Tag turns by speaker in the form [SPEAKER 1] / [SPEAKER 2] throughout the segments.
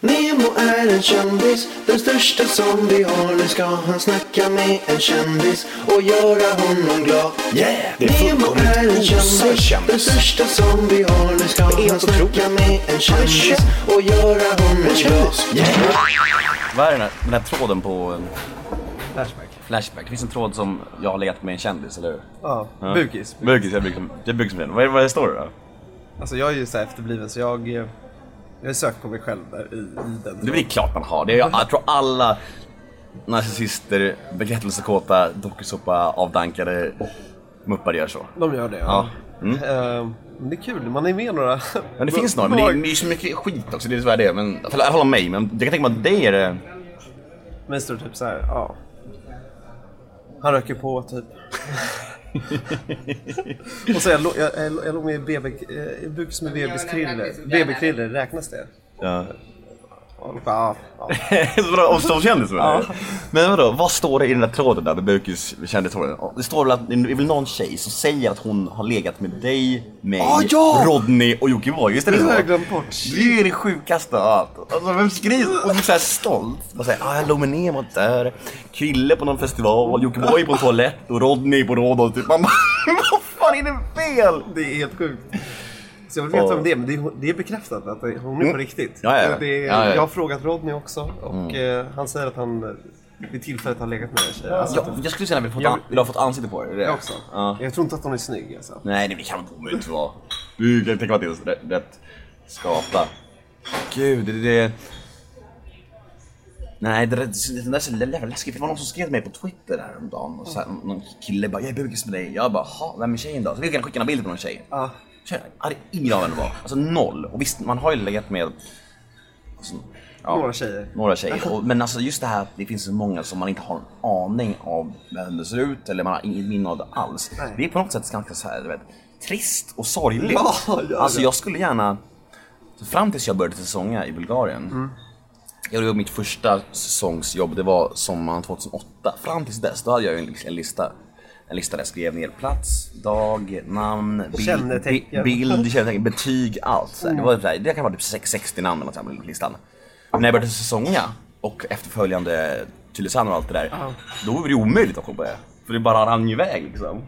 [SPEAKER 1] Nemo är en kändis, den största som vi har. Nu ska han snacka med en kändis och göra honom glad.
[SPEAKER 2] Yeah! Det är
[SPEAKER 1] Nemo
[SPEAKER 2] fullkomligt
[SPEAKER 1] är en kändis,
[SPEAKER 2] okändis.
[SPEAKER 1] den största som vi har. Nu ska
[SPEAKER 2] helt
[SPEAKER 1] han snacka med en kändis och göra honom glad.
[SPEAKER 3] Vad är den här, den här tråden på eh,
[SPEAKER 4] Flashback.
[SPEAKER 3] Flashback? Det finns en tråd som jag har legat med en kändis, eller hur?
[SPEAKER 4] Ja, bukis.
[SPEAKER 3] Bugis, jag brukar jag brukar som den. Vad är, vad är det står det då?
[SPEAKER 4] Alltså jag är ju så här efterbliven så jag, eh, jag söker på mig själv där i, i den.
[SPEAKER 3] Det är väl klart man har. Det är, jag, jag tror alla narcissister, bekräftelsekåta, dokusåpa-avdankade muppar gör så.
[SPEAKER 4] De gör det
[SPEAKER 3] Ja.
[SPEAKER 4] Eh, men det är kul, man är med några.
[SPEAKER 3] Men det finns några, men det är, det är så mycket skit också. Det är så här det är. Men, för alla håller mig, men jag kan tänka mig att dig är det...
[SPEAKER 4] Men det står typ så här, ja. Han röker på typ. och så jag, lå- jag, jag, jag låg med BB, eh, bukis med bebiskriller. BB-kriller, räknas det?
[SPEAKER 3] Ja.
[SPEAKER 4] Och, ja, ja.
[SPEAKER 3] Vadå, avståndskändis?
[SPEAKER 4] Ja.
[SPEAKER 3] Ja. Men vadå, vad står det i den där tråden där, bukiskändistråden? Det står väl att det är väl någon tjej som säger att hon har legat med dig, mig,
[SPEAKER 4] Ah, ja!
[SPEAKER 3] Rodney och Jockiboi, visst är
[SPEAKER 4] Det
[SPEAKER 3] det så?
[SPEAKER 4] har jag glömt bort.
[SPEAKER 3] Det är ju det sjukaste av allt. Alltså vem skriver? Och så här stolt. Och säger ah, jag låg med Nemo där, Krille på någon festival, Jockiboi på en toalett och Rodney på Rhodos. Typ. Man bara, vad fan är det fel?
[SPEAKER 4] Det är helt sjukt. Så jag vill veta
[SPEAKER 3] Ja.
[SPEAKER 4] om det är, men det är, det är bekräftat att det- hon är på riktigt.
[SPEAKER 3] Mm. Ja, ja, ja.
[SPEAKER 4] Det är,
[SPEAKER 3] Ja, Mm. ja.
[SPEAKER 4] Jag har frågat Rodney också och eh, han säger att han eh, vid tillfället har legat med en tjej. Alltså,
[SPEAKER 3] Jag, jag skulle säga att vi
[SPEAKER 4] Jag-
[SPEAKER 3] har fått, jag... fått ansikte på det. det.
[SPEAKER 4] jag också.
[SPEAKER 3] Ja.
[SPEAKER 4] Jag tror inte att hon är snygg alltså.
[SPEAKER 3] Nej, det kan omöjligt vara. Du kan tänka mig att det är rätt- rätt skata. Gud, det... det... Nej, det, där- det där är så jävla läskigt. Det var någon som skrev till mig på Twitter häromdagen. Och så här, någon kille bara, jag är bugis med dig. Jag bara, ha, vem är tjejen då? Så vi kan skicka en bild på någon tjej.
[SPEAKER 4] Ja.
[SPEAKER 3] Tjej, Jag hade ingen aning om vem det var. Alltså noll. Och visst, man har ju legat med... Alltså, ja,
[SPEAKER 4] Några tjejer.
[SPEAKER 3] Några tjejer. Och, men alltså just det här att det finns så många som man inte har en aning om vem det ser ut eller man har inget minne av det alls.
[SPEAKER 4] Nej.
[SPEAKER 3] Det är på något sätt ganska så här, du vet, trist och sorgligt.
[SPEAKER 4] Ja, ja,
[SPEAKER 3] alltså
[SPEAKER 4] ja.
[SPEAKER 3] jag skulle gärna... så Fram tills jag började säsonga i Bulgarien. Jag gjorde mitt första säsongsjobb, det var sommaren 2008. Fram tills dess, då hade jag ju en, en lista. En lista där jag skrev ner plats, dag, namn, bild,
[SPEAKER 4] Kännetecken.
[SPEAKER 3] bi- bild, kännetecken, betyg, allt. Så här. Det, var så här, det kan vara typ sex- 60 namn eller något sånt här på listan. Men när jag började säsonga och efterföljande Tylösand och allt det där, då var det ju omöjligt att komma på det. För det bara rann ju iväg liksom.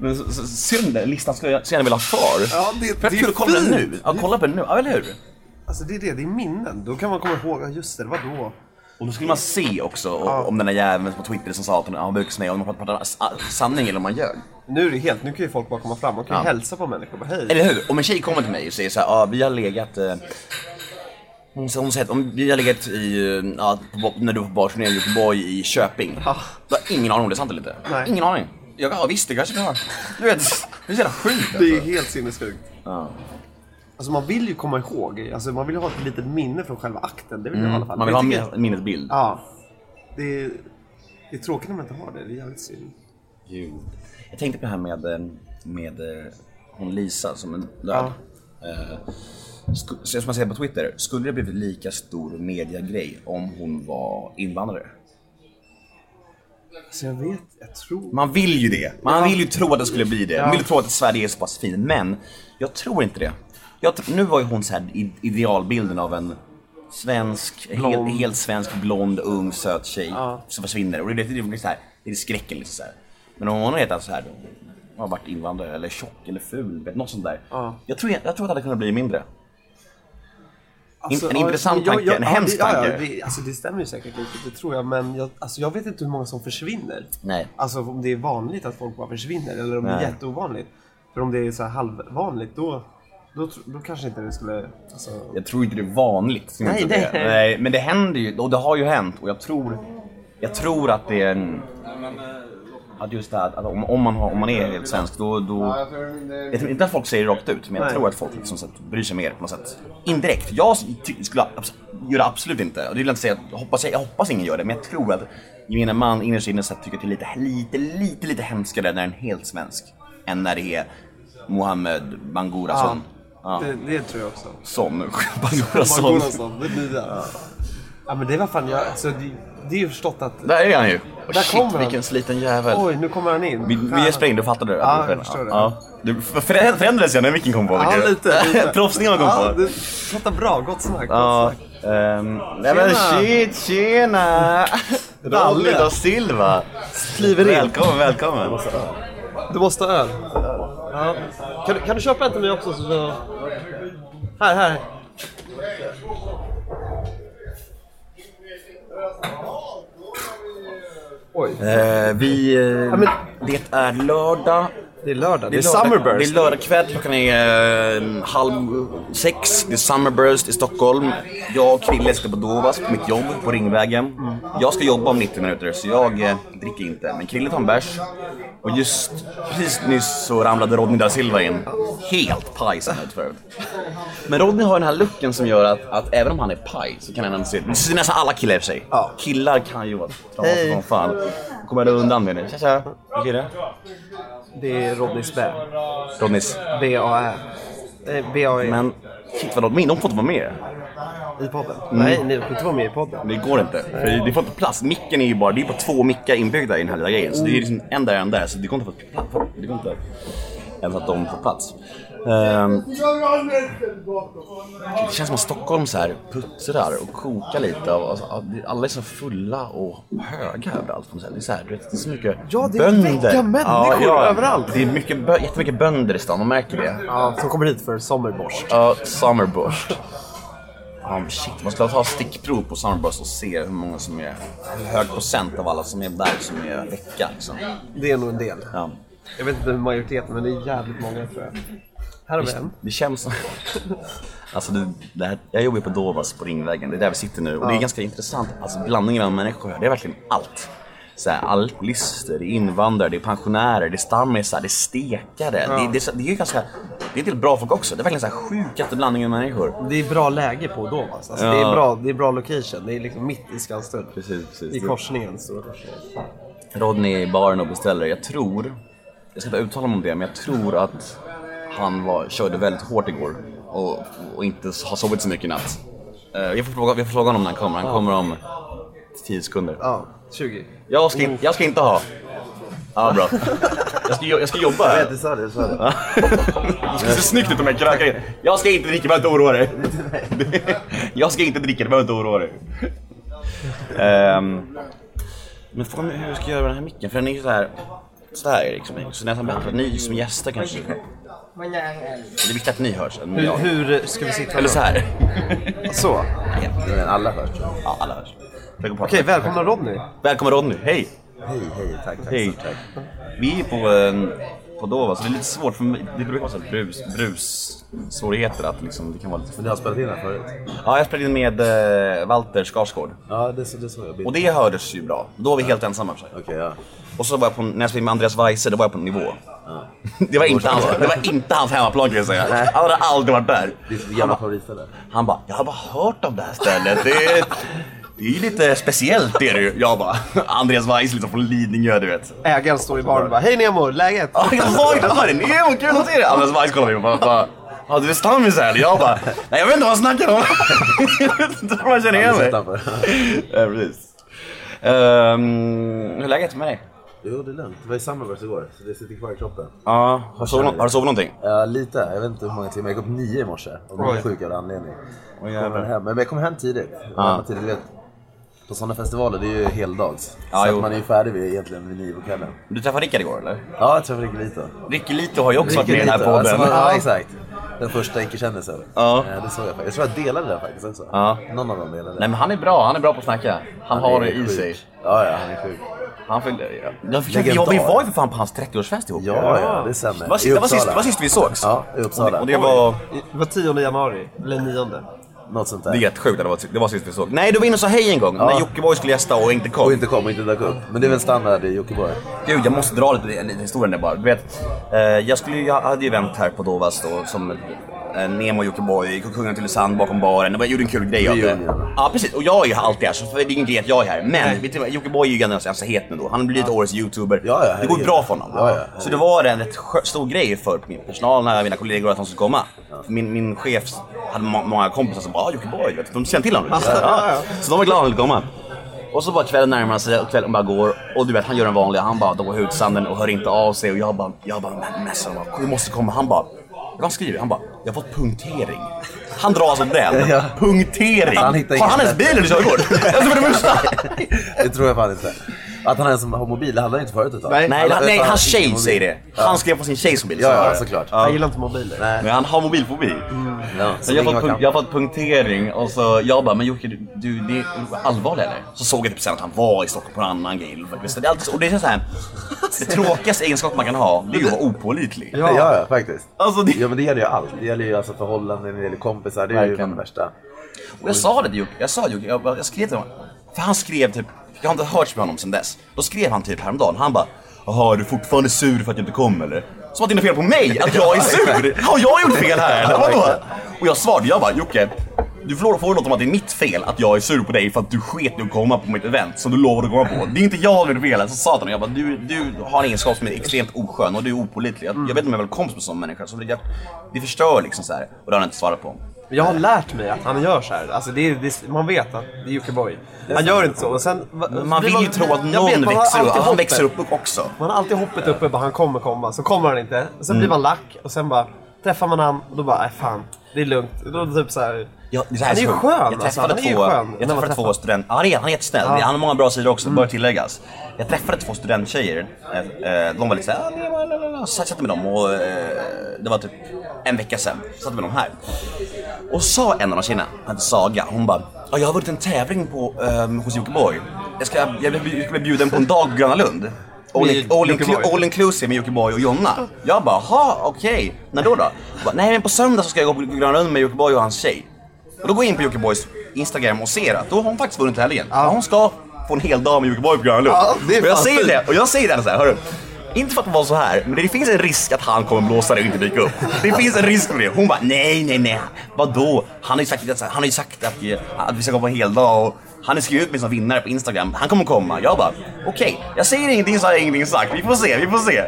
[SPEAKER 3] Men så, så, synd, den listan skulle jag så gärna vilja ha kvar.
[SPEAKER 4] Ja, det-
[SPEAKER 3] För jag
[SPEAKER 4] det är
[SPEAKER 3] kul att kolla
[SPEAKER 4] fint.
[SPEAKER 3] nu. Ja, kolla på den nu, ja, eller hur?
[SPEAKER 4] Alltså det är det, det är minnen. Då kan man komma ihåg, ja, just det, det var då.
[SPEAKER 3] Och då skulle man se också om den där jäveln på Twitter som sa att han bukas med om man pratar sa- sanning eller om man ljög.
[SPEAKER 4] Nu är det helt, nu kan ju folk bara komma fram, man kan ju
[SPEAKER 3] Ja.
[SPEAKER 4] hälsa på människor. Bara, hej.
[SPEAKER 3] Eller hur? Om en tjej kommer till mig och säger så här, ah, vi har legat eh, hon sa- hon säger att om vi har legat i, eh, ja, på, när du var på barturnén i Göteborg i Köping.
[SPEAKER 4] Ja.
[SPEAKER 3] Då har jag ingen aning om det är sant eller inte.
[SPEAKER 4] Ah. Nej.
[SPEAKER 3] Ingen aning. Jag, ja visst, det kanske vi har. Du vet, det är så jävla sjukt alltså.
[SPEAKER 4] Det är helt sinnessjukt. Alltså man vill ju komma ihåg, alltså man vill ju ha ett litet minne från själva akten. Det vill jag i alla fall.
[SPEAKER 3] Mm. Man vill ha
[SPEAKER 4] Jag
[SPEAKER 3] en
[SPEAKER 4] tycker-
[SPEAKER 3] min- minnesbild.
[SPEAKER 4] Ja. Det är, det är tråkigt om man inte har det, det är jävligt synd.
[SPEAKER 3] Jo. Jag tänkte på det här med, eh, med eh, hon Lisa som är död. Eh, sku- så som jag säger på Twitter, skulle det blivit lika stor mediegrej om hon var invandrare?
[SPEAKER 4] Alltså jag vet, jag tror...
[SPEAKER 3] Man vill ju det. Man vill ju tro att det skulle bli det. Man vill
[SPEAKER 4] Ja.
[SPEAKER 3] tro att Sverige är så pass fint. Men jag tror inte det. Jag, tr- nu var ju hon så här i- idealbilden av en svensk,
[SPEAKER 4] Blond.
[SPEAKER 3] helt, helt svensk, blond, ung, söt tjej
[SPEAKER 4] Ja.
[SPEAKER 3] som försvinner. Och det, det, det, blir så här, det är skräcken liksom så här. Men om hon har hetat så här, hon har varit invandrare eller tjock eller ful, vet, något sånt där.
[SPEAKER 4] Ja.
[SPEAKER 3] Jag, tror, jag tror att det hade kunnat bli mindre.
[SPEAKER 4] Alltså,
[SPEAKER 3] en intressant
[SPEAKER 4] ja,
[SPEAKER 3] tanke, en hemsk
[SPEAKER 4] ja, Ja,
[SPEAKER 3] tanke.
[SPEAKER 4] det, alltså det stämmer ju säkert lite, det tror jag. Men jag, alltså jag vet inte hur många som försvinner.
[SPEAKER 3] Nej.
[SPEAKER 4] Alltså om det är vanligt att folk bara försvinner eller om det
[SPEAKER 3] Nej.
[SPEAKER 4] är jätteovanligt. För om det är så här halvvanligt då, då, tr- då kanske inte det skulle... Alltså,
[SPEAKER 3] Jag tror inte det är vanligt. ska jag
[SPEAKER 4] Nej,
[SPEAKER 3] inte
[SPEAKER 4] det-
[SPEAKER 3] säga. Nej, men det händer ju och det har ju hänt och jag tror, jag tror att det är en, att just det här, att om, om, man har, om man är helt svensk då, då jag tror inte att folk säger det rakt ut men jag
[SPEAKER 4] Nej.
[SPEAKER 3] tror att folk liksom så att bryr sig mer på något sätt. Indirekt. Jag ty- skulle abs- göra absolut inte. Och det vill jag inte säga, att- jag hoppas, jag hoppas ingen gör det men jag tror att gemene man innerst inne så här tycker att det är lite, lite, lite, lite hemskare när en är helt svensk än när det är Mohammed Bangura-son. Ja. Alltså,
[SPEAKER 4] Det, det tror jag också.
[SPEAKER 3] Son.
[SPEAKER 4] Man går
[SPEAKER 3] Bangura-son.
[SPEAKER 4] någonstans, det nya. Ja. men det var fan jag... Alltså, det, det är ju förstått att...
[SPEAKER 3] Där är han ju! Oh,
[SPEAKER 4] Där
[SPEAKER 3] shit
[SPEAKER 4] kommer han.
[SPEAKER 3] vilken sliten jävel.
[SPEAKER 4] Oj, nu kommer han in.
[SPEAKER 3] Vi, vi är sprängda, fattade du?
[SPEAKER 4] Ja, jag förstår det.
[SPEAKER 3] Ja. Du förä- förändrades jag när micken kom på?
[SPEAKER 4] Ja,
[SPEAKER 3] tycker du?
[SPEAKER 4] lite. lite.
[SPEAKER 3] Proffsningen kom
[SPEAKER 4] ja,
[SPEAKER 3] på.
[SPEAKER 4] du pratar bra, gott snack. Gott
[SPEAKER 3] Ja,
[SPEAKER 4] snack.
[SPEAKER 3] Ehm, nej men
[SPEAKER 4] Tjena.
[SPEAKER 3] shit, tjena! Dalle da Silva!
[SPEAKER 4] Kliver in.
[SPEAKER 3] Välkommen, välkommen!
[SPEAKER 4] Du måste ha öl. Ja. Kan, du- kan du köpa en till mig också? Så, så... Här, här. Oj,
[SPEAKER 3] Eh, vi... eh,
[SPEAKER 4] men-
[SPEAKER 3] Det är lördag.
[SPEAKER 4] det är lördag. Det är,
[SPEAKER 3] lördag-
[SPEAKER 4] Summerburst.
[SPEAKER 3] Det är lördag kväll, klockan är eh, halv sex. Det är Summerburst i Stockholm. Jag och Krille ska på Dovas, på mitt jobb, på Ringvägen. Jag ska jobba om 90 minuter, så jag eh, dricker inte. Men Krille tar en bärs. Och just precis nyss så ramlade Rodney da Silva in. Helt paj ser han ut för övrigt. Men Rodney har den här looken som gör att, att även om han är paj så kan han ändå se... Det är nästan alla killar i och för sig.
[SPEAKER 4] Ja.
[SPEAKER 3] Killar kan ju vara trasiga
[SPEAKER 4] Hej.
[SPEAKER 3] som fan. Kommer du undan med det? Tja tja! Hur är det?
[SPEAKER 4] Det är Rodneys Bä.
[SPEAKER 3] Rodneys
[SPEAKER 4] B-A-Ä. Eh, B-A-E.
[SPEAKER 3] Men shit vad de, de får inte vara med.
[SPEAKER 4] I podden? Nej, ni får inte vara med i podden.
[SPEAKER 3] Det går inte. För det får inte plats. Micken är ju bara, det är bara två mickar inbyggda i den här lilla grejen. Så det är liksom en där och en där. Så det går inte att få plats. Det går inte ens att de får plats. Ehm, det känns som att Stockholm så här puttrar och kokar lite. Av, alltså, alla är så fulla och höga överallt. på något sätt. Det är så, här, du vet, det är så mycket
[SPEAKER 4] Ja, det är vägga människor överallt.
[SPEAKER 3] Det är mycket, bö- jättemycket bönder i stan, man märker det.
[SPEAKER 4] Ja, som kommer hit för sommerborst.
[SPEAKER 3] Ja, Summerburst. Ja, men shit, man ska ta stickprov på Summerburst och se hur många som är, hur hög procent av alla som är där som är vecka liksom.
[SPEAKER 4] Det är nog en del.
[SPEAKER 3] Ja.
[SPEAKER 4] Jag vet inte hur majoriteten, men det är jävligt många tror jag. Här har vi en.
[SPEAKER 3] Det känns som... Alltså det, det här, jag jobbar ju på Dovas på Ringvägen, det är där vi sitter nu. Och det är ganska intressant, alltså blandningen av människor här, det är verkligen allt. Så här, alkoholister, det är invandrare, det är pensionärer, det är stammisar, det är stekare. Det, det, är så- det är ju ganska... Det är till bra folk också. Det är verkligen så här sjukaste blandningen av människor.
[SPEAKER 4] Det är bra läge på Dovas. Alltså, det,
[SPEAKER 3] Ja.
[SPEAKER 4] är bra, det är bra location. Det är liksom mitt i Skanstull.
[SPEAKER 3] Precis, precis.
[SPEAKER 4] I korsningen, stora korsningen.
[SPEAKER 3] Rodney är i baren och beställer. Jag tror, jag ska inte uttala mig om det, men jag tror att han var, körde väldigt hårt igår och, och inte har sovit så mycket i natt. Eh, Jag får, fråga, jag får fråga honom när han kommer. Han kommer om 10 sekunder.
[SPEAKER 4] Ja, 20.
[SPEAKER 3] Jag ska, in, jag ska inte ha. Ja, bra. Jag ska, jo- jag ska jobba här.
[SPEAKER 4] du sa det, du sa det.
[SPEAKER 3] Det ser snyggt ut om jag krökar in. Jag ska inte dricka, du behöver inte oroa dig. Jag ska inte dricka, du behöver inte oroa dig. Ehm, men frågan är hur jag ska göra med den här micken, för den är ju så här. Så här är det liksom. Så nästan bättre att ni som gäster kanske. Det är viktigt att ni hörs. än
[SPEAKER 4] Hur,
[SPEAKER 3] jag.
[SPEAKER 4] hur ska vi sitta?
[SPEAKER 3] Eller så här.
[SPEAKER 4] Så.
[SPEAKER 3] Alla hörs. Ja, alla hörs. Okej,
[SPEAKER 4] Okej, välkomna Rodney.
[SPEAKER 3] välkommen Ronny. Hej!
[SPEAKER 4] Hej, hej. Tack, tack.
[SPEAKER 3] Hej. Vi är på, eh, på Dova, så det är lite svårt för mig. Det brukar vara så här brus, brus svårigheter att liksom, det kan vara lite
[SPEAKER 2] Men du har spelat in här förut?
[SPEAKER 3] Ja, jag spelade in med eh, Walter Skarsgård.
[SPEAKER 2] Ja, det, så- det såg jag. bild.
[SPEAKER 3] Och det hördes ju bra. Då var vi helt ensamma för sig.
[SPEAKER 2] Okej, ja.
[SPEAKER 3] Och så var jag på, när jag spelade med Andreas Weise, då var jag på en nivå. Det, var inte hans, det var inte hans hemmaplan kan jag säga. Han hade aldrig varit där.
[SPEAKER 2] Det är ditt gamla favoritställe.
[SPEAKER 3] Han bara, jag har bara hört om det här stället. Det är, det är ju lite speciellt det är det ju. Jag bara, Andreas Weise liksom från Lidingö du vet.
[SPEAKER 4] Ägaren står i baren och bara, hej Nemo, läget?
[SPEAKER 3] Ja, jag var inte där. Nemo, kul att se dig! Andreas Weiss kollade på mig och bara... Ja, du är stammis här? Jag bara... Nej, jag vet inte vad han snackar om. jag vet inte om han känner igen
[SPEAKER 2] Han är
[SPEAKER 3] mig.
[SPEAKER 2] så tapper.
[SPEAKER 3] ja, precis. Ehm, hur är läget med dig?
[SPEAKER 2] Jo, det är lugnt. Det var i Summerburst igår, så det sitter kvar i kroppen.
[SPEAKER 3] Ja, har du sovit, har du sovit någonting?
[SPEAKER 2] Ja, lite. Jag vet inte hur många timmar. Jag gick upp nio i morse av någon
[SPEAKER 4] Oj.
[SPEAKER 2] sjuk jävla anledning.
[SPEAKER 3] Oj, jävlar.
[SPEAKER 2] Kommer hem. Men jag kom hem tidigt. Jag
[SPEAKER 3] Ja.
[SPEAKER 2] kom tidigt du vet, på sådana festivaler, det är ju heldags.
[SPEAKER 3] Ja,
[SPEAKER 2] så
[SPEAKER 3] jo.
[SPEAKER 2] att man är ju färdig vid, egentligen vid nio på kvällen.
[SPEAKER 3] Du träffade Rickard igår eller?
[SPEAKER 2] Ja, jag träffade Ricky Lito.
[SPEAKER 3] Ricky Lito har ju också varit med i den här
[SPEAKER 2] Lito, alltså,
[SPEAKER 3] podden.
[SPEAKER 2] man- ja, exakt. Den första icke-kändisen.
[SPEAKER 3] Ja.
[SPEAKER 2] Eh, Det såg jag faktiskt. Jag tror jag delade det faktiskt också.
[SPEAKER 3] Ja.
[SPEAKER 2] Någon av dem delade.
[SPEAKER 3] Nej men han är bra, han är bra på att snacka. Han,
[SPEAKER 2] är
[SPEAKER 3] har det i
[SPEAKER 2] sjuk.
[SPEAKER 3] sig.
[SPEAKER 2] Ja, ja, han är sjuk.
[SPEAKER 3] Han fyllde... Ja, Jag fick-
[SPEAKER 2] Legendar.
[SPEAKER 3] vi var ju för fan på hans 30-årsfest ihop.
[SPEAKER 2] Ja, ja, det stämmer.
[SPEAKER 3] Det var sist,
[SPEAKER 2] I
[SPEAKER 3] det var sist,
[SPEAKER 2] Uppsala.
[SPEAKER 3] det var sist vi sågs.
[SPEAKER 2] Ja, i
[SPEAKER 3] och det,
[SPEAKER 2] Uppsala.
[SPEAKER 3] och det var...
[SPEAKER 4] Det var 10 januari, eller 9.
[SPEAKER 2] Något sånt där.
[SPEAKER 3] Det är jättesjukt att det var, det var sist vi såg. Nej, du var inne och sa hej en gång när Jockiboi skulle gästa och inte kom.
[SPEAKER 2] Och inte kom och inte dök upp. Men det är väl standard i Jockiboi.
[SPEAKER 3] Gud, jag måste dra lite, lite historien där bara. Du vet, eh, jag, skulle, ju- jag hade ju event här på Dovas då som eh, Nemo, Jockiboi, Kungen till Tylösand bakom baren. Det var- Jag gjorde en kul grej av det.
[SPEAKER 2] Reunion.
[SPEAKER 3] Ja, precis. Och jag är ju alltid här, så för det är ingen grej att jag är här. Men vet du vad, Jockiboi är ju ganska ganska het nu då. Han har blivit årets youtuber.
[SPEAKER 2] Ja, ja,
[SPEAKER 3] det går ju
[SPEAKER 2] herregud.
[SPEAKER 3] bra för honom.
[SPEAKER 2] Ja, ja, herregud.
[SPEAKER 3] så det var en rätt skö- stor grej för min personal, här, mina kollegor att han skulle komma. Min, min chef hade må- många kompisar som bara ah, Jockiboi, vet du." de känner till honom. liksom.
[SPEAKER 4] ja, ja.
[SPEAKER 3] Så de var glada när han ville komma. Och så bara kvällen närmar sig och kvällen bara går och du vet han gör den vanliga, han bara drar ut sanden och hör inte av sig och jag bara, jag bara men Messan, du måste komma. Han bara, vad skriver han? bara, jag har fått punktering. Han dras om den.
[SPEAKER 2] Ja.
[SPEAKER 3] Punktering.
[SPEAKER 2] Han hittar
[SPEAKER 3] Har han ens
[SPEAKER 2] ingen
[SPEAKER 3] bil eller körkort? alltså för det första.
[SPEAKER 2] Det tror jag fan inte. Att han ens har mobil, det hade han inte förut ett tag.
[SPEAKER 4] Nej.
[SPEAKER 3] Nej, han, nej,
[SPEAKER 2] Eller,
[SPEAKER 3] hans tjej
[SPEAKER 2] ingen mobil.
[SPEAKER 3] säger det. Han skrev på sin tjej som bil.
[SPEAKER 2] Ja,
[SPEAKER 3] så var
[SPEAKER 2] ja,
[SPEAKER 3] det.
[SPEAKER 2] såklart.
[SPEAKER 4] Jag gillar inte mobiler.
[SPEAKER 2] Nej.
[SPEAKER 3] Men han har mobilfobi.
[SPEAKER 2] Ja,
[SPEAKER 3] Så
[SPEAKER 2] så
[SPEAKER 3] jag, har
[SPEAKER 2] ingen
[SPEAKER 3] fått
[SPEAKER 2] kan-
[SPEAKER 3] punk- jag har fått punktering och så jag bara, men Jocke, du- du, det är allvarligt eller? Så såg jag typ sen att han var i Stockholm på en annan grej. Det är alltid så- Och det känns såhär, det tråkigaste egenskapen man kan ha, det är ju att vara opålitlig.
[SPEAKER 2] Ja, ja, faktiskt.
[SPEAKER 3] Alltså, det-
[SPEAKER 2] Ja, men det gäller ju allt. Det gäller ju alltså förhållanden, det gäller kompisar. Det är ju
[SPEAKER 3] Verkligen.
[SPEAKER 2] fan det värsta.
[SPEAKER 3] Och jag sa det till Jocke, jag sa Jocke, jag, jag skrev till honom. För han skrev typ, jag har inte hört med honom sen dess. Då skrev han typ häromdagen, han bara Jaha, är du fortfarande sur för att jag inte kom eller? Som att det är något fel på mig, att jag är sur! Har jag gjort fel här eller? Vadå? Och jag svarade, jag bara Jocke, du får, får låta om att det är mitt fel att jag är sur på dig för att du sket i att komma på mitt event som du lovade att komma på. Det är inte jag som gjort fel. Så sa han, jag bara, du, du har en egenskap som är extremt oskön och du är opålitlig. Jag, jag vet inte om jag är väl kompis med sån människa. Så det, jag, det förstör liksom så här. Och det har han inte svarat på.
[SPEAKER 4] Men Jag har lärt mig att han gör så här. Alltså det är, det, man vet att det är Jockiboi. Han gör inte så. Och sen, va-
[SPEAKER 3] Man
[SPEAKER 4] det
[SPEAKER 3] vill
[SPEAKER 4] var-
[SPEAKER 3] ju tro att
[SPEAKER 4] jag vet,
[SPEAKER 3] någon
[SPEAKER 4] man har
[SPEAKER 3] växer upp.
[SPEAKER 4] alltid
[SPEAKER 3] Han
[SPEAKER 4] hoppet.
[SPEAKER 3] växer upp också.
[SPEAKER 4] Man har alltid hoppet uppe, bara han kommer komma. Så kommer han inte. Och sen
[SPEAKER 3] Mm.
[SPEAKER 4] blir man lack och sen bara träffar man han och då bara, nej fan, det är lugnt. Då typ så här,
[SPEAKER 3] Ja, det
[SPEAKER 4] han är ju
[SPEAKER 3] så-
[SPEAKER 4] skön
[SPEAKER 3] Jag
[SPEAKER 4] alltså.
[SPEAKER 3] träffade
[SPEAKER 4] Han är ju
[SPEAKER 3] två,
[SPEAKER 4] skön när
[SPEAKER 3] jag
[SPEAKER 4] man
[SPEAKER 3] träffade
[SPEAKER 4] träffar Mm.
[SPEAKER 3] två student... Ja, han är, han är jättesnäll. Han har många bra sidor också, bör tilläggas. Jag träffade två studenttjejer. Eh, eh, De var lite såhär... "Ah, la, la, la, la." Så jag satt med dem och... eh, Det var typ en vecka sedan. Satt med dem här. Och sa en av de tjejerna, hon hette Saga, hon bara "Ja, jag har vunnit en tävling på, um, hos Jockiboi. Jag ska, jag blev- jag blev bjuden på en dag på Gröna Lund. All,
[SPEAKER 4] Med
[SPEAKER 3] all,
[SPEAKER 4] Jockiboi.
[SPEAKER 3] all inclusive med Jockiboi och Jonna. Jag bara, jaha okej, när då då? Hon Bara, Nej men på söndag så ska jag gå på Gröna Lund med Jockiboi och hans tjej. Och då går jag in på Jockibois Instagram och ser att då har hon faktiskt vunnit helgen. Ja. Hon ska få en hel dag med Jockiboi på Gröna Lund.
[SPEAKER 4] Ja, det är
[SPEAKER 3] och jag
[SPEAKER 4] fan
[SPEAKER 3] säger
[SPEAKER 4] fint.
[SPEAKER 3] det, och jag säger det så här, hörru. Inte för att vara så här, men det finns en risk att han kommer blåsa det och inte dyka upp. Det finns en risk för det. Hon bara, nej, nej, nej. Vadå? Han har ju sagt att, han har ju sagt att, vi, att vi ska gå på en hel dag och han har skrivit ut mig som vinnare på Instagram. Han kommer komma. Jag bara, okej. Jag säger ingenting så har jag ingenting sagt. Vi får se, vi får se.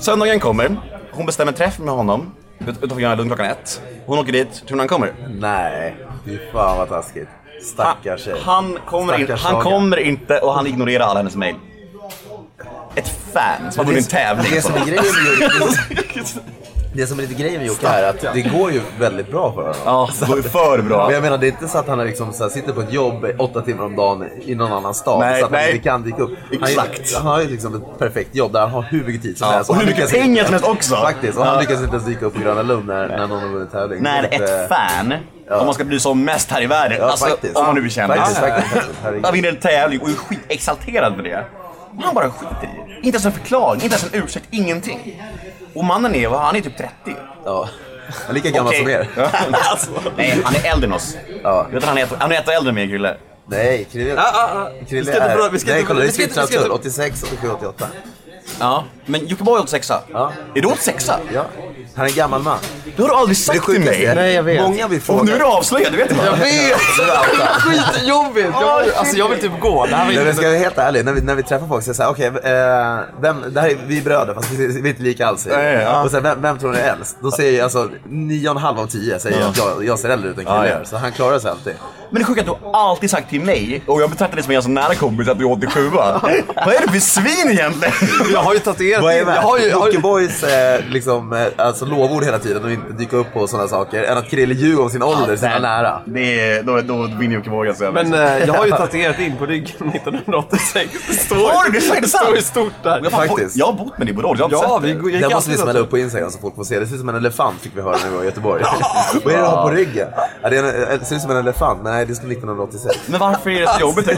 [SPEAKER 3] Söndagen kommer. Hon bestämmer träff med honom ut- utanför Gröna Lund klockan ett. Hon åker dit. Tror ni han kommer?
[SPEAKER 2] Nej, fy fan vad taskigt. Stackars tjej.
[SPEAKER 3] Han kommer, in,
[SPEAKER 2] Stackars
[SPEAKER 3] han
[SPEAKER 2] Saga.
[SPEAKER 3] kommer inte och han ignorerar alla hennes mejl. Ett fan som har vunnit en tävling.
[SPEAKER 2] Det som är grejen med Jocke, det som är lite grejen med Jocke är att det går ju väldigt bra för honom.
[SPEAKER 3] Ja, det går ju för bra.
[SPEAKER 2] Men jag menar det är inte så att han är liksom så här, sitter på ett jobb åtta timmar om dagen i någon annan stad
[SPEAKER 3] Nej,
[SPEAKER 2] så att
[SPEAKER 3] nej.
[SPEAKER 2] han inte kan dyka upp.
[SPEAKER 3] Exakt.
[SPEAKER 2] Han, han har ju liksom ett perfekt jobb där han har hur mycket tid som
[SPEAKER 3] Ja,
[SPEAKER 2] helst.
[SPEAKER 3] och hur
[SPEAKER 2] han
[SPEAKER 3] mycket
[SPEAKER 2] lyckas-
[SPEAKER 3] pengar som helst också.
[SPEAKER 2] Faktiskt, och
[SPEAKER 3] Ja.
[SPEAKER 2] han lyckas inte ens dyka upp på Gröna Lund när, när någon har vunnit tävling.
[SPEAKER 3] När
[SPEAKER 2] Det är lite-
[SPEAKER 3] ett fan, om man ska bli som mest här i världen,
[SPEAKER 2] eh, Ja,
[SPEAKER 3] alltså,
[SPEAKER 2] faktiskt.
[SPEAKER 3] om man nu blir känd.
[SPEAKER 2] Faktiskt, faktiskt, faktiskt. Herregud.
[SPEAKER 3] Han vinner en tävling och är skitexalterad med det. Och han bara skiter i det. Inte ens en förklaring, inte ens en ursäkt, ingenting. Och mannen är, han är typ 30.
[SPEAKER 2] Ja. Han är lika gammal som
[SPEAKER 3] Okej.
[SPEAKER 2] er.
[SPEAKER 3] alltså, nej, han är äldre än oss.
[SPEAKER 2] Ja.
[SPEAKER 3] Vet du, han är ett- han är ett år äldre än mig, Krille.
[SPEAKER 2] Nej, Krille
[SPEAKER 4] Ah, ah, ah. Vi
[SPEAKER 2] Krille
[SPEAKER 4] ska inte
[SPEAKER 2] är...
[SPEAKER 4] prata- vi ska
[SPEAKER 2] Nej,
[SPEAKER 4] inte-
[SPEAKER 2] kolla det
[SPEAKER 4] vi
[SPEAKER 2] är
[SPEAKER 4] ska inte- vi ska
[SPEAKER 2] siffran
[SPEAKER 4] inte-
[SPEAKER 2] 86, 87, 88.
[SPEAKER 3] Ja, men Jockiboi är 86
[SPEAKER 2] Ja.
[SPEAKER 3] Är du 86
[SPEAKER 2] Ja. Han är en gammal man.
[SPEAKER 3] Det har du aldrig
[SPEAKER 2] Men det
[SPEAKER 3] sagt till
[SPEAKER 2] sjukaste
[SPEAKER 3] mig.
[SPEAKER 2] är,
[SPEAKER 4] Nej, jag vet.
[SPEAKER 2] många vill fråga...
[SPEAKER 3] Och nu är du avslöjad, du vet inte.
[SPEAKER 4] Jag vet! Skitjobbigt! Jag, alltså jag vill typ gå. Det här var
[SPEAKER 2] Nej,
[SPEAKER 4] inte-
[SPEAKER 2] men ska jag vara helt ärlig, när vi, när vi träffar folk så är det såhär, okej, eh, vem, det här är, vi är bröder fast vi, vi är inte lika alls.
[SPEAKER 3] Nej, ja.
[SPEAKER 2] Och sen, vem, vem tror ni är äldst? Då säger jag alltså, nio och en halv av tio säger jag att jag, jag ser äldre ut än killen
[SPEAKER 3] Ja, ja.
[SPEAKER 2] gör. Så han klarar sig alltid.
[SPEAKER 3] Men det sjuka är att du alltid sagt till mig, och jag betraktar dig som en så nära kompis att du är 87 Vad är det för svin egentligen?
[SPEAKER 4] Jag har ju tatuerat
[SPEAKER 2] Vad är
[SPEAKER 4] in-
[SPEAKER 2] värst?
[SPEAKER 4] jag har ju, jag har ju,
[SPEAKER 2] Jockiboi, eh, liksom, eh, alltså, lovord hela tiden och inte dyka upp på sådana saker. Än att Krille ljuger om sin ålder, sina nära.
[SPEAKER 3] Det är, då, då vinner Jockiboi alltså.
[SPEAKER 4] men eh, jag har ju tatuerat in på ryggen 1986. Det står,
[SPEAKER 3] Har du det? Är det
[SPEAKER 4] det
[SPEAKER 3] sant?
[SPEAKER 4] står ju stort där.
[SPEAKER 3] jag, har fan,
[SPEAKER 2] faktiskt.
[SPEAKER 3] jag har bott med dig på råd, jag har inte
[SPEAKER 4] Ja,
[SPEAKER 3] sett
[SPEAKER 4] vi
[SPEAKER 3] det.
[SPEAKER 4] går- jag
[SPEAKER 2] Det
[SPEAKER 4] gick
[SPEAKER 2] måste vi
[SPEAKER 4] alltid-
[SPEAKER 2] smälla upp på Instagram så folk får se. Det ser ut som en elefant fick vi höra när vi var i Göteborg. Vad är det du har på ryggen? Ja, det, är en, eh, det ser ut som en elefant, men nej det är från 1986.
[SPEAKER 3] Men varför är det så jobbigt?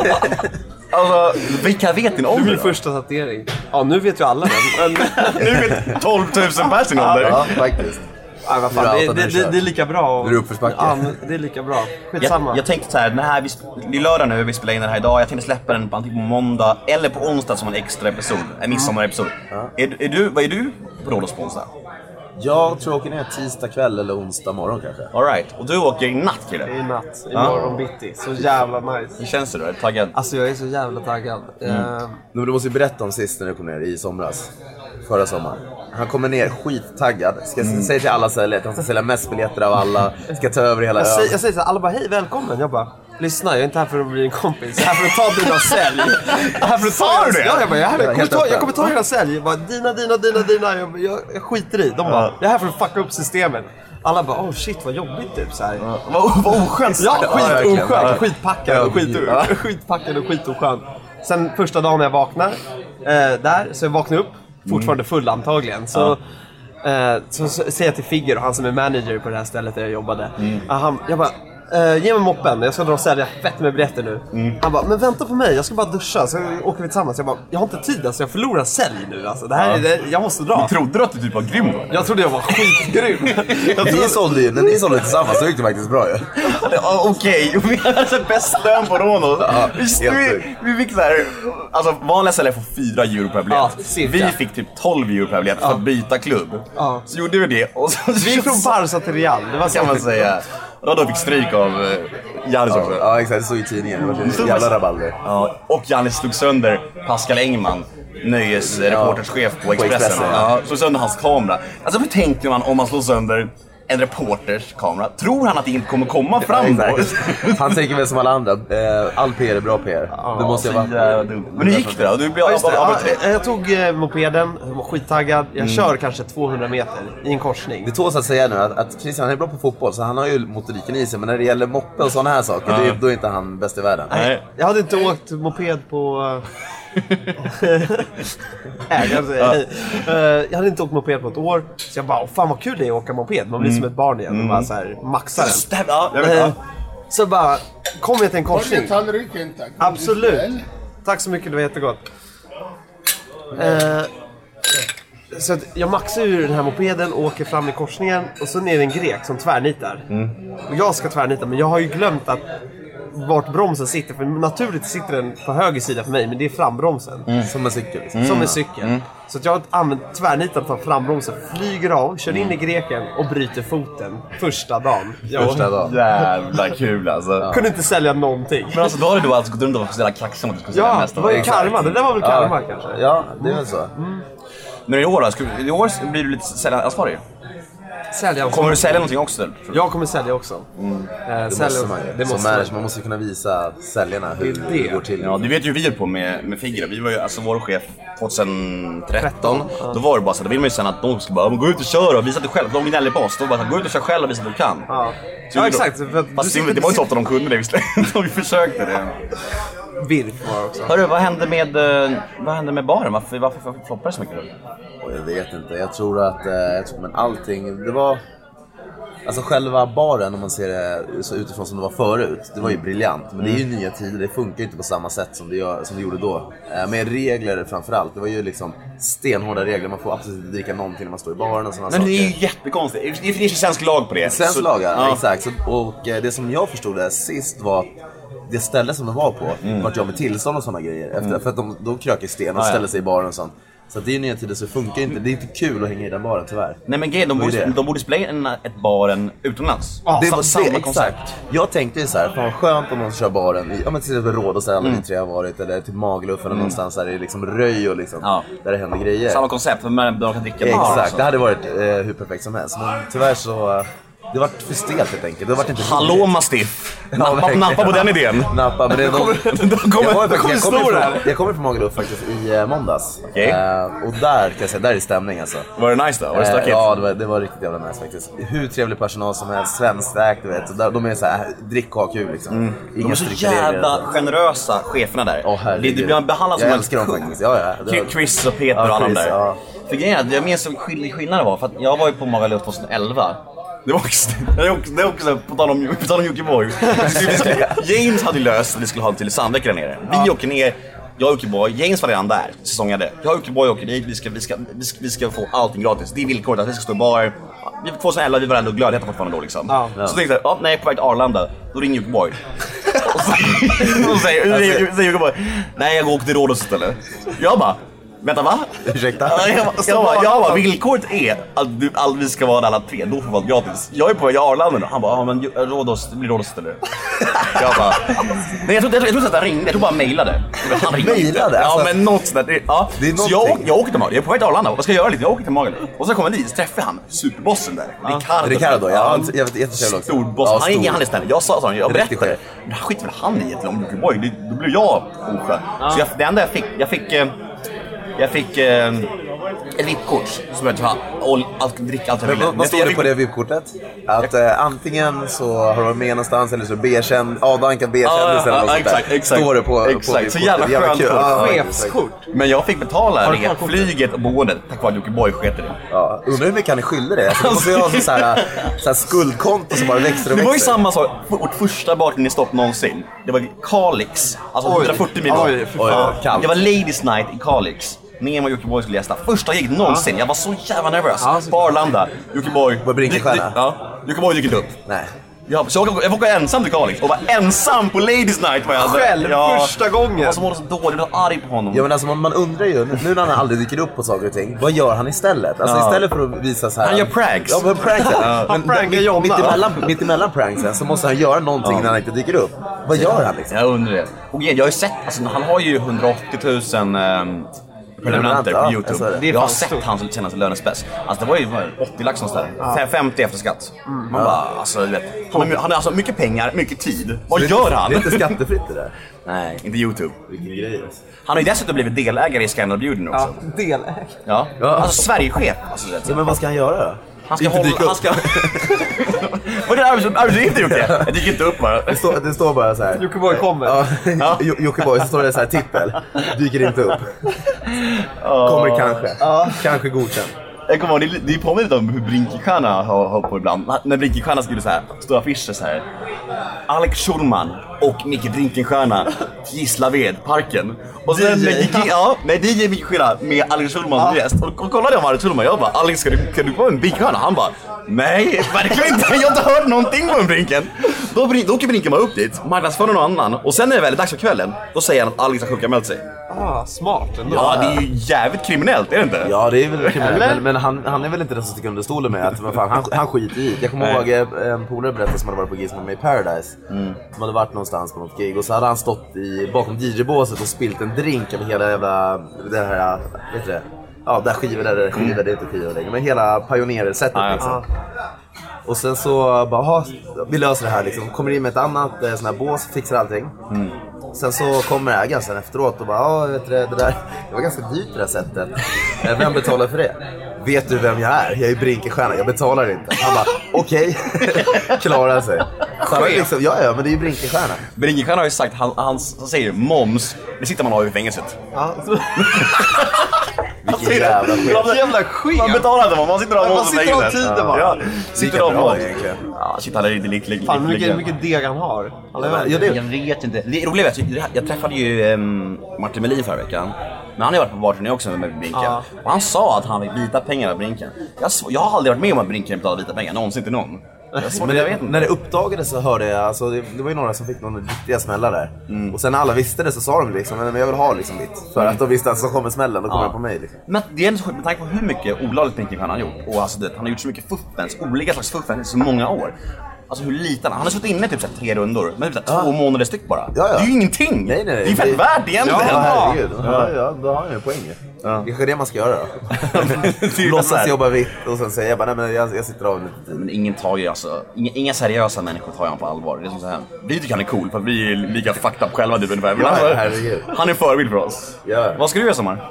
[SPEAKER 3] Alltså, vilka vet din
[SPEAKER 4] Det är
[SPEAKER 3] ålder?
[SPEAKER 4] min
[SPEAKER 3] då?
[SPEAKER 4] första tatuering. Ja, nu vet ju alla den. Men,
[SPEAKER 3] Nu vet 12 000 pers sin ålder.
[SPEAKER 2] Ja, faktiskt.
[SPEAKER 4] ja, vad fan,
[SPEAKER 2] Nu är
[SPEAKER 4] det,
[SPEAKER 2] allt
[SPEAKER 4] det,
[SPEAKER 2] nu
[SPEAKER 4] det,
[SPEAKER 2] kört.
[SPEAKER 4] det är lika bra. att-
[SPEAKER 2] Nu är det uppförsbacke.
[SPEAKER 4] Ja, men det är lika bra. Skitsamma.
[SPEAKER 3] Jag, jag tänkte så här, den här, vi, sp- det är lördag nu, vi spelar in den här idag. Jag tänkte släppa den på antingen på måndag eller på onsdag som en extra episod. En midsommarepisod. Är, är du, vad är du på Rhodos på onsdag?
[SPEAKER 2] Jag tror jag åker ner tisdag kväll eller onsdag morgon kanske.
[SPEAKER 3] Alright, och du åker i natt
[SPEAKER 4] Det
[SPEAKER 3] kille.
[SPEAKER 4] är natt, imorgon bitti. Så jävla nice.
[SPEAKER 3] Hur känns det då? Är du taggad?
[SPEAKER 4] Alltså jag är så jävla taggad.
[SPEAKER 3] Mm.
[SPEAKER 4] Eh,
[SPEAKER 2] Men du måste ju berätta om sist när du kom ner i somras. Förra sommaren. Han kommer ner skittaggad. Ska
[SPEAKER 4] Mm.
[SPEAKER 2] säga till alla säljare att han ska sälja mest biljetter av alla. Ska ta över hela
[SPEAKER 4] jag,
[SPEAKER 2] ön.
[SPEAKER 4] säger, jag säger såhär, alla bara hej välkommen. Jag bara, lyssna jag är inte här för att bli en kompis. Jag är här för att ta dina sälj. Jag är här för att
[SPEAKER 3] Sa du
[SPEAKER 4] ta era-
[SPEAKER 3] det?
[SPEAKER 4] Ja, jag, bara, jag, är här, jag, kommer
[SPEAKER 2] Helt
[SPEAKER 4] ta, jag
[SPEAKER 2] öppen.
[SPEAKER 4] kommer ta dina sälj. Jag bara, dina, dina, dina, dina. Jag, jag, jag skiter i. De bara, jag är här för att fucka upp systemet. Alla bara oh shit vad jobbigt typ så här.
[SPEAKER 3] Vad, vad oskönt
[SPEAKER 4] Ja,
[SPEAKER 3] sagt. verkligen.
[SPEAKER 4] skitoskönt.
[SPEAKER 3] Ja.
[SPEAKER 4] Skitpackad och, skit,
[SPEAKER 3] Ja.
[SPEAKER 4] skitpackad och skitoskön. Sen första dagen jag vaknar, eh, där, så jag vaknar upp, fortfarande
[SPEAKER 3] Mm.
[SPEAKER 4] full antagligen. Så, eh, så, så ser jag till Figger och han som är manager på det här stället där jag jobbade.
[SPEAKER 3] Mm.
[SPEAKER 4] Ah, han, jag bara, eh, ge mig moppen, jag ska dra och sälja fett med biljetter nu.
[SPEAKER 3] Mm.
[SPEAKER 4] Han bara, men vänta på mig, jag ska bara duscha så åker vi tillsammans. Jag bara, jag har inte tid alltså, jag förlorar sälj nu alltså. Det här, är det, jag måste dra.
[SPEAKER 3] Trodde du att du typ var grym då?
[SPEAKER 4] Jag trodde jag var skitgrym. Jag
[SPEAKER 2] Ni sålde ju, när ni sålde tillsammans så gick det faktiskt bra ju.
[SPEAKER 3] Ja, Okej, vi hade alltså bäst lön på Ronos.
[SPEAKER 2] helt
[SPEAKER 3] vi,
[SPEAKER 2] sjukt.
[SPEAKER 3] vi fick såhär, alltså vanliga säljare får 4 euro per
[SPEAKER 4] Ja,
[SPEAKER 3] biljett.
[SPEAKER 4] cirka.
[SPEAKER 3] vi fick typ 12 euro per biljett för att byta klubb.
[SPEAKER 4] Ja.
[SPEAKER 3] Så gjorde vi det och så,
[SPEAKER 4] Vi gick från Barca till Real. Det var så
[SPEAKER 3] kan man säga. Raddo fick stryk av eh, Janis också. Ja.
[SPEAKER 2] Ja exakt, det stod i tidningen. Det var
[SPEAKER 3] Det
[SPEAKER 2] ett
[SPEAKER 3] stod
[SPEAKER 2] jävla
[SPEAKER 3] faktiskt-
[SPEAKER 2] rabalder.
[SPEAKER 3] Och Janis slog sönder Pascal Engman, nöjesreporterschef på Expressen.
[SPEAKER 2] Expressen, ja.
[SPEAKER 3] ja. Slog sönder hans kamera. Alltså hur tänker man om man slår sönder en reporters kamera? Tror han att det inte kommer komma fram då?
[SPEAKER 2] Exakt. Han tänker väl som alla andra, eh, all PR är bra PR. Det måste jag
[SPEAKER 3] Så jävla
[SPEAKER 2] vara.
[SPEAKER 3] dumt. Men hur gick det då? Du blev
[SPEAKER 4] Ja, just det.
[SPEAKER 3] av- av-
[SPEAKER 4] Ja, jag tog eh, mopeden, jag var skittaggad. Jag kör kanske 200 meter i en korsning.
[SPEAKER 2] Det tåls att säga nu att, att Christian han är bra på fotboll så han har ju motoriken i sig men när det gäller moppe och sådana här saker det, då är inte han bäst i världen.
[SPEAKER 3] Nej.
[SPEAKER 4] Jag hade inte åkt moped på... eh, Nej, jag, säga. Eh, jag hade inte åkt moped på ett år. Så jag bara, "Åh, fan vad kul det är att åka moped. Man blir som ett barn igen och bara så här, maxar den.
[SPEAKER 3] Stämmer, ja, jag
[SPEAKER 4] Eh,
[SPEAKER 3] vet.
[SPEAKER 4] Så bara, kom jag till en
[SPEAKER 5] Har du
[SPEAKER 4] korsning.
[SPEAKER 5] en tallriken tack?
[SPEAKER 4] Absolut. Tack så mycket, det var jättegott. Eh, så att jag maxar ur den här mopeden, åker fram i korsningen och så är det en grek som tvärnitar.
[SPEAKER 3] Mm.
[SPEAKER 4] Och jag ska tvärnita, men jag har ju glömt att vart bromsen sitter. För naturligt sitter den på höger sida för mig, men det är frambromsen.
[SPEAKER 3] Mm.
[SPEAKER 2] Som en cykel. Liksom.
[SPEAKER 4] Som en cykel. Så att jag har använt tvärnitat från frambromsen, flyger av, kör in i
[SPEAKER 3] Mm.
[SPEAKER 4] greken och bryter foten första dagen. Jag
[SPEAKER 2] Första dagen.
[SPEAKER 3] Jävla kul alltså.
[SPEAKER 4] kunde inte sälja någonting.
[SPEAKER 3] Men alltså då har du då alltså gått runt och varit så jävla kaxig om att du skulle säga
[SPEAKER 4] Ja, det
[SPEAKER 3] nästa
[SPEAKER 4] var ju
[SPEAKER 3] vecka.
[SPEAKER 4] karma. Det där var väl karma kanske. Mm.
[SPEAKER 2] Ja, det är väl så.
[SPEAKER 3] Men i år då? Ska, du- I år blir du lite säljansvarig.
[SPEAKER 4] Sälja också.
[SPEAKER 3] Kommer du sälja någonting också? tror du?
[SPEAKER 4] Jag kommer sälja också. Eh,
[SPEAKER 2] Det
[SPEAKER 4] sälja
[SPEAKER 2] måste
[SPEAKER 4] också.
[SPEAKER 2] man ju.
[SPEAKER 4] Det
[SPEAKER 2] Som
[SPEAKER 4] måste man.
[SPEAKER 2] manager, man måste ju kunna visa säljarna hur
[SPEAKER 4] Det
[SPEAKER 2] det,
[SPEAKER 4] är det.
[SPEAKER 2] går till.
[SPEAKER 3] Ja, du vet ju hur vi höll på med, med Figura. Vi var ju alltså vår chef 2013. Då var det bara så, då ville man ju sen att de skulle bara "Men gå ut och köra och visa att du själv. De gnällde på oss. Då var det bara gå ut och kör själv och visa att du kan.
[SPEAKER 4] Ja.
[SPEAKER 3] Så
[SPEAKER 4] ja,
[SPEAKER 3] vi då-
[SPEAKER 4] exakt. För att
[SPEAKER 3] Fast
[SPEAKER 4] du
[SPEAKER 3] det, det var
[SPEAKER 4] sitter
[SPEAKER 3] ju så ofta de kunde det visserligen. Vi försökte det.
[SPEAKER 4] Virf var också.
[SPEAKER 3] Hörru, vad hände med, eh, vad hände med baren? Varför, varför, varför floppade det så mycket? då?
[SPEAKER 2] Och jag vet inte. Jag tror att eh, jag tror, men allting, det var... Alltså själva baren om man ser det så utifrån som det var förut, det var ju briljant. Men det är ju
[SPEAKER 3] Mm.
[SPEAKER 2] nya tider, det funkar ju inte på samma sätt som det, gör, som det gjorde då. Eh, Med regler framförallt, det var ju liksom stenhårda regler. Man får absolut inte dricka någonting när man står i baren och sådana
[SPEAKER 3] Men
[SPEAKER 2] saker.
[SPEAKER 3] det är ju jättekonstigt. Det finns ju svensk lag på det.
[SPEAKER 2] Svensk
[SPEAKER 3] Så-
[SPEAKER 2] lag, ja.
[SPEAKER 3] ja.
[SPEAKER 2] Exakt. Så, och eh, det som jag förstod det sist var att det ställe som de var på vart jag med tillstånd och sådana grejer. Efter, För att de, de kröker sten och
[SPEAKER 3] Ah, Mm. ja.
[SPEAKER 2] ställer sig i baren och sånt. Så att det är ju nya tider så det funkar ju inte. Det är inte kul att hänga i den baren tyvärr.
[SPEAKER 3] Nej men grejen, de
[SPEAKER 2] Vad är
[SPEAKER 3] borde,
[SPEAKER 2] det?
[SPEAKER 3] de borde spela in en- ett baren utomlands.
[SPEAKER 4] Ja,
[SPEAKER 2] Det
[SPEAKER 3] Sam-
[SPEAKER 2] var
[SPEAKER 3] samma
[SPEAKER 2] det,
[SPEAKER 3] koncept.
[SPEAKER 2] exakt. Jag tänkte ju såhär, fan vad skönt om någon kör baren i, ja men till exempel Rhodos där alla
[SPEAKER 3] Mm.
[SPEAKER 2] vi tre har varit, eller till Magaluf eller någonstans där det är liksom röj och liksom,
[SPEAKER 3] Ja.
[SPEAKER 2] där det händer grejer.
[SPEAKER 3] Samma koncept, alltså. men man- de kan dricka bar
[SPEAKER 2] Exakt,
[SPEAKER 3] också.
[SPEAKER 2] det hade varit eh, hur perfekt som helst. Men tyvärr så, eh, det vart för stelt helt enkelt. Det vart inte
[SPEAKER 3] Hallå Mastiff! Nappa,
[SPEAKER 2] verkligen.
[SPEAKER 3] nappa på den idén.
[SPEAKER 2] Nappa, men det är någon...
[SPEAKER 3] de kommer-
[SPEAKER 2] jag var ju
[SPEAKER 3] de kommer
[SPEAKER 2] faktiskt- jag
[SPEAKER 3] sno
[SPEAKER 2] kom
[SPEAKER 3] det
[SPEAKER 2] ifrån-
[SPEAKER 3] här.
[SPEAKER 2] Jag kommer från Magaluf faktiskt i eh, måndags.
[SPEAKER 3] Okej.
[SPEAKER 2] Eh, och där kan jag säga, där är stämning alltså.
[SPEAKER 3] Var det nice då? Var det
[SPEAKER 2] Eh,
[SPEAKER 3] stökigt?
[SPEAKER 2] ja, det var, det var riktigt jävla nice faktiskt. Hur trevlig personal som helst, svenskägt du vet. Så där, de är såhär, drick och ha kul liksom.
[SPEAKER 3] Mm. de är så
[SPEAKER 2] strikta regler,
[SPEAKER 3] jävla
[SPEAKER 2] alltså.
[SPEAKER 3] generösa cheferna där.
[SPEAKER 2] Åh, herregud.
[SPEAKER 3] Det- det blir behandlad som
[SPEAKER 2] Jag
[SPEAKER 3] en
[SPEAKER 2] älskar dem
[SPEAKER 3] kung.
[SPEAKER 2] faktiskt. Ja, ja. Det-
[SPEAKER 3] Ki- Chris och Peter
[SPEAKER 2] Ja,
[SPEAKER 3] och alla de
[SPEAKER 2] Chris,
[SPEAKER 3] där.
[SPEAKER 2] ja.
[SPEAKER 3] För grejen är att jag minns hur skill- skillnaden var. För att jag var ju på Magaluf 2011. Det var också, det var också, det var också på tal om, på tal om Jockiboi. Vi skulle- James hade ju löst att vi skulle ha till Sandvik där nere. Vi åker ner, jag och Jockiboi, James var redan där, säsongade. Jag och Jockiboi åker dit, vi ska, vi, ska, vi, ska, vi ska få allting gratis. Det är villkoret att vi ska stå i bar. Vi- 2011, vi var ändå glödheta fortfarande då liksom.
[SPEAKER 4] Ja.
[SPEAKER 3] Så tänkte jag, ja, nej, på väg till Arlanda, då ringer Jockiboi. Och så och så säger
[SPEAKER 2] Alltså-
[SPEAKER 3] säger- säger Jockiboi, nej jag går och åker till Rhodos istället. Jag bara, vänta va?
[SPEAKER 2] Ursäkta?
[SPEAKER 3] Ja, Jag bara, jag bara, jag bara, villkoret är att du, all, vi ska vara där alla tre, då får vi allt gratis. Jag är på väg till Arlanda nu. Han bara, ja men ju- Rhodos, det blir Rhodos eller? Jag bara, nej jag tror jag tror inte att han ringde, jag tror bara han mejlade. Han ringde inte.
[SPEAKER 2] Mejlade?
[SPEAKER 3] Ja
[SPEAKER 2] Alltså-
[SPEAKER 3] men något sånt där. Det- Ja.
[SPEAKER 2] Det är
[SPEAKER 3] Så jag, åker-
[SPEAKER 2] någonting.
[SPEAKER 3] jag åker till Magaluf, jag är på väg till Arlanda, vad ska jag göra lite? Jag åker till Magaluf. Och så kommer jag dit, så träffar jag han, superbossen där. Ricardo.
[SPEAKER 2] Ricardo, ja. Han- jävligt- jättetrevlig också.
[SPEAKER 3] Stor boss.
[SPEAKER 2] Ja,
[SPEAKER 3] han är
[SPEAKER 2] stor.
[SPEAKER 3] han är snäll. Jag sa så, här, jag
[SPEAKER 2] Riktig
[SPEAKER 3] berättade.
[SPEAKER 2] chef.
[SPEAKER 3] Men han skiter väl han i ett långt Jockiboi, det- då blev jag oskön. Så jag, det enda jag fick, jag fick eh, jag fick eh, ett VIP-kort som jag tar och allt, dricka allt jag
[SPEAKER 2] Men
[SPEAKER 3] ville.
[SPEAKER 2] vad, vad står det på det VIP-kortet? Att eh, antingen så har de med någonstans eller så är det B-känd, avdankad B-kändis eller
[SPEAKER 3] Ja, ja,
[SPEAKER 2] något
[SPEAKER 3] ja,
[SPEAKER 2] sånt där.
[SPEAKER 3] exakt, exakt.
[SPEAKER 2] Står det på,
[SPEAKER 3] Exakt.
[SPEAKER 2] på
[SPEAKER 3] Så
[SPEAKER 2] VIP-kortet.
[SPEAKER 3] jävla skönt
[SPEAKER 2] kul.
[SPEAKER 3] kort.
[SPEAKER 2] Ja, ja, exakt.
[SPEAKER 4] Chefskort.
[SPEAKER 3] Men jag fick betala
[SPEAKER 4] Har du kvar
[SPEAKER 3] det,
[SPEAKER 4] kortet?
[SPEAKER 3] flyget och boendet tack vare att Jockiboi sket i det.
[SPEAKER 2] Ja, undrar hur mycket han är skyldig det. Alltså, det måste ju ha så här, så här skuldkonto som bara växer och
[SPEAKER 3] Det var ju
[SPEAKER 2] växer.
[SPEAKER 3] samma sak, vårt första bartenderstopp någonsin. Det var Kalix, alltså 140 mil bort.
[SPEAKER 4] Oj, fy fan.
[SPEAKER 3] Ja,
[SPEAKER 2] Kallt.
[SPEAKER 3] Det var Ladies Night i Kalix. Nemo och Jockiboi skulle gästa. Första giget någonsin. Jag var så jävla nervös.
[SPEAKER 4] Ja, så-
[SPEAKER 3] På Arlanda. Jockiboi...
[SPEAKER 2] Var Brinkenstierna?
[SPEAKER 3] drick- Ja. Jockiboi dyker inte upp.
[SPEAKER 2] Nej.
[SPEAKER 3] Ja, så jag åker- jag får gå ensam till Kalix och var ensam på Ladies Night var jag. alltså.
[SPEAKER 4] Själv,
[SPEAKER 3] Ja.
[SPEAKER 4] första gången.
[SPEAKER 3] Jag som mådde så dåligt, jag blev arg på honom.
[SPEAKER 2] Ja, men alltså, man, man undrar ju, nu nu när han aldrig dyker upp på saker och ting, vad gör han istället? Alltså
[SPEAKER 3] Ja.
[SPEAKER 2] istället för att visa så här...
[SPEAKER 3] Han gör pranks.
[SPEAKER 2] Ja, men pranks. ja.
[SPEAKER 4] Han
[SPEAKER 2] Men
[SPEAKER 4] prankar
[SPEAKER 2] mitt-
[SPEAKER 4] Jonna.
[SPEAKER 2] Mitt emellan, mitt emellan pranksen så måste han göra någonting när han inte dyker upp. Vad gör han liksom?
[SPEAKER 3] Jag undrar det. Och igen, jag har ju sett, alltså, han har ju 180 000 ehm, prenumeranter
[SPEAKER 2] Ja,
[SPEAKER 3] på
[SPEAKER 2] jag
[SPEAKER 3] YouTube.
[SPEAKER 2] ser det.
[SPEAKER 4] Det är
[SPEAKER 3] jag har
[SPEAKER 4] fan
[SPEAKER 3] sett
[SPEAKER 4] stort.
[SPEAKER 3] hans senaste lönespäss. Alltså det var ju vad är det, 80 lax någonstans där. Fem- 50 efter skatt. Man bara, alltså du vet. Han har, han har alltså mycket pengar, mycket tid. Vad
[SPEAKER 2] Det är-
[SPEAKER 3] gör han?
[SPEAKER 2] Det är inte skattefritt det där.
[SPEAKER 3] Nej, inte YouTube.
[SPEAKER 2] Vilken grej alltså.
[SPEAKER 3] Han har ju dessutom blivit delägare i Scandal Beauty nu
[SPEAKER 4] Ja,
[SPEAKER 3] också.
[SPEAKER 4] delägare.
[SPEAKER 3] Ja.
[SPEAKER 2] Ja.
[SPEAKER 3] Alltså Sverigechef. Alltså, du vet.
[SPEAKER 2] Ja, men vad ska han göra då?
[SPEAKER 3] han ska
[SPEAKER 2] Inte
[SPEAKER 3] hålla...
[SPEAKER 2] dyka upp.
[SPEAKER 3] Han ska... Vad är det arbets- arbetsuppgiften Jocke? Jag dyker inte upp bara.
[SPEAKER 2] Det står, det står bara så här.
[SPEAKER 4] Jockiboi kommer.
[SPEAKER 2] Ja, Jo- Jockiboi, så står det så här tippel. Dyker inte upp. Kommer kanske. Kanske godkänd.
[SPEAKER 3] Jag kommer ihåg, det, det påminner lite om hur Brinkenstierna har hållit på ibland. Na- När Brinkenstierna skulle så här, stora affischer så här. Alex Schulman och Micke Brinkenstierna, Gislaved, parken. Och sen
[SPEAKER 2] DJ.
[SPEAKER 3] med, G- ja, med DJ Micke Schilla med Alex Schulman som gäst. Och, och kollade jag med Alex Schulman, jag bara Alex ska du, ska du komma med Brinkenstierna? Han bara nej, verkligen inte. Jag har inte hört någonting från Brinken. Då, brin- då åker Brinken bara upp dit, marknadsför någon annan och sen när det väl är dags för kvällen, då säger han att Alex har sjukanmält sig.
[SPEAKER 4] Ah, smart ändå.
[SPEAKER 3] Ja, det är ju jävligt kriminellt, är det inte?
[SPEAKER 2] Ja, det är väl kriminellt.
[SPEAKER 4] Eller?
[SPEAKER 2] Men, men han, han är väl inte den som sticker under stolen med att vad fan, han, han skiter i det. Jag kommer
[SPEAKER 3] Nej. Mm.
[SPEAKER 2] ihåg eh, en polare berättade som hade varit på gig som var med i Paradise. Som hade varit någonstans på något gig och så hade han stått i, bakom DJ-båset och spilt en drink över hela jävla, det här, vet du det? Ja, där skivor, där där skivor, det är inte skivor längre. Men hela pionerer-setet
[SPEAKER 3] Ja, ja.
[SPEAKER 2] liksom. Och sen så bara, "Ha, vi löser det här liksom. Kommer in med ett annat eh, sån här bås, fixar allting. Sen så kommer ägaren sen efteråt och bara, ja vet du det, det där, det var ganska dyrt det där sättet. Eh, Vem betalar för det? Vet du vem jag är? Jag är Brinkenstierna, jag betalar inte. Han bara, okej. Klarar sig. Så han är liksom, ja ja, men det är ju Brinkenstierna.
[SPEAKER 3] Brinkenstierna har ju sagt, han, han, han säger moms, det sitter man av i fängelset.
[SPEAKER 4] Ja.
[SPEAKER 2] Vilken jävla skit.
[SPEAKER 4] Vilken jävla skev.
[SPEAKER 3] Alltså, Man betalar inte, man sitter av
[SPEAKER 4] Man
[SPEAKER 3] moms i
[SPEAKER 4] sitter av
[SPEAKER 3] fängelset.
[SPEAKER 4] tiden bara.
[SPEAKER 3] Ja, sitter
[SPEAKER 2] Lika
[SPEAKER 3] av
[SPEAKER 2] bra
[SPEAKER 3] moms.
[SPEAKER 2] egentligen.
[SPEAKER 3] Ja, shit han är inte lycklig.
[SPEAKER 4] Fan, hur mycket, hur mycket deg han har. Han är
[SPEAKER 2] Ja,
[SPEAKER 4] verkligen-
[SPEAKER 2] det,
[SPEAKER 3] Jag vet inte. Det roliga är att jag, jag träffade ju ehm, Martin Melin förra veckan. Men han har ju varit på barturné också med Brinken.
[SPEAKER 4] Ja.
[SPEAKER 3] Och han sa att han fick vita pengar av Brinken. Jag, sv- jag har aldrig varit med om att Brinken betalade vita pengar, någonsin till någon. Jag, har svårt-
[SPEAKER 2] Men
[SPEAKER 3] jag vet inte.
[SPEAKER 2] när det uppdagades så hörde jag, alltså, det, det var ju några som fick någon riktiga smällar där.
[SPEAKER 3] Mm.
[SPEAKER 2] Och sen när alla visste det så sa de liksom, men jag vill ha liksom ditt. För att de visste att så kommer smällen, då kommer
[SPEAKER 3] Ja.
[SPEAKER 2] den på mig. Liksom.
[SPEAKER 3] Men det är ändå så sjukt med tanke på hur mycket olagligt Brinken han har gjort. Och alltså, det, han har gjort så mycket fuffens, olika slags fuffens i så många år. Alltså hur liten han Han har suttit inne typ så här, tre rundor, men typ så här, två månader styck bara.
[SPEAKER 2] Ja, ja.
[SPEAKER 3] Det är ju ingenting!
[SPEAKER 2] Nej, nej, nej.
[SPEAKER 3] Det är ju fett värt egentligen!
[SPEAKER 2] Ja,
[SPEAKER 3] Ja.
[SPEAKER 2] herregud. Ja, ja, då har jag ju en poäng ju.
[SPEAKER 3] Ja.
[SPEAKER 2] Kanske det man ska göra då.
[SPEAKER 3] Det är ju så här.
[SPEAKER 2] Låtsas jobba vitt och sen säga bara, nej men jag, jag sitter av lite tid.
[SPEAKER 3] Men ingen tar ju alltså, inga, inga seriösa människor tar ju han på allvar. Det är som så här. Vi tycker han är cool för att vi är lika fucked up själva typ ungefär. Men
[SPEAKER 2] Ja,
[SPEAKER 3] alltså,
[SPEAKER 2] herregud.
[SPEAKER 3] han är förebild för oss.
[SPEAKER 2] Ja.
[SPEAKER 3] Vad ska du göra i sommar?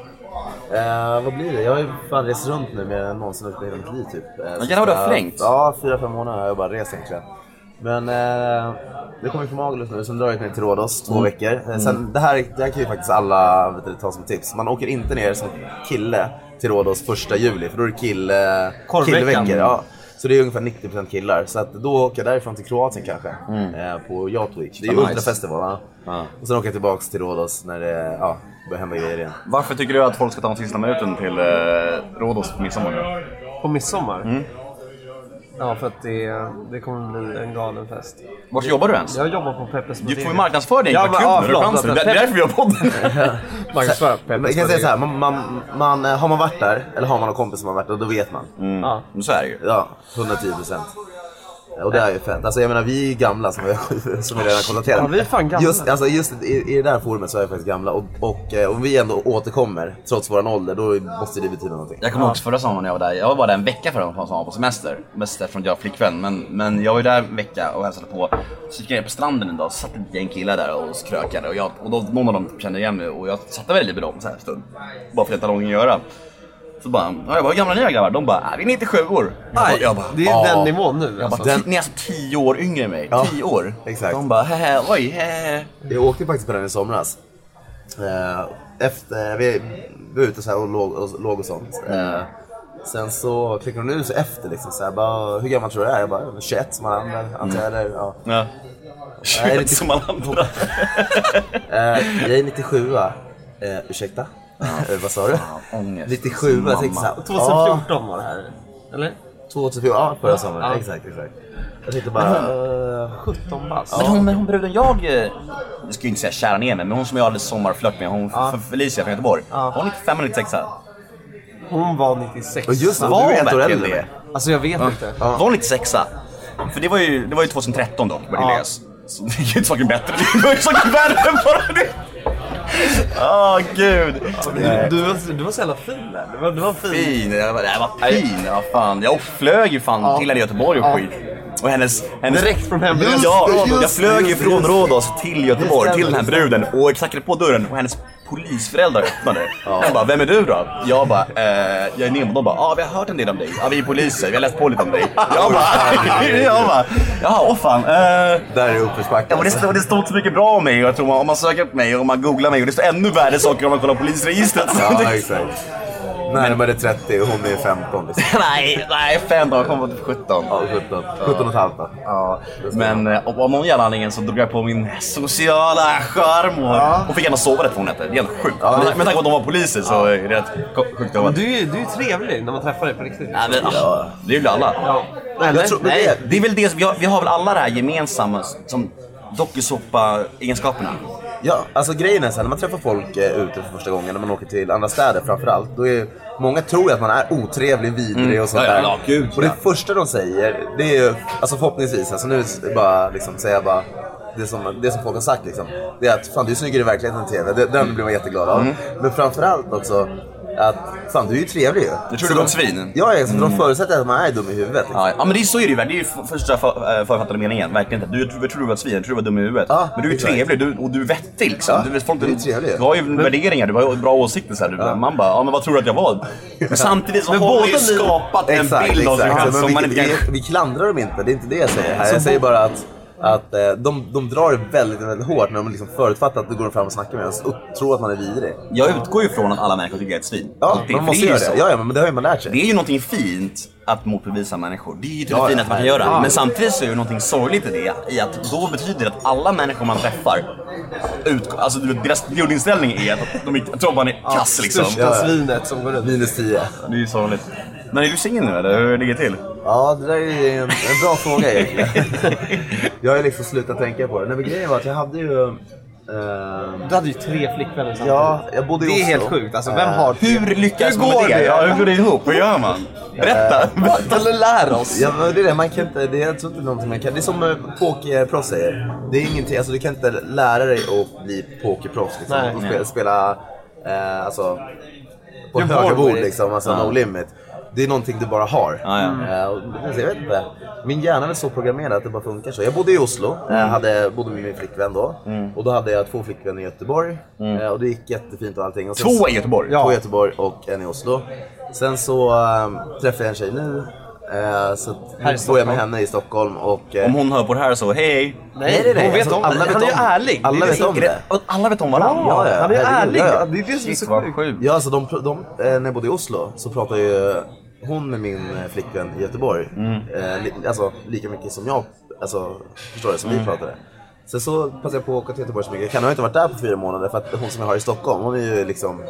[SPEAKER 2] Eh, vad blir det? Jag har ju fan rest runt nu mer än någonsin uppe i hela mitt liv typ. Eh,
[SPEAKER 3] jävlar vad du har
[SPEAKER 2] sista-
[SPEAKER 3] flängt.
[SPEAKER 2] Ja, fyra, fem månader har jag bara rest egentligen. Men eh, jag kommer ju från Magaluf nu, sen drar jag ner till Rhodos
[SPEAKER 3] Mm.
[SPEAKER 2] två veckor. Eh, sen, det, här, det här kan ju faktiskt alla vet du, ta som tips. Man åker inte ner som kille till Rhodos första juli, för då är det kill, eh,
[SPEAKER 4] Korvveckan.
[SPEAKER 2] killveckor. Ja. Så det är ungefär 90% killar. Så att då åker jag därifrån till Kroatien kanske, eh, på Yacht Week. Det är ju
[SPEAKER 3] Mm. Nice.
[SPEAKER 2] ultrafestival. va?
[SPEAKER 3] Ja.
[SPEAKER 2] Och sen åker jag tillbaks till Rhodos när det ja, börjar hända grejer igen.
[SPEAKER 3] Varför tycker du att folk ska ta de sista minuten till eh, Rhodos på midsommar? nu?
[SPEAKER 4] På midsommar? Ja, för att det, det kommer bli en galen fest.
[SPEAKER 3] Vart jobbar du ens?
[SPEAKER 4] Jag jobbar på Peppes
[SPEAKER 3] Du får ju
[SPEAKER 4] Bodega.
[SPEAKER 3] marknadsföra dig
[SPEAKER 4] Ja,
[SPEAKER 3] på
[SPEAKER 4] men-
[SPEAKER 3] klubben
[SPEAKER 4] ja,
[SPEAKER 3] när du har
[SPEAKER 4] förlåt,
[SPEAKER 3] chansen. Det
[SPEAKER 4] förlåt.
[SPEAKER 3] det är därför vi har podden.
[SPEAKER 4] Marknadsföra Peppes
[SPEAKER 2] Man kan säga
[SPEAKER 4] Bodega.
[SPEAKER 2] så här, man, man, man, eh, har man varit där, eller har man någon kompis som har varit där, då vet man.
[SPEAKER 4] Ja.
[SPEAKER 3] Men så är det ju.
[SPEAKER 2] Ja, 110 procent. Och det är ju fett. Alltså jag menar vi är gamla som jag, som jag redan konstaterat.
[SPEAKER 4] Ja, vi är fan gamla.
[SPEAKER 2] Just, alltså, just i, i det där forumet så är vi faktiskt gamla och, och eh, om vi ändå återkommer trots våran ålder då måste det betyda någonting.
[SPEAKER 3] Jag kommer ihåg förra sommaren när jag var där. Jag var bara där en vecka förra sommaren som var på semester. Mest eftersom jag har flickvän. Men, men jag var ju där en vecka och hälsade på. Så gick jag ner på stranden en dag och satt ett gäng killar där och krökade. Och, jag, och då, någon av dem kände igen mig och jag satte mig lite med dem så här en stund. Bara för att jag inte hade någonting att göra. Så bara, ja, jag bara, hur gamla är ni grabbar? De bara, "Äh, vi är 97 år. Jag bara-
[SPEAKER 4] Aj,
[SPEAKER 3] jag bara,
[SPEAKER 4] det är
[SPEAKER 3] "Ja."
[SPEAKER 4] den nivån nu
[SPEAKER 3] Jag
[SPEAKER 4] alltså.
[SPEAKER 3] bara, "Ti- Ni är alltså 10 år yngre än mig. 10
[SPEAKER 2] Ja,
[SPEAKER 3] år.
[SPEAKER 2] exakt.
[SPEAKER 3] De bara, hehe, oj, hehe.
[SPEAKER 2] Jag åkte faktiskt på den i somras. Eh, efter, vi var ute så här och låg och, låg och sånt. Eh, sen så klickade hon ur sig efter liksom så här, bara, hur gammal tror du jag är? Jag bara, 21 som alla andra antar jag. Eller, ja. Nej,
[SPEAKER 3] Ja.
[SPEAKER 2] det är
[SPEAKER 3] Kött som alla andra.
[SPEAKER 2] Eh, jag är 97 eh, Ursäkta? Eh, vad sa du?
[SPEAKER 3] ångest.
[SPEAKER 2] 97 jag tänkte såhär,
[SPEAKER 4] 2014 var det här. Eller?
[SPEAKER 2] 2014, ja förra sommaren.
[SPEAKER 4] Ja.
[SPEAKER 2] Exakt, exakt. Jag tänkte bara, eh,
[SPEAKER 4] 17 bast.
[SPEAKER 3] Men hon, hon bruden jag, eh, jag ska ju inte säga kära ner mig, men hon som jag hade sommarflört med, hon
[SPEAKER 4] Ja.
[SPEAKER 3] F- Felicia från Göteborg.
[SPEAKER 4] Ja.
[SPEAKER 3] Hon är 95 eller 96
[SPEAKER 4] Hon var 96.
[SPEAKER 2] och just det, du
[SPEAKER 3] Var hon
[SPEAKER 2] är ett år
[SPEAKER 3] verkligen
[SPEAKER 2] äldre.
[SPEAKER 3] det?
[SPEAKER 4] Alltså jag vet inte.
[SPEAKER 3] Var hon 96 För det var ju, det var ju 2013 dock, började
[SPEAKER 4] Ja.
[SPEAKER 3] det läs. Så det är ju inte saken bättre, det var ju saken värre än bara det. Åh gud.
[SPEAKER 4] Du, du, var, du var så jävla fin där. Du var, du var fin.
[SPEAKER 3] Fin, jag var, jag var fin, ja, fan. Jag flög ju fan till henne i Göteborg och
[SPEAKER 4] Ja.
[SPEAKER 3] skit. Och hennes, hennes...
[SPEAKER 4] Direkt från hemlandet.
[SPEAKER 2] Just
[SPEAKER 3] ja,
[SPEAKER 2] det, just
[SPEAKER 3] jag flög
[SPEAKER 2] det,
[SPEAKER 3] ju
[SPEAKER 2] just
[SPEAKER 3] från
[SPEAKER 2] det.
[SPEAKER 3] Rhodos till Göteborg,
[SPEAKER 2] Det
[SPEAKER 3] till den här
[SPEAKER 2] stämmer, det
[SPEAKER 3] bruden och jag knackade på dörren och hennes polisföräldrar öppnade. Jag bara, vem är du då? Jag bara, eh, jag är Nemo. De bara, ah, vi har hört en del om dig. Ja, vi är poliser, vi har läst på lite om dig. Jag bara, jag bara, jaha, åh fan. eh."
[SPEAKER 2] Där är det uppförsbacke.
[SPEAKER 3] Ja, och det, och det står inte så mycket bra om mig och jag tror om man söker upp mig och om man googlar mig och det står ännu värre saker om man kollar polisregistret. Så det-
[SPEAKER 2] Ja, exakt. Närmare 30 och hon är 15 liksom.
[SPEAKER 3] Nej, nej, fem dagar. Jag kom på typ 17.
[SPEAKER 2] Ja, 17. 17 och ett halvt då.
[SPEAKER 3] Ja, men eh, av av någon jävla anledning så drog jag på min sociala charm och, och fick gärna sova rätt vad hon hette. Det är helt sjukt.
[SPEAKER 2] Ja.
[SPEAKER 3] Med tanke- Med tanke på att de var poliser så är det rätt ko- sjukt. att-
[SPEAKER 4] Du är ju du är ju trevlig när man träffar dig på riktigt.
[SPEAKER 3] Nej, men, ah, det är väl alla.
[SPEAKER 4] Ja. Eller?
[SPEAKER 2] Jag tror- men
[SPEAKER 3] Nej,
[SPEAKER 2] det-
[SPEAKER 3] det är väl det, som- vi har, vi har väl alla det här gemensamma som dokusåpa-egenskaperna.
[SPEAKER 2] Ja, alltså grejen är så här, när man träffar folk eh, ute för första gången, när man åker till andra städer framförallt, då är många tror ju att man är otrevlig, vidrig
[SPEAKER 3] Mm.
[SPEAKER 2] och sånt
[SPEAKER 3] Ja, ja,
[SPEAKER 2] där.
[SPEAKER 3] ja, gud,
[SPEAKER 2] och det
[SPEAKER 3] ja.
[SPEAKER 2] första de säger, det är ju, alltså förhoppningsvis, alltså nu s- bara liksom säga bara det som, det som folk har sagt liksom, det är att fan du är snyggare i verkligheten än i TV, Det- den blir man jätteglad
[SPEAKER 3] Mm.
[SPEAKER 2] av. Men framförallt också att fan du är ju trevlig ju.
[SPEAKER 3] Du tror
[SPEAKER 2] Så
[SPEAKER 3] du var
[SPEAKER 2] de-
[SPEAKER 3] ett svin? Mm.
[SPEAKER 2] Ja, exakt. Så de förutsätter att man är dum i huvudet. Liksom.
[SPEAKER 3] Ja, ja, men det är så är det ju. Det är ju f- första för, eh, författade meningen. Verkligen inte. Du tror- tror du var ett svin, du tror du var dum i huvudet.
[SPEAKER 2] Ja,
[SPEAKER 3] men du är ju
[SPEAKER 2] exakt.
[SPEAKER 3] trevlig du, och du är vettig liksom.
[SPEAKER 2] Ja,
[SPEAKER 3] du, vet, folk,
[SPEAKER 2] du är trevlig.
[SPEAKER 3] Du har ju värderingar, du har ju bra åsikter. Så här. Du, Man bara, ja men vad tror du att jag var? Men samtidigt så
[SPEAKER 4] Men
[SPEAKER 3] har
[SPEAKER 4] båda
[SPEAKER 3] vi ju
[SPEAKER 4] ni-
[SPEAKER 3] skapat en
[SPEAKER 2] Exakt,
[SPEAKER 3] bild av sig
[SPEAKER 2] exakt.
[SPEAKER 3] själv
[SPEAKER 2] Men
[SPEAKER 3] som man inte
[SPEAKER 2] vi,
[SPEAKER 3] kan...
[SPEAKER 2] vi, vi klandrar dem inte, det är inte det jag säger.
[SPEAKER 3] Alltså,
[SPEAKER 2] här.
[SPEAKER 4] Så
[SPEAKER 2] Jag säger
[SPEAKER 4] bo-
[SPEAKER 2] bara att, att eh, de, de drar det väldigt, väldigt hårt när de liksom förutfattar att du går fram och snackar med oss och tror att man är vidrig.
[SPEAKER 3] Jag utgår ju från att alla människor tycker jag är ett svin.
[SPEAKER 2] Ja,
[SPEAKER 3] Alltid.
[SPEAKER 2] man
[SPEAKER 3] För
[SPEAKER 2] måste
[SPEAKER 3] är ju
[SPEAKER 2] göra
[SPEAKER 3] så.
[SPEAKER 2] det. Ja, ja, men det har ju man lärt sig.
[SPEAKER 3] Det är ju någonting fint att motbevisa människor. Det är ju typ det
[SPEAKER 2] Ja, ja,
[SPEAKER 3] fina att man kan
[SPEAKER 2] herregud.
[SPEAKER 3] göra. Men samtidigt så är det någonting sorgligt i det. I att då betyder det att alla människor man träffar, utgår, alltså du vet, deras grundinställning är att de inte- att de bara är kass liksom.
[SPEAKER 4] Största
[SPEAKER 2] Ja, ja.
[SPEAKER 4] svinet som går ut.
[SPEAKER 2] Minus 10.
[SPEAKER 3] Det är ju sorgligt. Men är du singel nu eller? Hur ligger det till?
[SPEAKER 2] Ja, det där är ju en, en bra fråga egentligen. Jag har ju liksom slutat tänka på det. Nej, men grejen var att jag hade ju... eh,
[SPEAKER 4] Du hade ju tre flickvänner samtidigt.
[SPEAKER 2] ja, jag bodde i
[SPEAKER 4] Det är
[SPEAKER 2] Oslo.
[SPEAKER 4] helt sjukt. Alltså, vem
[SPEAKER 2] Eh,
[SPEAKER 4] har
[SPEAKER 3] Hur lyckas
[SPEAKER 4] Hur
[SPEAKER 3] man
[SPEAKER 4] går
[SPEAKER 3] med det?
[SPEAKER 4] det?
[SPEAKER 3] Ja, hur går det ihop? Hur gör man?
[SPEAKER 2] Eh.
[SPEAKER 3] Berätta! Berätta.
[SPEAKER 4] Eller lär oss.
[SPEAKER 2] Ja, men det är det. Man kan inte, det är jag tror inte någonting man kan. Det är som eh, pokerproffs säger. Det är ingenting, alltså du kan inte lära dig att bli pokerproffs liksom.
[SPEAKER 4] Nej.
[SPEAKER 2] och spela, spela eh, alltså, på
[SPEAKER 4] Det är
[SPEAKER 2] höga
[SPEAKER 4] Volvo,
[SPEAKER 2] bord
[SPEAKER 4] det.
[SPEAKER 2] liksom, alltså no limit. Det är någonting du bara har.
[SPEAKER 3] Ja, ja.
[SPEAKER 2] Eh, och det- jag vet inte. Min hjärna är väl så programmerad att det bara funkar så. Jag bodde i Oslo, jag
[SPEAKER 3] Mm.
[SPEAKER 2] hade, bodde med min flickvän då. Och då hade jag två flickvänner i Göteborg. Eh, Och det gick jättefint och allting. Och sen-
[SPEAKER 3] Mm. Två i Göteborg?
[SPEAKER 2] Två i Göteborg och en i Oslo. Sen så eh, träffade jag en tjej nu. Eh, så
[SPEAKER 4] Här i
[SPEAKER 2] nu bor jag
[SPEAKER 4] Stockholm.
[SPEAKER 2] med henne i Stockholm och... eh,
[SPEAKER 3] Om hon hör på det här så, hej!
[SPEAKER 4] Nej, hon vet om det. Han är ju ärlig.
[SPEAKER 2] Alla
[SPEAKER 4] Det är
[SPEAKER 2] vet Alltså, om
[SPEAKER 4] säkert.
[SPEAKER 2] det.
[SPEAKER 3] Och Alla vet om varandra.
[SPEAKER 2] Ja, ja,
[SPEAKER 4] Han är
[SPEAKER 2] herregud,
[SPEAKER 4] ärlig.
[SPEAKER 2] ja, ja.
[SPEAKER 4] Det är det som är
[SPEAKER 3] Shit
[SPEAKER 4] så
[SPEAKER 3] vad
[SPEAKER 4] sjukt.
[SPEAKER 3] sjukt.
[SPEAKER 2] Ja, alltså de, de, eh, när jag bodde i Oslo så pratade ju hon med min eh, flickvän i Göteborg.
[SPEAKER 4] Mm.
[SPEAKER 2] Eh, li, alltså lika mycket som jag, alltså förstår du, som
[SPEAKER 4] Mm.
[SPEAKER 2] vi pratade. Sen så passade jag på att åka till Göteborg så mycket jag kan. Jag har inte varit där på fyra månader för att hon som jag har i Stockholm, hon är ju liksom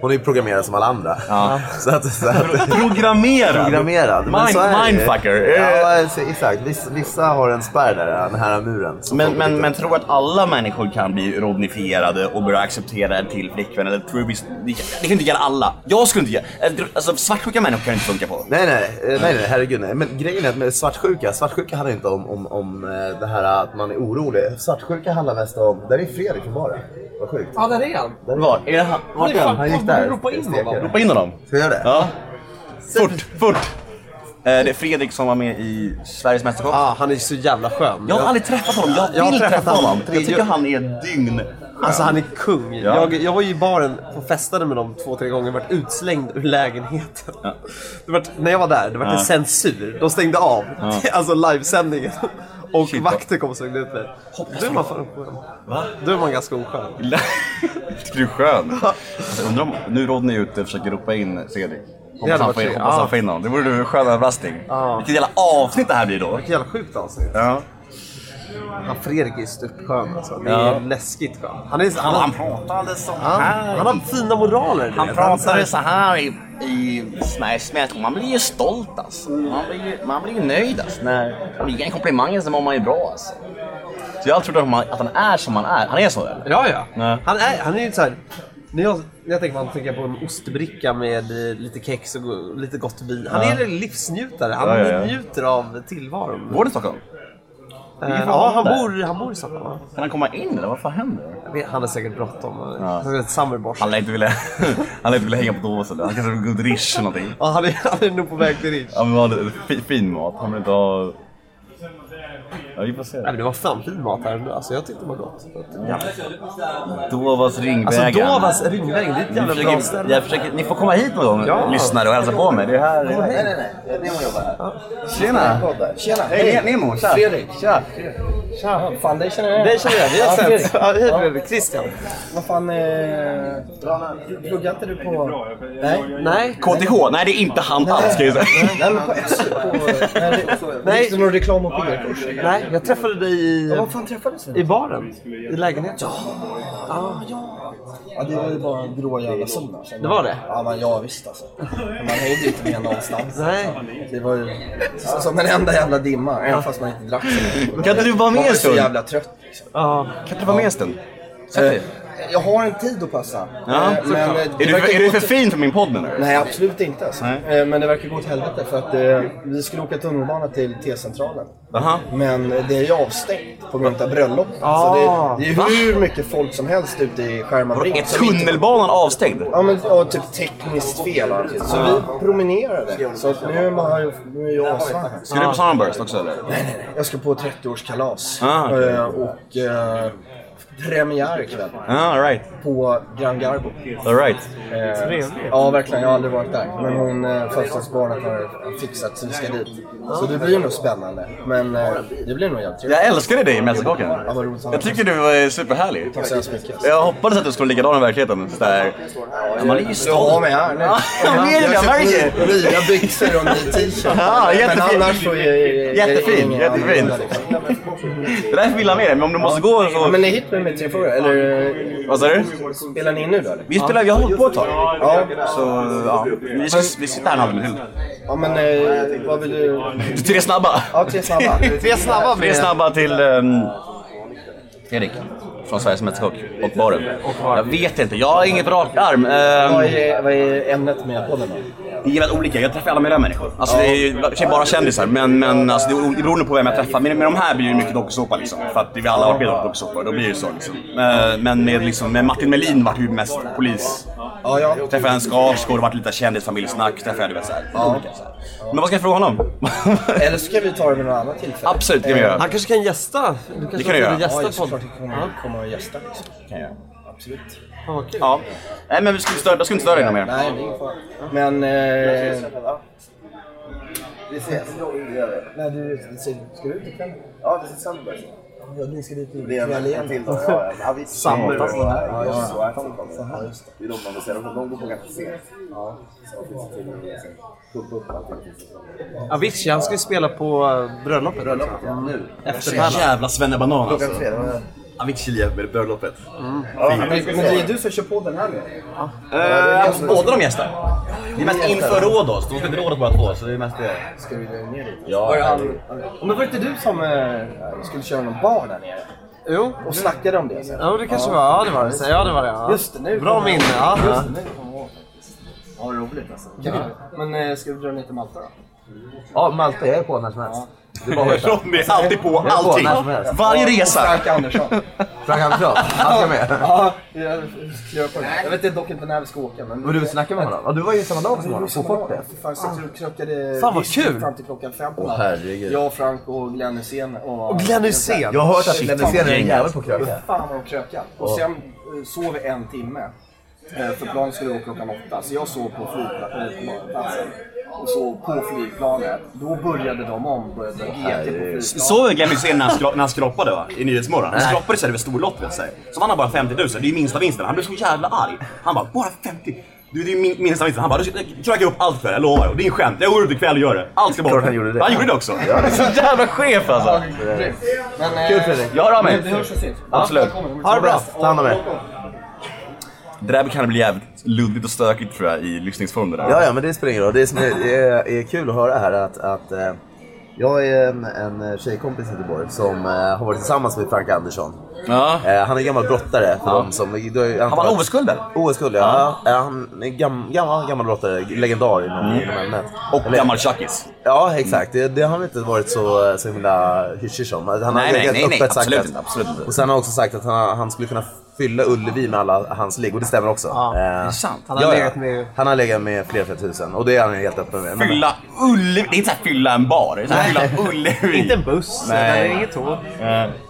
[SPEAKER 2] Hon är ju programmerad som alla andra.
[SPEAKER 3] Ja.
[SPEAKER 2] Så att, så att,
[SPEAKER 3] Programmerad!
[SPEAKER 2] programmerad. Men
[SPEAKER 3] Mind,
[SPEAKER 2] så är det ju.
[SPEAKER 3] mindfucker! Eh.
[SPEAKER 2] Ja, alltså, exakt. Vissa, vissa har en spärr där, den här muren. som
[SPEAKER 3] Men,
[SPEAKER 2] folk
[SPEAKER 3] men,
[SPEAKER 2] tycker.
[SPEAKER 3] men tror att alla människor kan bli rodnifierade och börja acceptera en till flickvän? Eller tror vi, det kan ju inte gälla alla. Jag skulle inte göra... Alltså svartsjuka människor kan det inte funka på.
[SPEAKER 2] Nej nej, eh, nej nej, herregud nej. Men grejen är att med svartsjuka, svartsjuka handlar inte om, om, om eh, det här att man är orolig. Svartsjuka handlar mest om, där är Fredrik från baren. Vad sjukt.
[SPEAKER 4] Ja, där är han.
[SPEAKER 3] Var? Är det han?
[SPEAKER 4] Han är fan...
[SPEAKER 2] Han gick
[SPEAKER 4] borde
[SPEAKER 2] där.
[SPEAKER 4] ropa in
[SPEAKER 2] Steker.
[SPEAKER 4] honom.
[SPEAKER 3] Ropa in honom.
[SPEAKER 2] Ska vi göra det?
[SPEAKER 3] Ja. Fort, fort! Eh, det är Fredrik som var med i Sveriges Mästerskap.
[SPEAKER 4] Ja, han är så jävla skön.
[SPEAKER 3] Ah, Jag har aldrig träffat honom, jag vill
[SPEAKER 4] Jag har
[SPEAKER 3] träffa
[SPEAKER 4] träffat
[SPEAKER 3] honom.
[SPEAKER 4] honom.
[SPEAKER 3] Jag tycker han är dygn
[SPEAKER 4] Alltså han är kung.
[SPEAKER 3] Ja.
[SPEAKER 4] Jag, jag var ju i baren och festade med dem två, tre gånger och vart utslängd ur lägenheten. Det vart, när jag var där, det vart en censur. De stängde av alltså livesändningen. Och
[SPEAKER 3] Shit, vad-
[SPEAKER 4] vakter kom och slängde ut mig. Du är man fan oskön.
[SPEAKER 3] Va?
[SPEAKER 4] Du är man ganska oskön.
[SPEAKER 3] Tycker du är skön? Alltså, undrar om, nu Rodney är ute och försöker ropa in Cedric.
[SPEAKER 4] Det
[SPEAKER 3] Hoppas
[SPEAKER 4] hade
[SPEAKER 3] han
[SPEAKER 4] varit
[SPEAKER 3] får in,
[SPEAKER 4] trevligt.
[SPEAKER 3] hoppas
[SPEAKER 4] Ja.
[SPEAKER 3] han får in honom. Det vore en skön överraskning.
[SPEAKER 4] Ja.
[SPEAKER 3] Vilket jävla avsnitt det här blir då.
[SPEAKER 4] Jävla sjukt avsnitt.
[SPEAKER 3] Ja.
[SPEAKER 4] Han Fredrik är störtskön alltså. Det är
[SPEAKER 3] Ja.
[SPEAKER 4] läskigt skön. Han, är,
[SPEAKER 3] Han,
[SPEAKER 4] han,
[SPEAKER 3] han
[SPEAKER 4] han,
[SPEAKER 3] pratade så
[SPEAKER 4] han,
[SPEAKER 3] här.
[SPEAKER 4] han har fina moraler. du
[SPEAKER 3] Han
[SPEAKER 4] vet.
[SPEAKER 3] pratade så här i, i Smash Mouth. Man blir ju stolt alltså. Man blir ju, man blir ju nöjd alltså. När man ger en komplimang så mår man ju bra alltså. Så jag trodde att man- att han är som han är. Han är så där.
[SPEAKER 4] Ja, ja.
[SPEAKER 3] Nej.
[SPEAKER 4] Han är, han är ju så här. När jag, när jag tänker på honom tänker jag på en ostbricka med eh, lite kex och go- lite gott vin. Han är en livsnjutare. Han
[SPEAKER 3] Ja, ja, ja.
[SPEAKER 4] njuter av tillvaron.
[SPEAKER 3] Bor du i Stockholm?
[SPEAKER 4] Eh,
[SPEAKER 3] fan
[SPEAKER 4] ja, han
[SPEAKER 3] där.
[SPEAKER 4] bor, han bor i Stockholm. va?
[SPEAKER 3] Kan han komma in eller vad fan händer?
[SPEAKER 4] Jag vet, Han är säkert bråttom. eh,
[SPEAKER 3] Ja.
[SPEAKER 4] Han är ett summerborst.
[SPEAKER 3] Han lär inte vilja, han lär inte vilja hänga på Dovas eller? Han kanske vill gå till Rish eller någonting.
[SPEAKER 4] Ja, han, är, han är nog på väg till Rich.
[SPEAKER 3] Han vill ha lite fi- fin mat. Han vill inte ha... Ja, vi får se.
[SPEAKER 4] Nej, men det var fan fin mat här nu. Alltså, jag tyckte det var gott. Ja.
[SPEAKER 3] Dovas ringvägar.
[SPEAKER 4] Alltså, Dovas ringvägen, det är ett
[SPEAKER 3] Ni
[SPEAKER 4] jävla bra
[SPEAKER 3] försöker,
[SPEAKER 4] ställe.
[SPEAKER 3] jag försöker, ni får komma hit någon gång,
[SPEAKER 4] Ja.
[SPEAKER 3] lyssnare, och hälsa på mig. Det är här.
[SPEAKER 5] Nej, nej, nej. Nemo jobbar här.
[SPEAKER 3] Tjena!
[SPEAKER 5] Tjena!
[SPEAKER 3] Hej Nemo! Tja!
[SPEAKER 5] Fredrik!
[SPEAKER 3] Tja!
[SPEAKER 2] Tja, fan dig känner jag
[SPEAKER 4] Det känner jag, vi
[SPEAKER 2] Ja,
[SPEAKER 4] har
[SPEAKER 2] Fredrik.
[SPEAKER 4] sett. Ja, Hej Fredrik, Christian.
[SPEAKER 2] Vad fan, eh, pluggar inte du på... Nej?
[SPEAKER 4] Nej,
[SPEAKER 3] KTH? Nej, det är inte han alls ska jag säga.
[SPEAKER 2] Nej men på SU, på... Nej, det- det gick som någon reklam och PR-kurs.
[SPEAKER 4] nej, jag träffade dig i,
[SPEAKER 2] Vad fan träffades
[SPEAKER 4] i
[SPEAKER 2] vi?
[SPEAKER 4] baren. I lägenheten.
[SPEAKER 2] Ja, det var ju bara en grå jävla sol alltså.
[SPEAKER 4] Det var det?
[SPEAKER 2] Ja, men ja visst alltså. Men Man hängde ju inte med någonstans.
[SPEAKER 4] Nej.
[SPEAKER 2] Det var ju som en enda jävla dimma, även fast man inte drack så mycket.
[SPEAKER 3] Kan inte du vara med
[SPEAKER 2] Man var
[SPEAKER 3] en
[SPEAKER 2] ju så
[SPEAKER 3] stund?
[SPEAKER 2] jävla trött liksom.
[SPEAKER 4] Ja,
[SPEAKER 3] Kan inte du vara med en stund? Sätt dig.
[SPEAKER 2] Eh, Jag har en tid att passa.
[SPEAKER 3] Ja,
[SPEAKER 2] Eh, men, eh, det
[SPEAKER 3] Är du,
[SPEAKER 2] verkar
[SPEAKER 3] är du
[SPEAKER 2] gå
[SPEAKER 3] för
[SPEAKER 2] till-
[SPEAKER 3] fin för min podd menar du?
[SPEAKER 2] Nej, absolut inte. Alltså.
[SPEAKER 3] Nej.
[SPEAKER 2] Eh, Men det verkar gå åt helvete för att eh, vi skulle åka tunnelbana till T-centralen.
[SPEAKER 3] Jaha.
[SPEAKER 2] Men det är ju avstängt på grund av bröllop.
[SPEAKER 4] Ah.
[SPEAKER 2] Så det, det är ju hur mycket folk som helst ute i
[SPEAKER 3] Vadå,
[SPEAKER 2] Skärmarbrink.
[SPEAKER 3] Är
[SPEAKER 2] som inte-
[SPEAKER 3] tunnelbanan avstängd?
[SPEAKER 2] Ja, men ja, typ tekniskt fel. alltså. Så vi promenerade. Så att nu är man nu är jag asvarm.
[SPEAKER 3] Ska du på Sunburst också eller?
[SPEAKER 2] Jag ska på 30-årskalas.
[SPEAKER 3] Ah, okej.
[SPEAKER 2] Eh, Och eh, premiär ikväll
[SPEAKER 3] Ja, all right.
[SPEAKER 2] på Gran Garbo.
[SPEAKER 3] All right.
[SPEAKER 2] Eh, Ja, verkligen. Jag har aldrig varit där. Men hon, eh, födelsedagsbarnet har fixat så vi ska dit. Så det blir nog spännande. Men eh, det blir nog jävligt trevligt.
[SPEAKER 3] Jag älskade dig i Mästerkocken.
[SPEAKER 2] Ja, vad roligt.
[SPEAKER 3] Jag tycker du var superhärlig.
[SPEAKER 2] Tack så hemskt mycket.
[SPEAKER 3] Jag hoppades att du skulle likadan i verkligheten. Så där. Ja, Man är ju
[SPEAKER 2] Du har
[SPEAKER 3] stolt.
[SPEAKER 2] mig här nu.
[SPEAKER 3] Ja, men det är det, jag märker det.
[SPEAKER 2] Nya byxor och ny t-shirt.
[SPEAKER 3] Ja, jättefin.
[SPEAKER 2] Men annars så är är- är
[SPEAKER 3] Jättefin,
[SPEAKER 2] ingen
[SPEAKER 3] jättefin.
[SPEAKER 2] annorlunda, liksom.
[SPEAKER 3] Det är därför vi vill ha med dig, men om du måste gå
[SPEAKER 2] Ja,
[SPEAKER 3] så...
[SPEAKER 2] men ni hit mig med tre frågor, eller?
[SPEAKER 3] Vad sa du?
[SPEAKER 2] Spelar ni in nu då eller?
[SPEAKER 3] Vi spelar, vi har hållit på ett tag.
[SPEAKER 2] Ja.
[SPEAKER 3] Så, ja. Vi, ska, vi sitter här en halvtimme till.
[SPEAKER 2] Ja men eh, vad vill du?
[SPEAKER 3] Du, Tre snabba.
[SPEAKER 2] Ja, tre snabba.
[SPEAKER 4] Tre snabba
[SPEAKER 3] Tre
[SPEAKER 4] blir det.
[SPEAKER 3] snabba till um, Erik från Sveriges Mästerkock och baren. Jag vet inte, jag har inget rakt arm.
[SPEAKER 2] Vad
[SPEAKER 3] Um,
[SPEAKER 2] är, vad är ämnet med podden då?
[SPEAKER 3] det är jävligt olika, jag träffar alla möjliga människor. Alltså det är ju det är bara kändisar, men, men alltså, det är o- det beror på vem jag träffar. Men med de här blir det mycket dokusåpa liksom. För att vi alla har varit med i dokusåpor, då blir det ju så liksom. Eh, Men med, liksom, med Martin Melin vart ju mest polis.
[SPEAKER 2] Ja, ja.
[SPEAKER 3] Träffade en Skarsgård, vart lite kändisfamiljsnack. Träffade jag, du vet såhär. Olika såhär. Men vad ska jag fråga honom?
[SPEAKER 2] Eller så kan vi ta det vid något annat tillfälle.
[SPEAKER 3] Absolut, det kan vi göra.
[SPEAKER 4] Han kanske kan gästa. Du kanske
[SPEAKER 3] Det kan jag göra.
[SPEAKER 2] Ja,
[SPEAKER 4] gästa
[SPEAKER 2] just såklart.
[SPEAKER 4] podden.
[SPEAKER 2] Vi kommer komma och gästa. liksom.
[SPEAKER 3] Kan jag göra.
[SPEAKER 2] Absolut.
[SPEAKER 4] Fan, vad kul.
[SPEAKER 3] Ja. Nej men vi skulle inte störa, jag skulle inte störa dig någon mer.
[SPEAKER 2] Nej, det är ingen fara. Men... Eh,
[SPEAKER 5] Vi ses.
[SPEAKER 2] nej, du, ska du ut ikväll?
[SPEAKER 5] Ja, vi ses Sunburst.
[SPEAKER 2] Ja, ni ska dit
[SPEAKER 5] Det är en- en
[SPEAKER 2] ikväll
[SPEAKER 5] till
[SPEAKER 2] igen.
[SPEAKER 5] då. Ja, ja, vi-
[SPEAKER 4] Sunburst.
[SPEAKER 5] Ja, just så. Här kommer de. Det är de man vill se. De de går på ganska sent. Ja. Så finns det tid att pumpa upp allting.
[SPEAKER 4] Avicii, han ska ju spela på eh, bröllopet.
[SPEAKER 5] Bröllopet, ja. Nu.
[SPEAKER 4] Efterpärlan.
[SPEAKER 3] Jävla svennebanan alltså.
[SPEAKER 5] Klockan tre. det var-
[SPEAKER 3] Avicii med bröllopet.
[SPEAKER 2] Men, men det är du som kör på den här nu.
[SPEAKER 3] alltså, båda de gästar. Det är mest inför Rhodos. De ska till Rhodos båda två. Så det är mest det.
[SPEAKER 2] Ska du ner dit?
[SPEAKER 3] Ja.
[SPEAKER 2] Var det han- Ja, Men var det inte du som eh, skulle köra någon bar där nere?
[SPEAKER 4] Jo.
[SPEAKER 2] Och snackade om det sen?
[SPEAKER 4] Ja, det kanske var. Ja, det var det. Så, Ja, det var det. Ja.
[SPEAKER 2] Just det, nu
[SPEAKER 4] Bra
[SPEAKER 2] kommer jag-
[SPEAKER 4] minne. Ja.
[SPEAKER 2] Ja, roligt alltså. Kan vi- Men eh, ska vi dra ner till Malta då? Ja, Malte, jag är på när som helst. Det är bara att hojta.
[SPEAKER 3] Ronny är alltid på
[SPEAKER 2] är på
[SPEAKER 3] allting.
[SPEAKER 2] när som helst.
[SPEAKER 3] Varje
[SPEAKER 5] Och
[SPEAKER 3] resa.
[SPEAKER 5] Frank Andersson.
[SPEAKER 2] Frank Andersson, han ska med.
[SPEAKER 5] ja, jag gör på det. Jag vet dock inte när vi ska åka. Men
[SPEAKER 2] Och du snackade med honom? Ja, du var ju samma dag som honom, på fortet.
[SPEAKER 5] Fan, så jag krökade
[SPEAKER 4] Fan, vad
[SPEAKER 5] whisky
[SPEAKER 4] kul.
[SPEAKER 5] fram till klockan fem på
[SPEAKER 2] Åh,
[SPEAKER 5] natten.
[SPEAKER 2] herregud.
[SPEAKER 5] Jag, Frank och Glenn Hysén och...
[SPEAKER 4] Och Glenn Hysén!
[SPEAKER 2] Jag har hört att
[SPEAKER 5] Shit,
[SPEAKER 2] Glenn Hysén är en jävel på att kröka.
[SPEAKER 5] Fan vad de krökade. Och sen eh, sov vi en timme. Eh, För planet skulle gå klockan åtta. Så jag sov på flygplatsen. Och sov på flygplanet. Då började de om. Började GT på flygplanet.
[SPEAKER 3] Såg Glenn Hysén när han skro- när han skroppade va? i Nyhetsmorgon? Han skroppade sig över storlott vill säga. Så vann han bara 50 000, det är ju minsta vinsten. Han blev så jävla arg. Han bara, bara 50? Du, det är ju min, minsta vinsten. Han bara, du ska- krökar upp allt för det, jag lovar. Det är en skämt. Jag går ut ikväll och gör det. Allt ska bort.
[SPEAKER 2] Klart han gjorde det.
[SPEAKER 3] Han gjorde det också.
[SPEAKER 4] Så jävla chef alltså!
[SPEAKER 5] Grymt. Men, eh,
[SPEAKER 2] Kul, Fredrik.
[SPEAKER 3] Jag hör av
[SPEAKER 5] men vi
[SPEAKER 3] mig.
[SPEAKER 5] hörs och ses.
[SPEAKER 3] Absolut.
[SPEAKER 4] Ha det bra!
[SPEAKER 2] Ta hand om er.
[SPEAKER 3] Det där kan bli jävligt luddigt och stökigt tror jag i lyssningsform det där.
[SPEAKER 2] Ja, ja, men det spelar ingen roll. Det som är, är, är kul att höra här är att, att eh, jag är en, en tjejkompis i Göteborg som eh, har varit tillsammans med Frank Andersson.
[SPEAKER 3] Ja.
[SPEAKER 2] Eh, han är gammal brottare. För
[SPEAKER 3] Ja.
[SPEAKER 2] dem som, då, är-
[SPEAKER 3] Han vann OS-guld eller?
[SPEAKER 2] OS-guld, ja. ja. Han är gam, gammal, gammal brottare, legendar inom inom ämnet.
[SPEAKER 3] Och
[SPEAKER 2] Eller-
[SPEAKER 3] gammal tjackis.
[SPEAKER 2] Ja, exakt. Det, det har han inte varit så, eh, så himla hyschig om. Han har
[SPEAKER 3] Nej, nej,
[SPEAKER 2] legat
[SPEAKER 3] nej, nej,
[SPEAKER 2] öppet sagt
[SPEAKER 3] absolut
[SPEAKER 2] att-
[SPEAKER 3] inte, absolut inte.
[SPEAKER 2] Och sen har han också sagt att han, han skulle kunna fylla Ullevi med alla hans ligg och det stämmer också. Eh,
[SPEAKER 4] Ja, det
[SPEAKER 3] är sant.
[SPEAKER 4] Han har legat med-
[SPEAKER 2] Han har legat med fler tusen och det är han helt öppen med. Men-
[SPEAKER 3] Fylla Ullevi. Det är inte såhär fylla en bar. Det är såhär fylla Ullevi.
[SPEAKER 4] Inte en buss,
[SPEAKER 3] Nej.
[SPEAKER 4] eller inget tåg.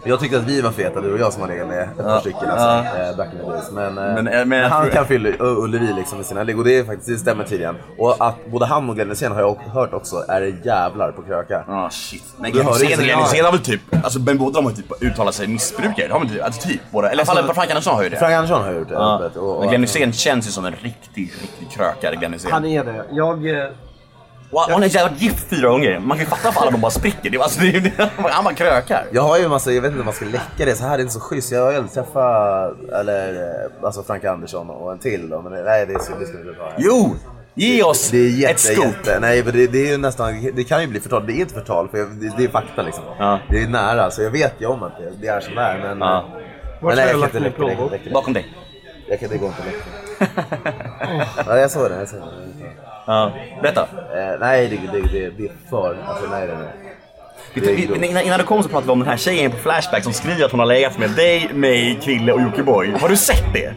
[SPEAKER 2] Jag tyckte att vi var feta, du och jag som har legat med ett par stycken alltså, eh, back in the days. Men, eh,
[SPEAKER 3] Men, eh,
[SPEAKER 2] men,
[SPEAKER 3] men jag
[SPEAKER 2] han
[SPEAKER 3] tror-
[SPEAKER 2] kan fylla Ö- Ullevi liksom med sina ligg och det, är faktiskt, det stämmer tydligen. Och att både han och Glenn Hysén har jag hört också är jävlar på kröka.
[SPEAKER 3] Ja, Ah, shit. Men
[SPEAKER 2] Du
[SPEAKER 3] Glenn
[SPEAKER 2] hör
[SPEAKER 3] Hysén
[SPEAKER 2] inte.
[SPEAKER 3] Glenn Hysén har väl typ, alltså men båda de har ju typ uttalat sig missbrukare. Det har man typ, alltså typ båda. Eller i alla fall Frank Andersson har ju det.
[SPEAKER 2] Frank Andersson har gjort det.
[SPEAKER 3] Ja.
[SPEAKER 2] öppet, och-
[SPEAKER 3] Men Glenn Hysén känns ju som en riktig, riktig krökare, Glenn
[SPEAKER 4] Han
[SPEAKER 3] Hysén.
[SPEAKER 4] är det. Jag... eh,
[SPEAKER 3] Och han- Han har ju varit gift fyra gånger. Man kan ju fatta varför alla de bara spricker. Det är, alltså, det är, det är, han bara krökar.
[SPEAKER 2] Jag har ju en massa, jag vet inte om man ska läcka det, så här är det inte så schysst. Jag har ju aldrig träffat eller, eh, alltså Frank Andersson och en till då, men det- nej det är så- det ska vi inte ta här.
[SPEAKER 3] Jo! Ge oss
[SPEAKER 2] Det är jätte,
[SPEAKER 3] ett scoop.
[SPEAKER 2] jätte, nej men det, det är ju nästan, det kan ju bli förtal. Det är inte förtal för jag, det, det är fakta liksom.
[SPEAKER 3] Ja.
[SPEAKER 2] Det är nära, så jag vet ju om att det, det är som det är. Men,
[SPEAKER 3] Ja.
[SPEAKER 2] men
[SPEAKER 4] har
[SPEAKER 2] nej,
[SPEAKER 4] jag
[SPEAKER 2] jag kan
[SPEAKER 4] lagt
[SPEAKER 2] inte läcka
[SPEAKER 4] min
[SPEAKER 2] det. Jag kan
[SPEAKER 4] plånbok?
[SPEAKER 2] inte läcka det.
[SPEAKER 3] Bakom dig.
[SPEAKER 2] Jag kan, det går inte att läcka. ja, jag såg det, jag såg det.
[SPEAKER 3] Ja. Berätta.
[SPEAKER 2] Eh, nej, det, det, det, det är för, alltså nej det är det.
[SPEAKER 3] Vi, vi, vi- innan, innan du kom så pratade vi om den här tjejen på Flashback som skriver att hon har legat med dig, mig, Krille och Jockiboi. Har du sett det?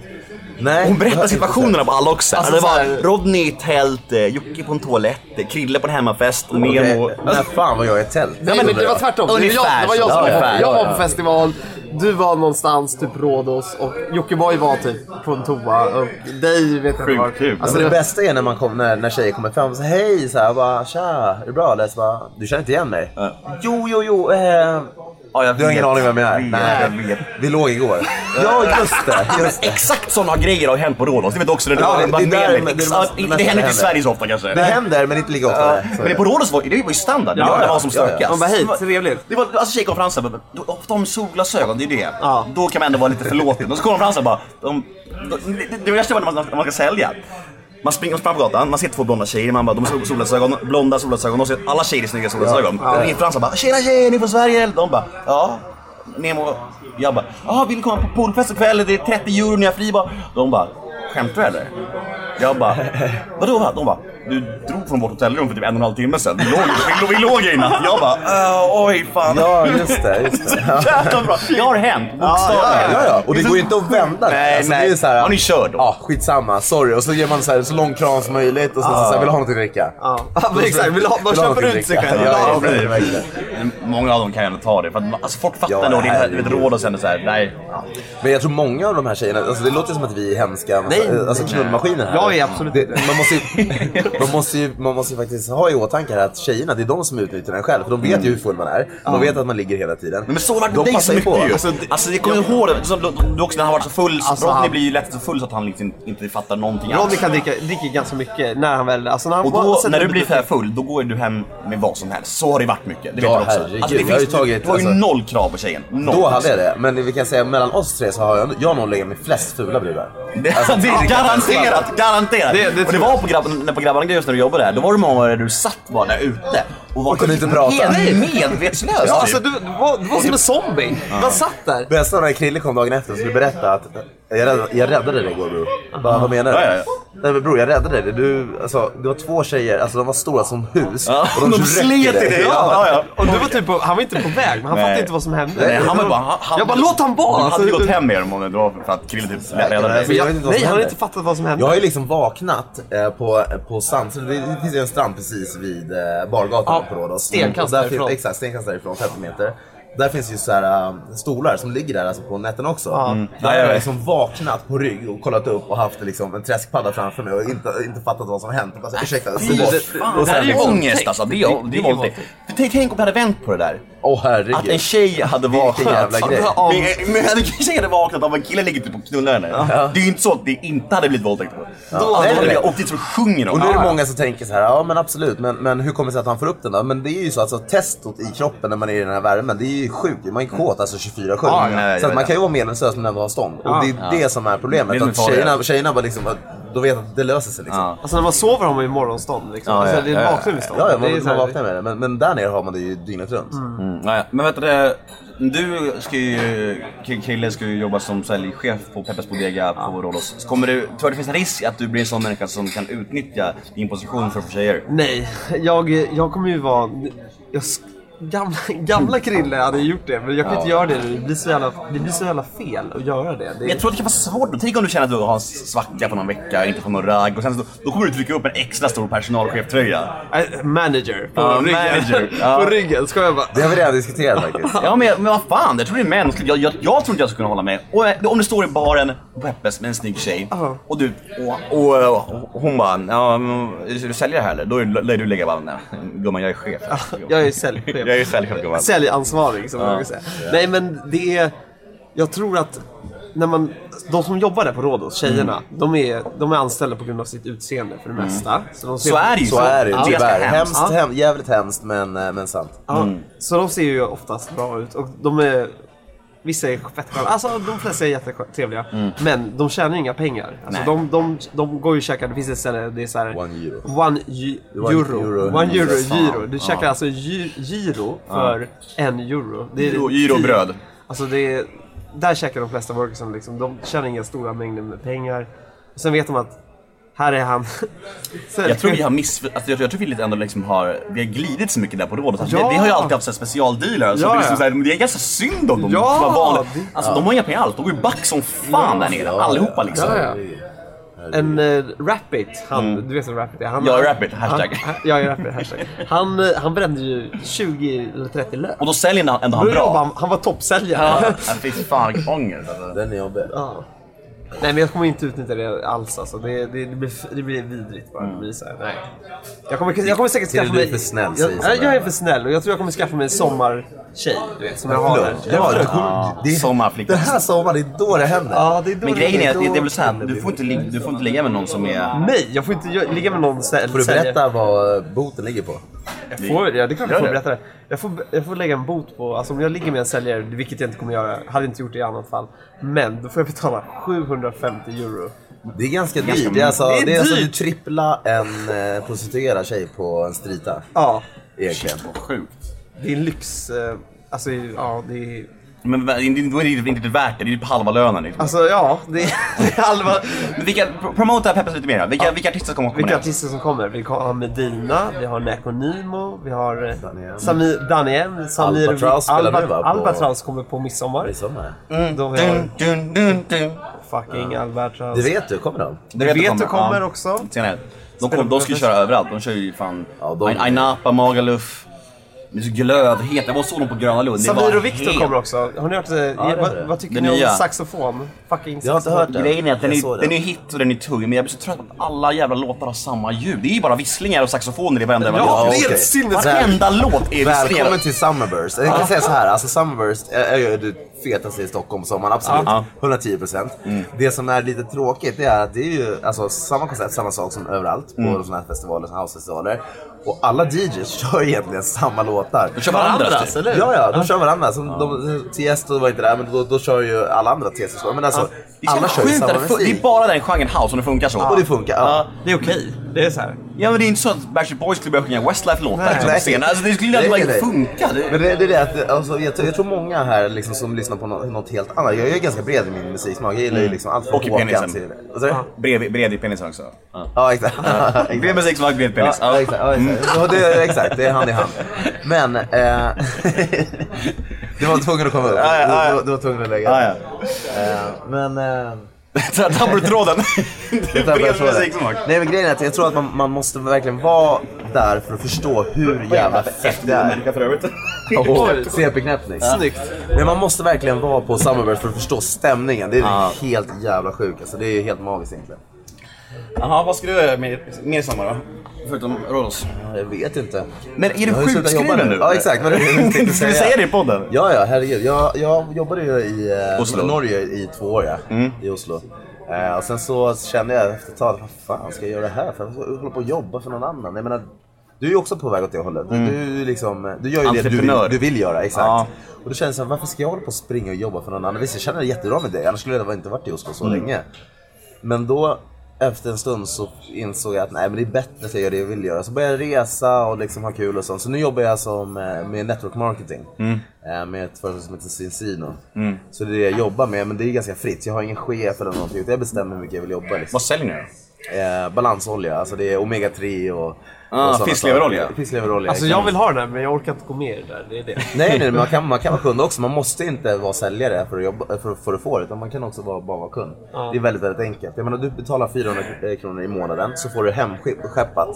[SPEAKER 2] Nej,
[SPEAKER 3] Hon
[SPEAKER 2] jag har
[SPEAKER 3] berättar
[SPEAKER 2] inte
[SPEAKER 3] situationerna
[SPEAKER 2] sett.
[SPEAKER 3] på alla också.
[SPEAKER 2] Alltså,
[SPEAKER 3] Alltså, det
[SPEAKER 2] så
[SPEAKER 3] var
[SPEAKER 2] här-
[SPEAKER 3] Rodney i tält, eh, Jocke på en toalett, eh, Krille på en hemmafest,
[SPEAKER 2] Okej,
[SPEAKER 3] Nemo...
[SPEAKER 2] När fan var jag i tält?
[SPEAKER 6] Nej, men det var tvärtom. Det var jag, det var jag som var
[SPEAKER 2] Ungefär,
[SPEAKER 6] på-
[SPEAKER 2] ja,
[SPEAKER 6] Jag
[SPEAKER 2] ja,
[SPEAKER 6] var
[SPEAKER 2] ja.
[SPEAKER 6] på festival, du var någonstans, typ Rhodos och Jockiboi var typ på en toa och dig vet jag inte var.
[SPEAKER 3] Sjukt kul.
[SPEAKER 6] Alltså,
[SPEAKER 2] det,
[SPEAKER 6] det var
[SPEAKER 2] bästa är när, man kom, när, när tjejer kommer fram och säger hej, så här, jag bara, tja, är det bra? Eller så bara, du känner inte igen mig? Jo, jo, jo. Eh,
[SPEAKER 3] Ja, jag
[SPEAKER 2] du har ingen aning vem jag är?
[SPEAKER 3] Nej. Jag vet.
[SPEAKER 2] Vi låg igår. ja, just det. Just det.
[SPEAKER 3] Exakt sådana grejer har hänt på Rhodos. Det vet du också. Det,
[SPEAKER 2] Ja,
[SPEAKER 3] det,
[SPEAKER 2] det-
[SPEAKER 3] var
[SPEAKER 2] det
[SPEAKER 3] med
[SPEAKER 2] där-
[SPEAKER 3] mig.
[SPEAKER 2] men det
[SPEAKER 3] Exakt.
[SPEAKER 2] måste-
[SPEAKER 3] det,
[SPEAKER 2] men det
[SPEAKER 3] händer inte i
[SPEAKER 2] händer.
[SPEAKER 3] Sverige så ofta kanske.
[SPEAKER 2] Det händer, men inte lika
[SPEAKER 3] Ja,
[SPEAKER 2] ofta. Så är
[SPEAKER 3] men
[SPEAKER 2] det.
[SPEAKER 3] på Rhodos var det var ju standard. Det var det var som
[SPEAKER 2] ja, ja.
[SPEAKER 3] stökigast.
[SPEAKER 4] De bara hit, trevligt.
[SPEAKER 3] Det var alltså tjejkonferensen, men då- ofta om solglasögon, det är det. Då kan man ändå vara lite förlåten. Och så kommer de fram så här bara, de, de, det- det värsta var när man, när man ska sälja. Man springer fram på gatan, man ser två blonda tjejer, man bara, de har sol- solglasögon, blonda solglasögon, de ser alla tjejer i snygga solglasögon. Ja. Ringer fram så här bara, tjena tjejer, ni är från Sverige? eller? De bara, ja. Nemo, jag bara, ah, vill du komma på poolfest ikväll? Det är 30 euro, ni har fri bara. De bara, skämtar du eller? Jag bara, vadå? Va? De bara, du drog från vårt hotellrum för typ en och en halv timme sedan. Vi låg, vi, låg- vi låg här innan. Jag bara, "Äh, oj fan.
[SPEAKER 2] Ja, just det. Just det. Ja,
[SPEAKER 3] Jävla bra. Det har hänt,
[SPEAKER 2] ja,
[SPEAKER 3] bokstavligen.
[SPEAKER 2] ja, ja. Och det går ju inte att vända. det.
[SPEAKER 3] Nej, nej.
[SPEAKER 2] Det är ju så här,
[SPEAKER 3] Ja, ni kör då.
[SPEAKER 2] Ja, skitsamma. Sorry. Och så ger man så, här, så lång kram som möjligt och sen så, så här, vill du ha något att dricka?
[SPEAKER 4] Ja.
[SPEAKER 6] Ja, men exakt, vill ha- man
[SPEAKER 2] Vill du ha
[SPEAKER 6] köper
[SPEAKER 2] något att
[SPEAKER 6] ut sig
[SPEAKER 2] dricka?
[SPEAKER 6] själv.
[SPEAKER 2] Ja,
[SPEAKER 6] Ja,
[SPEAKER 2] exakt,
[SPEAKER 3] precis.
[SPEAKER 2] verkligen.
[SPEAKER 3] Men Många av dem kan jag ändå ta det. För att, alltså, folk fattar
[SPEAKER 2] Ja,
[SPEAKER 3] ändå. Det är
[SPEAKER 2] herregud.
[SPEAKER 3] ett råd och sen är det så här, nej.
[SPEAKER 2] Men jag tror många av de här tjejerna, alltså det låter som att vi är hemska
[SPEAKER 4] Nej,
[SPEAKER 2] alltså
[SPEAKER 4] nej.
[SPEAKER 2] knullmaskiner här.
[SPEAKER 4] Jag är absolut
[SPEAKER 2] det,
[SPEAKER 4] inte det.
[SPEAKER 2] man, måste ju, man, måste ju, man måste ju faktiskt ha i åtanke här att tjejerna, det är de som utnyttjar den själv. För de vet ju hur full man är. De vet att man ligger hela tiden.
[SPEAKER 3] Men så var det
[SPEAKER 2] De
[SPEAKER 3] dig så
[SPEAKER 2] passar ju
[SPEAKER 3] mycket
[SPEAKER 2] på.
[SPEAKER 3] ju. Alltså, det, alltså, jag kommer ihåg det. Så, då, då också när han var så full.
[SPEAKER 6] Alltså,
[SPEAKER 3] Rodney
[SPEAKER 6] han-
[SPEAKER 3] blir ju lätt så full så att han liksom inte fattar någonting
[SPEAKER 4] Ronny
[SPEAKER 3] alls.
[SPEAKER 4] kan dricka, dricker ganska mycket när han väl... Alltså när han
[SPEAKER 3] Och
[SPEAKER 4] man
[SPEAKER 3] då,
[SPEAKER 4] sätter
[SPEAKER 3] när du
[SPEAKER 4] upp
[SPEAKER 3] blir
[SPEAKER 4] ett-
[SPEAKER 3] så här full, då går ju du hem med vad som helst. Så har det varit mycket. Det vet
[SPEAKER 2] Ja,
[SPEAKER 3] du också.
[SPEAKER 2] herregud.
[SPEAKER 3] Alltså, det,
[SPEAKER 2] Jag har ju
[SPEAKER 3] finns,
[SPEAKER 2] tagit-
[SPEAKER 3] det var ju
[SPEAKER 2] alltså-
[SPEAKER 3] noll krav på tjejen. Noll.
[SPEAKER 2] Då hade jag det. Men vi kan säga mellan oss tre så har jag, jag har nog legat med flest fula brudar.
[SPEAKER 3] Det, det är garanterat, garanterat!
[SPEAKER 4] Det- det
[SPEAKER 3] och det
[SPEAKER 4] tror
[SPEAKER 3] var på, grabb, när på Grabbarna Grus när du jobbade där, då var det många gånger du satt bara där ute och var typ
[SPEAKER 2] Och kunde inte prata.
[SPEAKER 3] helt medvetslös.
[SPEAKER 6] Ja,
[SPEAKER 4] alltså,
[SPEAKER 3] typ.
[SPEAKER 6] alltså, du, du, var, du var som en zombie. Man satt där.
[SPEAKER 2] Bästa var när Krille kom dagen efter och skulle berätta att Jag räddade, jag räddade dig igår bror. Bara, vad menar du?
[SPEAKER 3] Ja, ja,
[SPEAKER 2] Nej men bror jag räddade dig. Du, alltså, det var två tjejer, alltså de var stora som hus.
[SPEAKER 3] Ja, de slet i dig. Ja, ja.
[SPEAKER 4] Och du var typ på, han var inte på väg, men han
[SPEAKER 3] Nej.
[SPEAKER 4] fattade inte vad som hände.
[SPEAKER 3] Nej, han var bara... Han, han,
[SPEAKER 4] jag bara, låt han vara!
[SPEAKER 3] Han
[SPEAKER 4] Alltså,
[SPEAKER 3] hade gått hem med dem om det var för att Krille typ
[SPEAKER 2] nej,
[SPEAKER 3] räddade dig.
[SPEAKER 2] men jag vet
[SPEAKER 4] jag,
[SPEAKER 2] inte vad
[SPEAKER 4] nej,
[SPEAKER 2] som
[SPEAKER 4] han har
[SPEAKER 2] händer.
[SPEAKER 4] inte fattat vad som hände.
[SPEAKER 2] Jag har ju liksom vaknat eh, på, på strand, så det, det finns ju en strand precis vid eh, bargatan
[SPEAKER 4] Ja,
[SPEAKER 2] på Rhodos. Mm,
[SPEAKER 4] stenkast
[SPEAKER 2] Och där
[SPEAKER 4] därifrån.
[SPEAKER 2] Finns, exakt, stenkast därifrån, 50 meter. Där finns ju så här, eh, stolar som ligger där alltså på nätterna också. Där har
[SPEAKER 3] Ja, ja, ja.
[SPEAKER 2] jag liksom vaknat på rygg och kollat upp och haft liksom, en träskpadda framför mig och inte, inte fattat vad som hänt. Och bara, så här, ursäkta, så
[SPEAKER 3] Det,
[SPEAKER 2] bara-
[SPEAKER 3] det, här är ju ångest alltså. Det, är- det är våldtäkt. För Tänk, tänk om jag hade vänt på det där.
[SPEAKER 2] Åh herregud.
[SPEAKER 3] Att en tjej hade
[SPEAKER 2] Vilken
[SPEAKER 3] vaknat. Alltså,
[SPEAKER 2] jävla grej.
[SPEAKER 3] Av... Men hade en tjej hade vaknat av en kille ligger typ och knullar henne. Det är ju inte så att det inte hade blivit våldtäkt på. Då
[SPEAKER 2] Nej,
[SPEAKER 3] hade
[SPEAKER 2] nej.
[SPEAKER 3] jag åkt dit så sjunger de.
[SPEAKER 2] Och nu är det
[SPEAKER 3] Ja.
[SPEAKER 2] många som tänker så här, ja men absolut, men, men hur kommer det sig att han får upp den då? Men det är ju så, alltså testot i kroppen när man är i den här värmen, det är ju sjukt. Man är kåt alltså 24-7.
[SPEAKER 3] Ja, ja, ja,
[SPEAKER 2] så att
[SPEAKER 3] ja.
[SPEAKER 2] man kan ju vara meningslös men ändå ha stånd. Och det är det som är
[SPEAKER 3] Det är
[SPEAKER 2] problemet.
[SPEAKER 3] det
[SPEAKER 2] att
[SPEAKER 3] farliga.
[SPEAKER 2] tjejerna, tjejerna bara liksom, att- de vet att det löser sig liksom.
[SPEAKER 3] Ja.
[SPEAKER 2] Ja.
[SPEAKER 4] Alltså när man sover har man ju morgonstånd. Liksom.
[SPEAKER 3] Ja, ja,
[SPEAKER 4] alltså, det
[SPEAKER 3] ja,
[SPEAKER 4] är
[SPEAKER 3] ja.
[SPEAKER 4] vaknar med stånd.
[SPEAKER 2] Ja,
[SPEAKER 4] det är
[SPEAKER 2] man,
[SPEAKER 4] så
[SPEAKER 2] man
[SPEAKER 4] här-
[SPEAKER 2] vaknar med det. Men, men där nere har man det ju dygnet runt.
[SPEAKER 3] Mm, ja, ja. Men vet du, du ska ju, K- Krille ska ju jobba som säljchef på Peppes Bodega på Rhodos. Så Kommer du, tror du det finns en risk att du blir en sån människa som kan utnyttja din position för att få tjejer?
[SPEAKER 4] Nej, jag, jag kommer ju vara... Jag, sk- gamla, gamla Krille hade ju gjort det, men jag kan inte göra det nu. Det blir så jävla, det blir så jävla fel att göra det. det
[SPEAKER 3] Jag tror att det kan vara svårt. Tänk om du känner att du har en svacka på någon vecka, inte får någon ragg och sen så, då kommer du trycka upp en extra stor personalcheftröja.
[SPEAKER 4] Äh, manager på
[SPEAKER 3] Ja,
[SPEAKER 4] ryggen.
[SPEAKER 3] manager. Ja.
[SPEAKER 4] på ryggen, ska jag bara...
[SPEAKER 2] Det har vi redan diskuterat faktiskt.
[SPEAKER 3] Ja men, men vad fan, jag tror det är mänskligt. Jag, jag, jag tror inte jag skulle kunna hålla med. Och, eh, om du står i baren på Peppes med en snygg tjej
[SPEAKER 4] Ja.
[SPEAKER 3] och du och, och, eh, hon bara ja, men, ska du säljer det här eller? Då är- lär du lägga bara nej gumman jag är chef.
[SPEAKER 4] Jag är säljchef.
[SPEAKER 3] Jag är säljchef gumman.
[SPEAKER 4] Säljansvarig som man brukar säga. Nej men det är... Jag tror att när man, de som jobbar där på Rhodos, tjejerna,
[SPEAKER 3] Mm.
[SPEAKER 4] de, är, de är anställda på grund av sitt utseende för det mesta. Så, de ser-
[SPEAKER 3] Så är det ju.
[SPEAKER 2] Så är det ju,
[SPEAKER 3] ganska
[SPEAKER 2] tyvärr.
[SPEAKER 3] hemskt.
[SPEAKER 2] Hemskt,
[SPEAKER 4] Ja.
[SPEAKER 2] hem, jävligt hemskt men, eh, men sant.
[SPEAKER 4] Ja,
[SPEAKER 3] Mm.
[SPEAKER 4] Så de ser ju oftast bra ut och de är... Vissa är fett sköna. Alltså de flesta är jättetrevliga. Men de tjänar ju inga pengar. Alltså,
[SPEAKER 3] Mm. Nej.
[SPEAKER 4] de, de, de går ju och käkar, det finns ett ställe, det är såhär...
[SPEAKER 2] One euro.
[SPEAKER 4] One ju-
[SPEAKER 2] One
[SPEAKER 4] euro.
[SPEAKER 2] euro.
[SPEAKER 4] One euro,
[SPEAKER 3] Fan.
[SPEAKER 4] gyro. Du käkar alltså gy- gyro för en euro. Det
[SPEAKER 3] Gyro- gyro och bröd.
[SPEAKER 4] Alltså det är... Där käkar de flesta workersen liksom. De tjänar inga stora mängder med pengar. Sen vet de att här är han. Sen-
[SPEAKER 3] Jag tror vi har miss... Alltså, jag, tror- jag tror vi lite ändå liksom har... Vi har glidit så mycket där på rådet. Alltså,
[SPEAKER 4] Ja.
[SPEAKER 3] vi, vi har ju alltid haft så här specialdealer. Alltså,
[SPEAKER 4] Ja,
[SPEAKER 3] det, är liksom
[SPEAKER 4] ja.
[SPEAKER 3] så här, men det är ganska synd om dem.
[SPEAKER 4] Ja,
[SPEAKER 3] som var vanliga.
[SPEAKER 4] det-
[SPEAKER 3] Alltså de har inga pengar alls. De går ju back som fan där nere. Allihopa liksom.
[SPEAKER 4] Ja, ja. En uh, Rapid, han, du vet vad Rapid är? Han,
[SPEAKER 3] Jag är Mm. Rapid, hashtag.
[SPEAKER 4] Han, jag är Rapid, hashtag. Han, eh, han brände ju 20 eller 30 löp.
[SPEAKER 3] Och då säljer han- ändå han
[SPEAKER 4] Då var
[SPEAKER 3] bra.
[SPEAKER 4] Han, han var toppsäljare.
[SPEAKER 3] Ja, fy fan vilken ångest alltså.
[SPEAKER 2] Den är jobbig.
[SPEAKER 4] Ja. Nej men jag kommer inte utnyttja det alls alltså. det, det, det, blir, det blir vidrigt bara. Det
[SPEAKER 3] Mm.
[SPEAKER 4] blir så här, nej. Jag kommer, jag kommer säkert
[SPEAKER 2] Till
[SPEAKER 4] skaffa
[SPEAKER 2] du är
[SPEAKER 4] mig...
[SPEAKER 2] för snäll,
[SPEAKER 4] jag,
[SPEAKER 2] säger
[SPEAKER 4] jag,
[SPEAKER 2] så.
[SPEAKER 4] jag är för snäll och jag tror jag kommer skaffa mig en sommartjej. Du vet, som jag har där.
[SPEAKER 2] Ja, ja, det, det,
[SPEAKER 3] Sommarflicka.
[SPEAKER 2] Den här sommaren, det är då det händer.
[SPEAKER 4] Ja, det är då
[SPEAKER 3] Men
[SPEAKER 4] det-
[SPEAKER 3] grejen är att det, det är
[SPEAKER 4] då-
[SPEAKER 3] väl såhär, du, får inte ligga- du får inte ligga med någon som är...
[SPEAKER 4] Nej, jag får inte gö- ligga med någon snäll
[SPEAKER 2] Får du berätta vad boten ligger på?
[SPEAKER 4] Jag får, ja, det är klart jag
[SPEAKER 3] Gör
[SPEAKER 4] får
[SPEAKER 3] det.
[SPEAKER 4] berätta det. Jag får, jag får lägga en bot på, alltså om jag ligger med en säljare, vilket jag inte kommer göra, hade inte gjort det i annat fall. Men då får jag betala 750 euro.
[SPEAKER 2] Det är ganska dyrt. Det är, alltså, det är,
[SPEAKER 4] Det är
[SPEAKER 2] alltså du
[SPEAKER 4] dyrt.
[SPEAKER 2] trippla en eh, prostituerad tjej på en strita.
[SPEAKER 4] Ja,
[SPEAKER 2] Egentligen.
[SPEAKER 3] Sjukt.
[SPEAKER 4] det är en lyx... eh, Alltså, ja, det är...
[SPEAKER 3] Men va- det är- då är det inte värt det, det är typ halva lönen liksom.
[SPEAKER 4] Alltså, ja, det är, det är halva...
[SPEAKER 3] Men vilka, pr- promota Peppes lite mer då. Vilka, vilka artister kommer
[SPEAKER 4] Vilka
[SPEAKER 3] komma
[SPEAKER 4] artister som kommer? Vi har Medina, vi har Nekonimo, vi har eh, Sami, Daniel, Samir...
[SPEAKER 2] Albatross spelar nu, va, på- Mm.
[SPEAKER 4] Albatrommar kommer på midsommar.
[SPEAKER 2] Midsommar.
[SPEAKER 4] De har
[SPEAKER 3] Dun, dun, dun, dun.
[SPEAKER 4] fucking Albatross.
[SPEAKER 2] Det vet du, kommer de?
[SPEAKER 3] Det
[SPEAKER 4] vet du kommer
[SPEAKER 3] ja.
[SPEAKER 4] också.
[SPEAKER 3] Senare. De, kom, de ska ju köra överallt. De kör ju fan
[SPEAKER 2] Ja, de-
[SPEAKER 3] Ain- Ainapa, Magaluf. Det är så glödhet. Jag var och såg dem på Gröna Lund. Det
[SPEAKER 4] Samir
[SPEAKER 3] var
[SPEAKER 4] och Viktor
[SPEAKER 3] helt-
[SPEAKER 4] kommer också. Har ni hört eh,
[SPEAKER 2] det är det.
[SPEAKER 4] vad, vad tycker
[SPEAKER 3] Den
[SPEAKER 4] ni om
[SPEAKER 3] nya.
[SPEAKER 4] saxofon? Fucking
[SPEAKER 2] Jag har inte
[SPEAKER 4] saxofon.
[SPEAKER 2] hört den.
[SPEAKER 3] Grejen är att den
[SPEAKER 2] Jag
[SPEAKER 3] är,
[SPEAKER 2] såg
[SPEAKER 3] den är hit och den är tung, men jag blir så trött på att alla jävla låtar har samma ljud. Det är ju bara visslingar och saxofoner i varenda jävla
[SPEAKER 4] Ja,
[SPEAKER 3] låt.
[SPEAKER 4] det är
[SPEAKER 2] okej.
[SPEAKER 4] ett sinnes...
[SPEAKER 3] Varenda låt är
[SPEAKER 2] Välkommen
[SPEAKER 3] visslingar.
[SPEAKER 2] till Summerburst. Jag kan säga så här, alltså Summerburst är är ju det fetaste i Stockholm sommaren, absolut.
[SPEAKER 3] Ja.
[SPEAKER 2] 110 procent. Det som är lite tråkigt det är att det är ju alltså, samma koncept, samma sak som överallt på sådana här festivaler, såna här housefestivaler. Och alla DJs kör egentligen samma låtar.
[SPEAKER 3] De kör varandras,
[SPEAKER 4] Varandras,
[SPEAKER 3] typ.
[SPEAKER 4] eller?
[SPEAKER 2] Ja, ja, de kör varandra. Som de, Tiesto var inte där, men då, då kör ju alla andra Tiesto. Men alltså,
[SPEAKER 3] Det är så
[SPEAKER 2] alla
[SPEAKER 3] jävla
[SPEAKER 2] kör ju
[SPEAKER 3] sjukt att
[SPEAKER 2] samma
[SPEAKER 3] det fun- Det
[SPEAKER 2] musik.
[SPEAKER 3] är bara den genren house som det funkar så.
[SPEAKER 2] Och det funkar. Ja.
[SPEAKER 4] Det är okej. Det är så här.
[SPEAKER 3] Ja men det är inte så att Backstreet Boys skulle börja sjunga Westlife-låtar liksom, på
[SPEAKER 2] nej.
[SPEAKER 3] scenen. Alltså det skulle aldrig
[SPEAKER 2] Nej,
[SPEAKER 3] bara
[SPEAKER 2] nej.
[SPEAKER 3] funka. Det...
[SPEAKER 2] Men det, det är det att, alltså, jag, tror- jag tror många här liksom, som lyssnar på något, något helt annat. Jag är ganska bred i min musiksmak. Jag gillar ju liksom allt från
[SPEAKER 3] Och i
[SPEAKER 2] Håkan
[SPEAKER 3] penisen.
[SPEAKER 2] till... Vad sa du?
[SPEAKER 3] Bred, bred i penisen också. Ja.
[SPEAKER 2] Ja, exakt. Exakt.
[SPEAKER 3] Bred musik som har bred
[SPEAKER 2] Ja,
[SPEAKER 3] penis.
[SPEAKER 2] ja, exakt. Ja, exakt. Ja, det, är- exakt, det är hand i hand. Men... Eh, du var tvungen att komma upp.
[SPEAKER 3] Ja, ja, ja.
[SPEAKER 2] Du, du, du var tvungen att lägga
[SPEAKER 3] Ah, ja.
[SPEAKER 2] Eh, Men... Eh,
[SPEAKER 3] Så här Tappar du tråden? Det är
[SPEAKER 2] Utan bara
[SPEAKER 3] bred
[SPEAKER 2] så där.
[SPEAKER 3] musiksmak.
[SPEAKER 2] Nej men grejen är att jag tror att man, man måste verkligen vara där för att förstå hur jävla fett det är.
[SPEAKER 3] för övrigt.
[SPEAKER 2] Och CP-knäppning. Snyggt. Men man måste verkligen vara på Summerburst för att förstå stämningen. Det är
[SPEAKER 3] Ja.
[SPEAKER 2] helt jävla sjukt alltså. Det är helt magiskt egentligen.
[SPEAKER 3] Jaha, vad ska du göra mer mer i sommar då? Förutom Rhodos.
[SPEAKER 2] Ja, Jag vet inte.
[SPEAKER 3] Men är du
[SPEAKER 2] Jag har ju slutat jobba
[SPEAKER 3] sjukskriven nu?
[SPEAKER 2] Ja exakt. Men det är det jag
[SPEAKER 3] Ska
[SPEAKER 2] tänkte
[SPEAKER 3] du säga det i podden?
[SPEAKER 2] Ja, ja, herregud. Jag, jag jobbade ju i eh,
[SPEAKER 3] Oslo. Mm.
[SPEAKER 2] Norge i två år, ja. I Oslo. Eh, och sen så kände jag efter ett tag, vad fan ska jag göra det här för? Jag ska hålla på och jobba för någon annan. Jag menar, du är ju också på väg åt det hållet. Du- Du, är liksom, du gör ju det du vill,
[SPEAKER 3] Mm. Entreprenör.
[SPEAKER 2] du vill göra, exakt.
[SPEAKER 3] Ja.
[SPEAKER 2] Och då kände jag så här, varför ska jag hålla på och springa och jobba för någon annan? Visst, jag känner det jättebra med det. Annars skulle jag inte varit i Oslo
[SPEAKER 3] Mm.
[SPEAKER 2] så länge. Men då efter en stund så insåg jag att nej men det är bättre att jag gör det jag vill göra. Så började jag resa och liksom ha kul och sånt. Så nu jobbar jag som, eh, med network marketing. Eh, Med ett företag som heter Cincino. Så det är det jag jobbar med men det är ganska fritt. Jag har ingen chef eller någonting. Utan jag bestämmer hur mycket jag vill jobba. Liksom.
[SPEAKER 3] Vad säljer ni då?
[SPEAKER 2] Eh, balansolja, alltså det är omega 3 och,
[SPEAKER 3] Ah,
[SPEAKER 2] och såna
[SPEAKER 3] fiskleverolja.
[SPEAKER 2] saker. Fiskleverolja.
[SPEAKER 4] Alltså
[SPEAKER 2] exakt.
[SPEAKER 4] jag vill ha den här men jag orkar inte gå med i det där. Det är det.
[SPEAKER 2] Nej, nej man, kan, man kan vara kund också. Man måste inte vara säljare för att, jobba, för, för att få det. Utan man kan också vara, bara vara kund. Det är väldigt, väldigt enkelt. Jag menar, du betalar 400 kr- eh, kronor i månaden så får du hemskeppat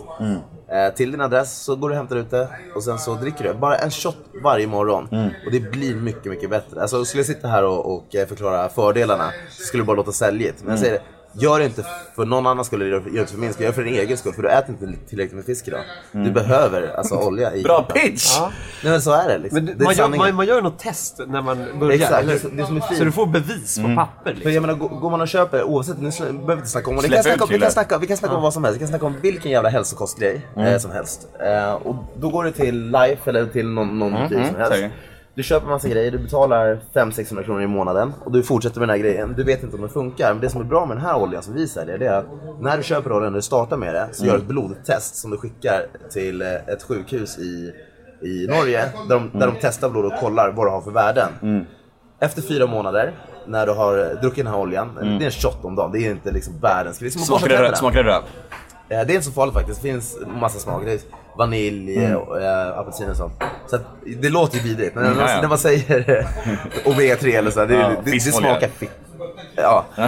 [SPEAKER 2] eh, till din adress. Så går du och hämtar ut det och sen så dricker du. Bara en shot varje morgon och det blir mycket, mycket bättre. Alltså, skulle jag sitta här och, och eh, förklara fördelarna så skulle det bara låta säljigt. Men jag säger det. Gör det inte för någon annan skull, eller gör det inte för min skull. Gör det för din egen skull, för du äter inte tillräckligt med fisk idag. Du behöver alltså olja i
[SPEAKER 3] Bra
[SPEAKER 2] kroppen.
[SPEAKER 3] pitch!
[SPEAKER 2] Nej men så är det liksom.
[SPEAKER 4] Men du-
[SPEAKER 2] det är
[SPEAKER 4] man, gör,
[SPEAKER 2] sanningen.
[SPEAKER 4] man, man gör något test när man börjar.
[SPEAKER 2] Exakt, det är
[SPEAKER 4] eller hur?
[SPEAKER 2] så- det är som Mm. är fint.
[SPEAKER 4] Så du får bevis på papper.
[SPEAKER 2] För
[SPEAKER 4] Liksom.
[SPEAKER 2] jag menar, går går man och köper, oavsett, nu sl- behöver vi inte snacka om det. Vi
[SPEAKER 3] Släpp
[SPEAKER 2] kan
[SPEAKER 3] ut
[SPEAKER 2] snacka, om- vi
[SPEAKER 3] killar.
[SPEAKER 2] kan snacka, vi kan snacka om vad som helst. Vi kan snacka om vilken jävla hälsokostgrej eh, som helst. Eh, och då går du till Life eller till någon, någon
[SPEAKER 3] Mm,
[SPEAKER 2] butik som helst.
[SPEAKER 3] säkert.
[SPEAKER 2] Du köper massa grejer, du betalar 500-600 kronor i månaden och du fortsätter med den här grejen. Du vet inte om den funkar, men det som är bra med den här oljan som vi säljer det är att när du köper oljan och du startar med det så gör du ett blodtest som du skickar till eh, ett sjukhus i, i Norge där de, där de testar blod och kollar vad det har för värden. Efter fyra månader när du har eh, druckit den här oljan, det är en shot om dagen, det är inte liksom världens grej. Det är som att borsta
[SPEAKER 3] Mm. Smakar det röv?
[SPEAKER 2] tänderna.
[SPEAKER 3] Smakar det röv?
[SPEAKER 2] Eh, Det är inte så farligt faktiskt. Det finns massa smaker. Det är vanilj,
[SPEAKER 3] Mm.
[SPEAKER 2] och, eh, apelsin och sånt. Så att, det låter ju vidrigt. Men när,
[SPEAKER 3] Mm, ja, ja.
[SPEAKER 2] man, när man säger eh, omega 3 eller så, här, det,
[SPEAKER 3] Ja,
[SPEAKER 2] det, det, det
[SPEAKER 3] fiskfolja.
[SPEAKER 2] smakar fitt. Ja. Eh,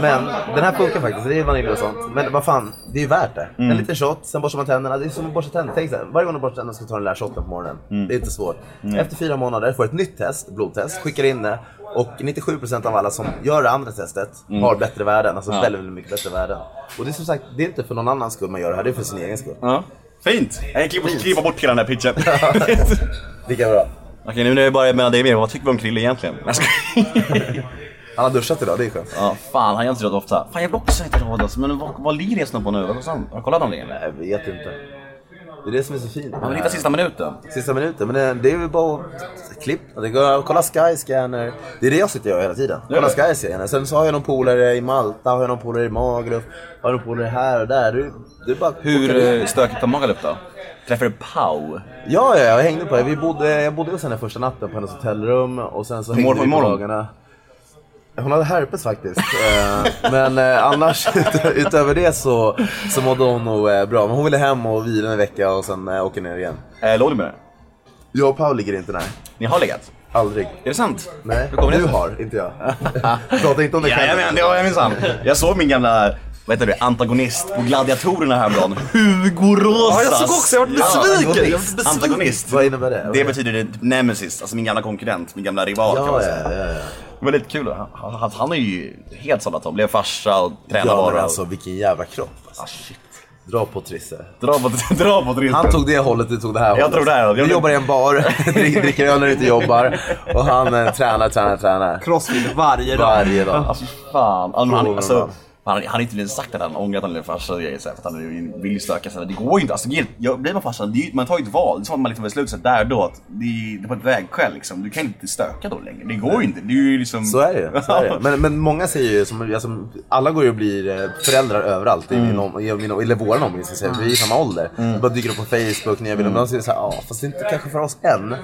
[SPEAKER 2] Men den här funkar faktiskt. Det är vanilj och sånt. Men vad fan, det är ju värt det. En liten shot, sen borstar man tänderna. Det är som att borsta tänderna. Tänk så här, varje gång du borstar tänderna ska du ta den där shotten på morgonen. Det är inte svårt. Efter fyra månader får du ett nytt test, blodtest, skickar in det. Och 97% av alla som gör det andra testet har bättre värden. Alltså väldigt, väldigt mycket bättre värden. Och det är som sagt, det är inte för någon annans skull man gör det här. Det är för sin egen skull.
[SPEAKER 3] Ja. Fint! Jag klipper, klipper bort hela den här pitchen.
[SPEAKER 2] Lika bra.
[SPEAKER 3] Okej, nu är det bara mellan dig och mig. Vad tycker vi om Krille egentligen? Jag skojar.
[SPEAKER 2] Han har duschat idag, det är skönt.
[SPEAKER 3] Ja, fan, han gör inte så ofta. Fan, jag vill också inte råd alltså. Men vad, vad ligger resan på nu? Vad kostar han? Har du kollat någonting eller?
[SPEAKER 2] Jag vet inte. Det är det som är så fint.
[SPEAKER 3] Han vill hitta sista minuten.
[SPEAKER 2] Sista minuten, men det, det är väl bara att klippa. Det går, kolla Skyscanner. Det är det jag sitter och gör hela tiden. Kolla Skyscanner. Sen så har jag någon polare i Malta, har jag någon polare i Magaluf, har jag någon polare här och där. Du, du bara
[SPEAKER 3] Hur
[SPEAKER 2] åker
[SPEAKER 3] eh, stökigt var Magaluf då? Träffade du Pau?
[SPEAKER 2] Ja, ja, jag hängde på det. Vi bodde, jag bodde hos henne första natten på hennes hotellrum och sen så hängde
[SPEAKER 3] mår
[SPEAKER 2] vi
[SPEAKER 3] hon
[SPEAKER 2] på
[SPEAKER 3] imorgon?
[SPEAKER 2] dagarna. Hon hade herpes faktiskt. Eh, men eh, annars, ut- utöver det så, så mådde hon nog eh, bra. Men hon ville hem och vila en vecka och sen eh, åka ner igen.
[SPEAKER 3] Eh, låg du med det?
[SPEAKER 2] Jag och Paul ligger inte nej.
[SPEAKER 3] Ni har legat?
[SPEAKER 2] Aldrig.
[SPEAKER 3] Är det sant?
[SPEAKER 2] Nej,
[SPEAKER 3] Hur kommer det
[SPEAKER 2] du
[SPEAKER 3] sig?
[SPEAKER 2] har, inte jag. Prata inte om dig själv.
[SPEAKER 3] Jajamän, det har jag minsann. Jag såg min gamla vad heter det, antagonist på Gladiatorerna häromdagen. Hugo Rosas.
[SPEAKER 4] Ja, jag såg också, jag vart
[SPEAKER 3] Ja, antagonist.
[SPEAKER 4] besviken. Jag vart besviken.
[SPEAKER 3] Antagonist.
[SPEAKER 2] Vad innebär det?
[SPEAKER 3] Det betyder det typ nemesis, alltså min gamla konkurrent, min gamla rival kan man
[SPEAKER 2] ja,
[SPEAKER 3] säga.
[SPEAKER 2] ja, ja, ja.
[SPEAKER 3] Det var lite kul. Han, han, han är ju helt sållad om. Blev farsa och tränade
[SPEAKER 2] ja,
[SPEAKER 3] bara.
[SPEAKER 2] men alltså vilken jävla kropp. Alltså.
[SPEAKER 3] Ah, shit.
[SPEAKER 2] Dra på Trisse.
[SPEAKER 3] Dra på, dra på drillen.
[SPEAKER 2] Han tog det hållet, du tog det här hållet.
[SPEAKER 3] tror det här.
[SPEAKER 2] Du jobbar i en bar, drick- dricker öl när du inte jobbar och han eh, tränar, tränar, tränar.
[SPEAKER 4] Crossfit varje dag.
[SPEAKER 2] Varje dag.
[SPEAKER 3] Alltså fan. Alltså, han,
[SPEAKER 2] Frågar
[SPEAKER 3] alltså,
[SPEAKER 2] man.
[SPEAKER 3] Han hade- han hade inte ens sagt att han ångrat att han blev farsa och grejer, så här, för att han ju vill ju stöka sig. Det går ju inte. Alltså, Gil- jag- blir man farsa, det är ju- man tar ju ett val. Det är som att man liksom beslutar sig där då att det är, det är på ett vägskäl liksom. Du kan inte stöka då längre. Det går ju inte. Det är ju liksom...
[SPEAKER 2] Så är det ju. så är det ju. Men, men många säger ju, som, alltså, alla går ju och blir eh, föräldrar överallt i,
[SPEAKER 3] Mm.
[SPEAKER 2] min om, i min, eller vår omgivning, ska jag säga. vi är i samma ålder. Det bara dyker upp på Facebook, nya bilder. Mm. De säger såhär, ja fast det är inte kanske för oss än.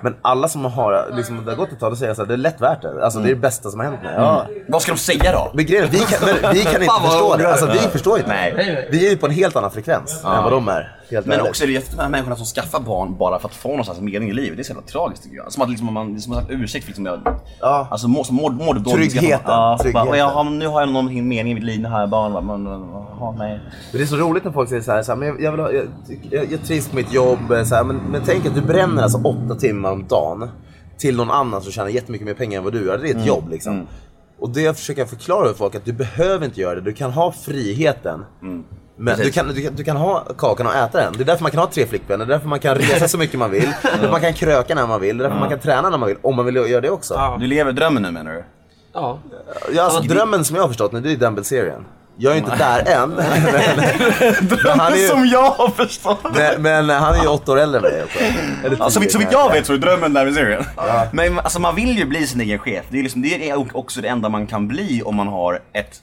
[SPEAKER 2] Men alla som har, liksom, det har gått ett tag, då säger såhär, det är lätt värt det. Alltså det
[SPEAKER 3] Mm.
[SPEAKER 2] är det bästa som har hänt mig. Ja.
[SPEAKER 3] Vad ska de säga då?
[SPEAKER 2] Men grejen är, vi kan, men, vi kan inte förstå det. Alltså vi förstår inte.
[SPEAKER 3] Nej.
[SPEAKER 2] Vi är ju på en helt annan frekvens än vad de är. Helt
[SPEAKER 3] Men
[SPEAKER 2] ärligt.
[SPEAKER 3] också är det ju efter de här människorna som skaffar barn bara för att få någon slags mening i livet. Det är så jävla tragiskt tycker jag. Som att liksom, man, som en ursäkt för liksom, jag,
[SPEAKER 2] Ja.
[SPEAKER 3] alltså mår, som mår, mår du dåligt.
[SPEAKER 2] Tryggheten,
[SPEAKER 3] skaffa- Ja,
[SPEAKER 2] tryggheten.
[SPEAKER 3] Bara, och jag, har- nu har jag någon mening i mitt liv, nu har jag barn. Bara, men, men, jaha, nej.
[SPEAKER 2] Men Det är så roligt när folk säger så här, så här men jag, jag, vill ha, jag, jag, jag trivs på mitt jobb. eh, Så här, men, men tänk att du bränner alltså åtta timmar om dagen till någon annan som tjänar jättemycket mer pengar än vad du gör. Det är ett jobb liksom. Och det försöker jag förklara för folk att du behöver inte göra det. Du kan ha friheten. Men du
[SPEAKER 3] Precis.
[SPEAKER 2] kan, du, kan, du kan ha kakan och äta den. Det är därför man kan ha tre flickvänner, det är därför man kan resa så mycket man vill. Det är därför man kan kröka när man vill, det är därför man kan träna när man vill. Om man vill göra det också.
[SPEAKER 4] Ja.
[SPEAKER 3] Du lever drömmen nu menar du?
[SPEAKER 4] Ja.
[SPEAKER 2] Ja, alltså, drömmen som jag har förstått nu, det är Dumble-serien. Jag är ju inte där än. men, men han är ju,
[SPEAKER 3] jag har förstått!
[SPEAKER 2] men, men han är ju åtta år äldre än mig alltså. också. Eller
[SPEAKER 3] Ja,
[SPEAKER 2] tio
[SPEAKER 3] Alltså, så vitt, så vitt jag
[SPEAKER 2] kanske.
[SPEAKER 3] vet så är drömmen där vid serien. Men alltså, man vill ju bli sin egen chef. Det är, liksom, det är också det enda man kan bli om man har ett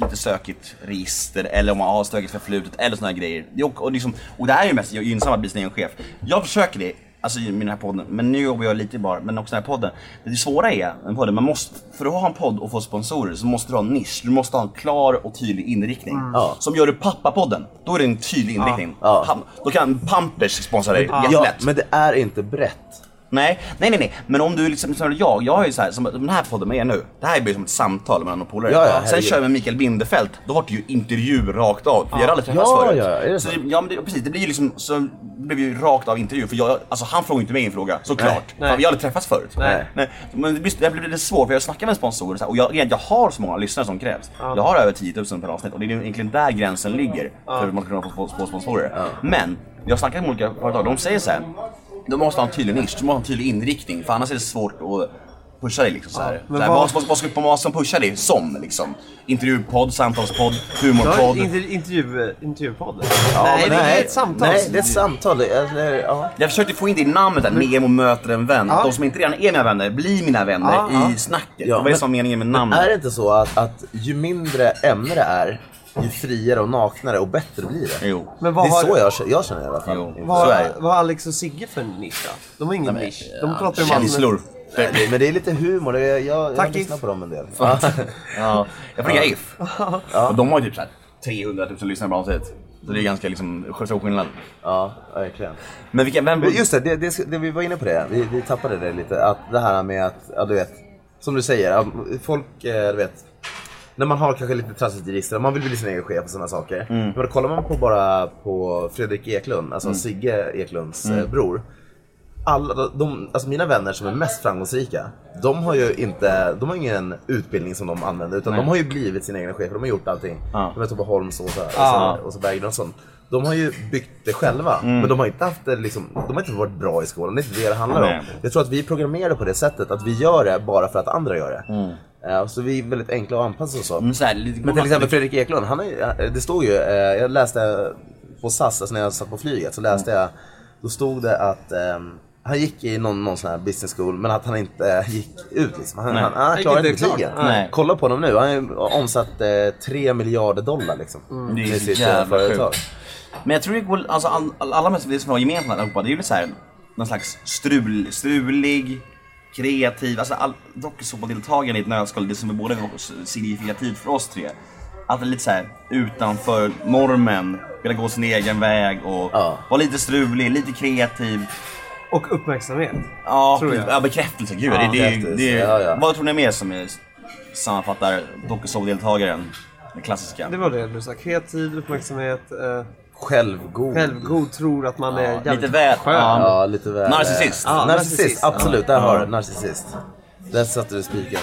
[SPEAKER 3] lite stökigt register eller om man har stökigt förflutet eller såna här grejer. Det är, och, och, liksom, och det här är ju mest gynnsamt att bli sin egen chef. Jag försöker det. Alltså i den här podden, men nu jobbar jag lite bara, men också den här podden. Det svåra är, en podden, man måste, för att ha en podd och få sponsorer så måste du ha en nisch, du måste ha en klar och tydlig inriktning.
[SPEAKER 2] Ja.
[SPEAKER 3] Som gör du pappapodden, då är det en tydlig inriktning.
[SPEAKER 2] Mm. Ja.
[SPEAKER 3] Ham- Då kan Pampers sponsra dig,
[SPEAKER 2] Ja,
[SPEAKER 3] jättelätt.
[SPEAKER 2] men det är inte brett.
[SPEAKER 3] Nej, nej, nej, nej. Men om du liksom, som jag, jag är ju så här, som den här podden med er nu. Det här blir som ett samtal mellan några polare.
[SPEAKER 2] Ja, ja,
[SPEAKER 3] Sen
[SPEAKER 2] herregud.
[SPEAKER 3] kör jag med Mikael Bindefeldt, då har du ju intervju rakt av. Vi har aldrig träffats
[SPEAKER 2] Ja,
[SPEAKER 3] förut.
[SPEAKER 2] ja, är det
[SPEAKER 3] så
[SPEAKER 2] så?
[SPEAKER 3] det, ja, men det, precis. Det blir ju liksom, så det blev ju rakt av intervju. För jag, alltså han frågar ju inte mig en fråga, såklart.
[SPEAKER 4] Nej.
[SPEAKER 3] Fan, vi har aldrig träffats förut.
[SPEAKER 4] Nej.
[SPEAKER 3] Men det blir, det blir lite svårt, för jag snackar med sponsorer och så här, och jag, jag har så många lyssnare som krävs. Jag har över 10 000 per avsnitt och det är ju egentligen där gränsen ligger. För hur man ska kunna få- få, få sponsorer. Men, jag snackar med olika företag, de säger så här. Du måste ha en tydlig nisch, du måste ha en tydlig inriktning för annars är det svårt att pusha dig liksom så här.
[SPEAKER 4] men
[SPEAKER 3] så här
[SPEAKER 4] vad-
[SPEAKER 3] vad, vad, vad ska vad som pushar dig som liksom? Intervjupodd, samtalspodd, humorpodd.
[SPEAKER 4] Intervju, intervju, intervjupodd.
[SPEAKER 2] Ja,
[SPEAKER 4] nej,
[SPEAKER 2] men
[SPEAKER 4] det är ett samtal.
[SPEAKER 2] Nej, det är ett samtal. Det är- Eller, ja.
[SPEAKER 3] Jag försökte få in det i namnet där, Nemo möter en vän.
[SPEAKER 4] Ja.
[SPEAKER 3] Att de som inte redan är mina vänner blir mina vänner
[SPEAKER 4] Ja,
[SPEAKER 3] i
[SPEAKER 4] ja.
[SPEAKER 3] snacket.
[SPEAKER 2] Ja,
[SPEAKER 3] det var det
[SPEAKER 2] men-
[SPEAKER 3] som var meningen med
[SPEAKER 2] Men
[SPEAKER 3] namnet.
[SPEAKER 2] är det inte så att, att ju mindre ämne det är, ju friare och naknare och bättre blir det?
[SPEAKER 3] Jo.
[SPEAKER 4] Men
[SPEAKER 2] Det
[SPEAKER 4] vad
[SPEAKER 2] är
[SPEAKER 4] har,
[SPEAKER 2] så jag, jag känner i alla fall.
[SPEAKER 3] Jo.
[SPEAKER 4] vad,
[SPEAKER 3] så är det.
[SPEAKER 4] vad har Alex och Sigge för nisch då? De har ingen nisch. De pratar ju om
[SPEAKER 3] Känslor.
[SPEAKER 2] Nej, Men det är lite humor. Det är, jag jag
[SPEAKER 4] Tack,
[SPEAKER 2] lyssnar
[SPEAKER 4] If.
[SPEAKER 2] på dem en del.
[SPEAKER 3] Ja. Jag får ringa If. Och de har ju typ så här 300 000 lyssnare på avsnittet. Så det är ganska liksom stor skillnad.
[SPEAKER 2] Ja, verkligen.
[SPEAKER 3] Men vilka, vem...
[SPEAKER 2] Men Just det, det, det, det, vi var inne på det. Vi, vi tappade det lite. Att det här med att, ja, du vet. Som du säger, ja, folk, eh, du vet. När man har kanske lite trassligt register, man vill bli sin egen chef och sådana saker. Men då kollar man på bara på Fredrik Eklund, alltså Sigge Eklunds eh, bror. Alla, de, alltså mina vänner som är mest framgångsrika, de har ju inte, de har ingen utbildning som de använder utan de har ju blivit sina egna chefer, de har gjort allting.
[SPEAKER 3] Ja.
[SPEAKER 2] De vet Tobbe Holms och så här, och,
[SPEAKER 4] Ja.
[SPEAKER 2] så, och så Berggren och sånt. De har ju byggt det själva,
[SPEAKER 3] Mm.
[SPEAKER 2] men de har inte haft det liksom, de har inte varit bra i skolan, det är inte det det handlar om.
[SPEAKER 3] Nej.
[SPEAKER 2] Jag tror att vi är programmerade på det sättet, att vi gör det bara för att andra gör det.
[SPEAKER 3] Mm.
[SPEAKER 2] Eh, så vi är väldigt enkla att anpassa oss så.
[SPEAKER 3] Men Mm, så här, lite-
[SPEAKER 2] Men till exempel Fredrik Eklund, han är, det stod ju, eh, jag läste på SAS, alltså när jag satt på flyget så läste jag, då stod det att ehm, han gick i någon, någon sån här business school men att han inte eh, gick ut liksom. Han, han, han
[SPEAKER 4] gick
[SPEAKER 2] klarade
[SPEAKER 4] inte
[SPEAKER 2] inte
[SPEAKER 4] klart.
[SPEAKER 2] betygen.
[SPEAKER 3] Nej.
[SPEAKER 2] Kolla på honom nu, han har ju omsatt eh, 3 miljarder dollar liksom. Mm.
[SPEAKER 3] Det är så jävla
[SPEAKER 2] sjukt.
[SPEAKER 3] sjukt. Men jag tror det går, alltså all, all, alla människor som har gemensamt allihopa, det är ju så här, någon slags strul, strulig, kreativ, alltså all, dokusåpadeltagande i ett nötskal, det som är både signifikativt för oss tre. Att det är lite så här utanför normen, vilja gå sin egen väg och
[SPEAKER 2] Ja.
[SPEAKER 3] vara lite strulig, lite kreativ.
[SPEAKER 4] Och uppmärksamhet.
[SPEAKER 3] Ja,
[SPEAKER 4] Tror
[SPEAKER 3] precis.
[SPEAKER 4] jag.
[SPEAKER 3] ja bekräftelse. Gud, det, det, är ju-
[SPEAKER 2] bekräftelse.
[SPEAKER 3] det, är ju-
[SPEAKER 2] Ja, ja.
[SPEAKER 3] Vad tror ni är mer som är, sammanfattar dokusåpadeltagaren? Den klassiska.
[SPEAKER 4] Det var det du sa. Kreativ, uppmärksamhet, eh,
[SPEAKER 2] Självgod.
[SPEAKER 4] självgod, tror att man är jävligt
[SPEAKER 3] lite väl.
[SPEAKER 4] skön.
[SPEAKER 3] Ja.
[SPEAKER 2] Ja, lite väl.
[SPEAKER 3] Narcissist.
[SPEAKER 2] Ja, narcissist.
[SPEAKER 4] narcissist.
[SPEAKER 2] Absolut, där har du narcissist. Där satte du spiken.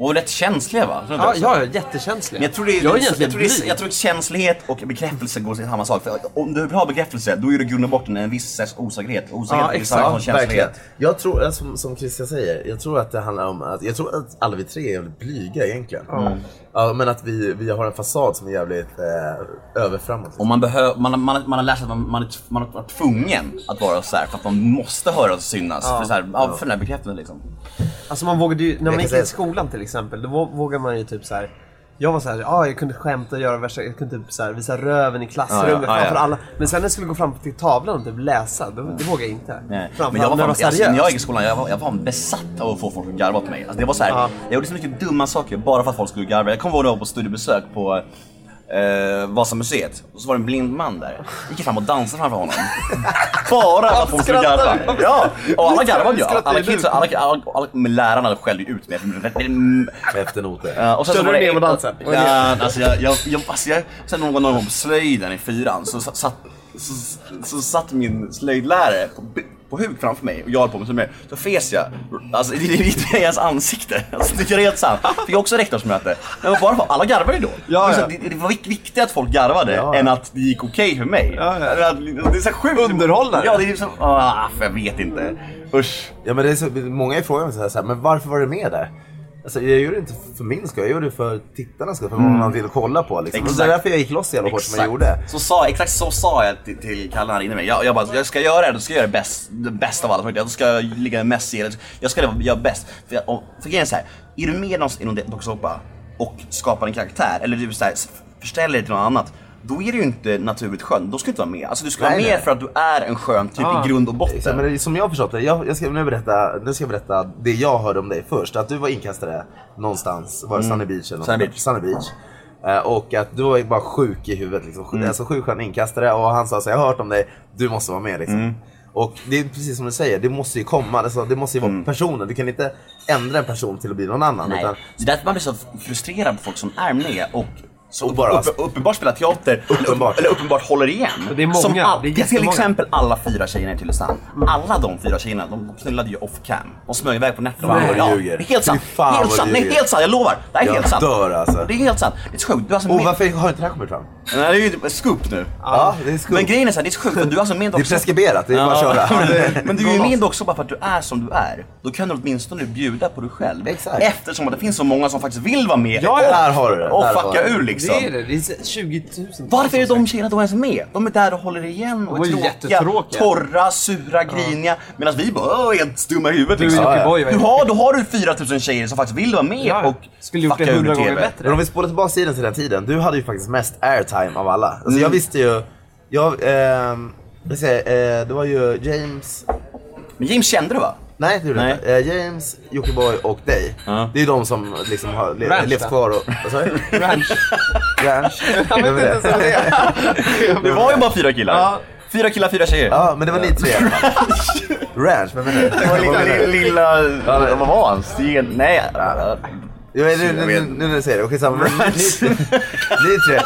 [SPEAKER 3] Och rätt känsliga va? Tror du
[SPEAKER 4] Ja,
[SPEAKER 3] inte?
[SPEAKER 4] ja, jättekänslig.
[SPEAKER 3] Men jag tror, det,
[SPEAKER 4] jag är
[SPEAKER 3] jag,
[SPEAKER 4] egentligen
[SPEAKER 3] tror det,
[SPEAKER 4] blyg.
[SPEAKER 3] jag tror att känslighet och bekräftelse går till samma sak. För om du vill ha bekräftelse, då är du i grunden botten en viss sorts osäkerhet. Osäkerhet
[SPEAKER 4] Ja,
[SPEAKER 3] är
[SPEAKER 4] exakt.
[SPEAKER 3] samma som
[SPEAKER 2] Verkligen.
[SPEAKER 3] känslighet.
[SPEAKER 2] Jag tror, eh, som, som Christian säger, jag tror att det handlar om att, jag tror att alla vi tre är jävligt blyga egentligen.
[SPEAKER 3] Mm.
[SPEAKER 2] Ja, men att vi, vi har en fasad som är jävligt eh, överframåt.
[SPEAKER 3] Och man, behö, man, har- man, har- man har lärt sig att man, man, är t- man har varit tvungen att vara så här för att man måste höras och synas. För, så här, ja, för den här bekräftelsen liksom.
[SPEAKER 4] Alltså man vågade ju, när man
[SPEAKER 2] kan
[SPEAKER 4] gick
[SPEAKER 2] säga-
[SPEAKER 4] i skolan till exempel, då vå- vågade man ju typ så här. Jag var såhär, ja jag kunde skämta och göra värsta, jag kunde typ så här, visa röven i klassrummet
[SPEAKER 3] Ja, ja, ja,
[SPEAKER 4] framför
[SPEAKER 3] ja.
[SPEAKER 4] alla. Men sen när jag skulle gå fram till tavlan och typ läsa, då, det vågade jag inte.
[SPEAKER 3] Nej.
[SPEAKER 4] Framför
[SPEAKER 3] Men jag var
[SPEAKER 4] allt när
[SPEAKER 3] fan,
[SPEAKER 4] jag var
[SPEAKER 3] alltså, när jag
[SPEAKER 4] seriös.
[SPEAKER 3] gick i skolan, jag var, jag var fan besatt av att få folk att garva åt mig. Alltså, det var så här, Jag gjorde så mycket dumma saker bara för att folk skulle garva. Jag kommer ihåg när jag var på studiebesök på eh, Vasamuseet. Och så var det en blind man där. Jag gick fram och dansade framför honom. bara för att folk skulle garva. Ja, och alla garvade ju. Alla, kids, alla, alla, alla, men lärarna skällde ju ut mig.
[SPEAKER 2] Efter noter.
[SPEAKER 3] Eh, och sen
[SPEAKER 6] Körde
[SPEAKER 3] så var
[SPEAKER 6] du
[SPEAKER 3] det-
[SPEAKER 6] ner på dansen?
[SPEAKER 3] Ja, alltså jag, jag, jag, alltså jag, sen någon gång på slöjden i fyran så sa- satt, så, så satt min slöjdlärare på, b- på huk framför mig och jag höll på med slöjd. Så fes jag, alltså i- i i hans ansikte. Alltså, det är helt sant. Fick också rektorsmöte. Men bara för, alla garvade ju då.
[SPEAKER 4] Ja,
[SPEAKER 3] Det är så
[SPEAKER 4] ja.
[SPEAKER 3] att Det, det var vik- viktigt att folk garvade än att det gick okej för mig.
[SPEAKER 4] Ja, ja.
[SPEAKER 3] Det är- Det är så sjukt.
[SPEAKER 4] Underhållare.
[SPEAKER 3] Ja, det är liksom, ah, för jag vet inte. Usch.
[SPEAKER 2] Ja, men det är så, många frågar mig så här, så här, men varför var du med där? Alltså, jag gjorde det inte för min skull, jag gjorde det för tittarnas skull, för vad man vill kolla på. Liksom. Och Det är
[SPEAKER 3] Mm. Exakt.
[SPEAKER 2] därför jag gick loss så jävla hårt som jag gjorde.
[SPEAKER 3] Så sa, exakt så sa jag till, till Kalle här inne mig. Jag, jag bara, jag ska göra det, då ska jag göra det bäst, det bästa av alla möjligheter. Då ska jag ligga mest i det. Jag ska göra bäst. För, jag, och, för grejen är så här, är du med i någon- i någon dokusåpa och skapar en karaktär, eller du så här, förställer dig till något annat. Då är du ju inte naturligt skön, då ska du inte vara med. Alltså du ska vara
[SPEAKER 2] Nej,
[SPEAKER 3] med
[SPEAKER 2] nej.
[SPEAKER 3] för att du är en skön typ i grund och botten.
[SPEAKER 2] Så, men det, är som jag har förstått det, jag, jag ska nu berätta, nu ska jag berätta det jag hörde om dig först. Att du var inkastare någonstans, var det Sunny Beach eller något?
[SPEAKER 3] Mm. Sunny Beach.
[SPEAKER 2] Sunny Beach. Eh, Och att du var ju bara sjuk i huvudet. Liksom. Mm. Alltså sjuk skön inkastare och han sa så här, jag har hört om dig, du måste vara med.
[SPEAKER 3] Mm.
[SPEAKER 2] Liksom. Och det är precis som du säger, det måste ju komma, alltså, det måste ju vara personen. Du kan inte ändra en person till att bli någon annan.
[SPEAKER 3] Mm. Nej.
[SPEAKER 2] Utan,
[SPEAKER 3] Det är därför man blir så frustrerad på folk som är med och så
[SPEAKER 2] Och bara-
[SPEAKER 3] uppe, uppenbart spelar teater
[SPEAKER 2] Uppenbart.
[SPEAKER 3] Eller, eller uppenbart håller igen.
[SPEAKER 4] det är många,
[SPEAKER 3] Som
[SPEAKER 4] det är
[SPEAKER 3] till
[SPEAKER 4] jättemånga. Mm.
[SPEAKER 3] exempel alla fyra tjejerna i Tylösand. Alla de fyra tjejerna de knullade ju off cam. De smög iväg på nätterna.
[SPEAKER 2] Nej.
[SPEAKER 3] Ja,
[SPEAKER 2] Du ljuger.
[SPEAKER 3] det är helt sant.
[SPEAKER 2] Fy fan
[SPEAKER 3] helt
[SPEAKER 2] vad
[SPEAKER 3] sant.
[SPEAKER 2] du
[SPEAKER 3] Nej,
[SPEAKER 2] ljuger.
[SPEAKER 3] helt sant. Jag lovar. Det här är
[SPEAKER 2] Jag
[SPEAKER 3] helt sant.
[SPEAKER 2] dör, alltså.
[SPEAKER 3] Det är helt sant. Det är så sjukt. Du är alltså
[SPEAKER 2] och
[SPEAKER 3] med...
[SPEAKER 2] varför har inte det här kommit fram?
[SPEAKER 3] Nej, det är ju scoop nu.
[SPEAKER 2] Ja, det är skumt.
[SPEAKER 3] Men grejen är så här, det är så sjukt. att Du är alltså med
[SPEAKER 2] Det är preskriberat, det är bara att köra.
[SPEAKER 3] men du är ju med också bara för att du är som du är. Då kan du åtminstone bjuda på dig själv.
[SPEAKER 2] Exakt.
[SPEAKER 3] Eftersom att det finns så många som faktiskt vill vara med
[SPEAKER 2] Ja, ja. Där har du det.
[SPEAKER 3] och
[SPEAKER 2] Där har
[SPEAKER 3] fucka
[SPEAKER 2] du det.
[SPEAKER 3] ur
[SPEAKER 4] Det
[SPEAKER 3] liksom.
[SPEAKER 4] är det, det är så- 20 000.
[SPEAKER 3] Varför är de tjejerna då ens med? De är där och håller igen och
[SPEAKER 4] De
[SPEAKER 3] är
[SPEAKER 4] är ju
[SPEAKER 3] tråkiga,
[SPEAKER 4] jättetråkiga.
[SPEAKER 3] torra, sura, griniga. Medan vi bara "Åh, helt stumma i huvudet
[SPEAKER 4] Du och
[SPEAKER 3] liksom.
[SPEAKER 2] Ja, ja.
[SPEAKER 4] Jockiboi var
[SPEAKER 3] Du
[SPEAKER 4] ju-
[SPEAKER 3] har, då har du 4000 tjejer som faktiskt vill vara med
[SPEAKER 4] Ja, ja.
[SPEAKER 3] och
[SPEAKER 4] Skulle gjort det
[SPEAKER 3] fucka ur
[SPEAKER 4] 100 gånger
[SPEAKER 3] TV.
[SPEAKER 4] bättre.
[SPEAKER 2] Men om vi spolar tillbaka tiden till den tiden. Du hade ju faktiskt mest airtime av alla. Alltså
[SPEAKER 3] Mm.
[SPEAKER 2] jag visste ju, jag, ehm, vi säger, eh, det var ju James,
[SPEAKER 3] Men James kände du va?
[SPEAKER 2] nej det gjorde
[SPEAKER 3] Nej.
[SPEAKER 2] jag inte. Eh, James, Jockiboi och dig.
[SPEAKER 3] Ja.
[SPEAKER 2] Det är ju de som liksom har le-
[SPEAKER 4] Ranch,
[SPEAKER 2] levt
[SPEAKER 4] då.
[SPEAKER 2] kvar och, vad sa du?
[SPEAKER 4] Ranch.
[SPEAKER 2] Ranch. Det var det.
[SPEAKER 3] Det var ju bara fyra killar.
[SPEAKER 4] Ja.
[SPEAKER 3] Fyra killar, fyra tjejer.
[SPEAKER 2] Ja men det var ni tre i alla fall. Ranch, vem menar du? Vad
[SPEAKER 3] Lilla,
[SPEAKER 2] menar du?
[SPEAKER 3] lilla, vad var han? Sten? Nej.
[SPEAKER 2] Jo, nu, nu, nu, nu när du säger det, okej samma. men Ni, ni tre.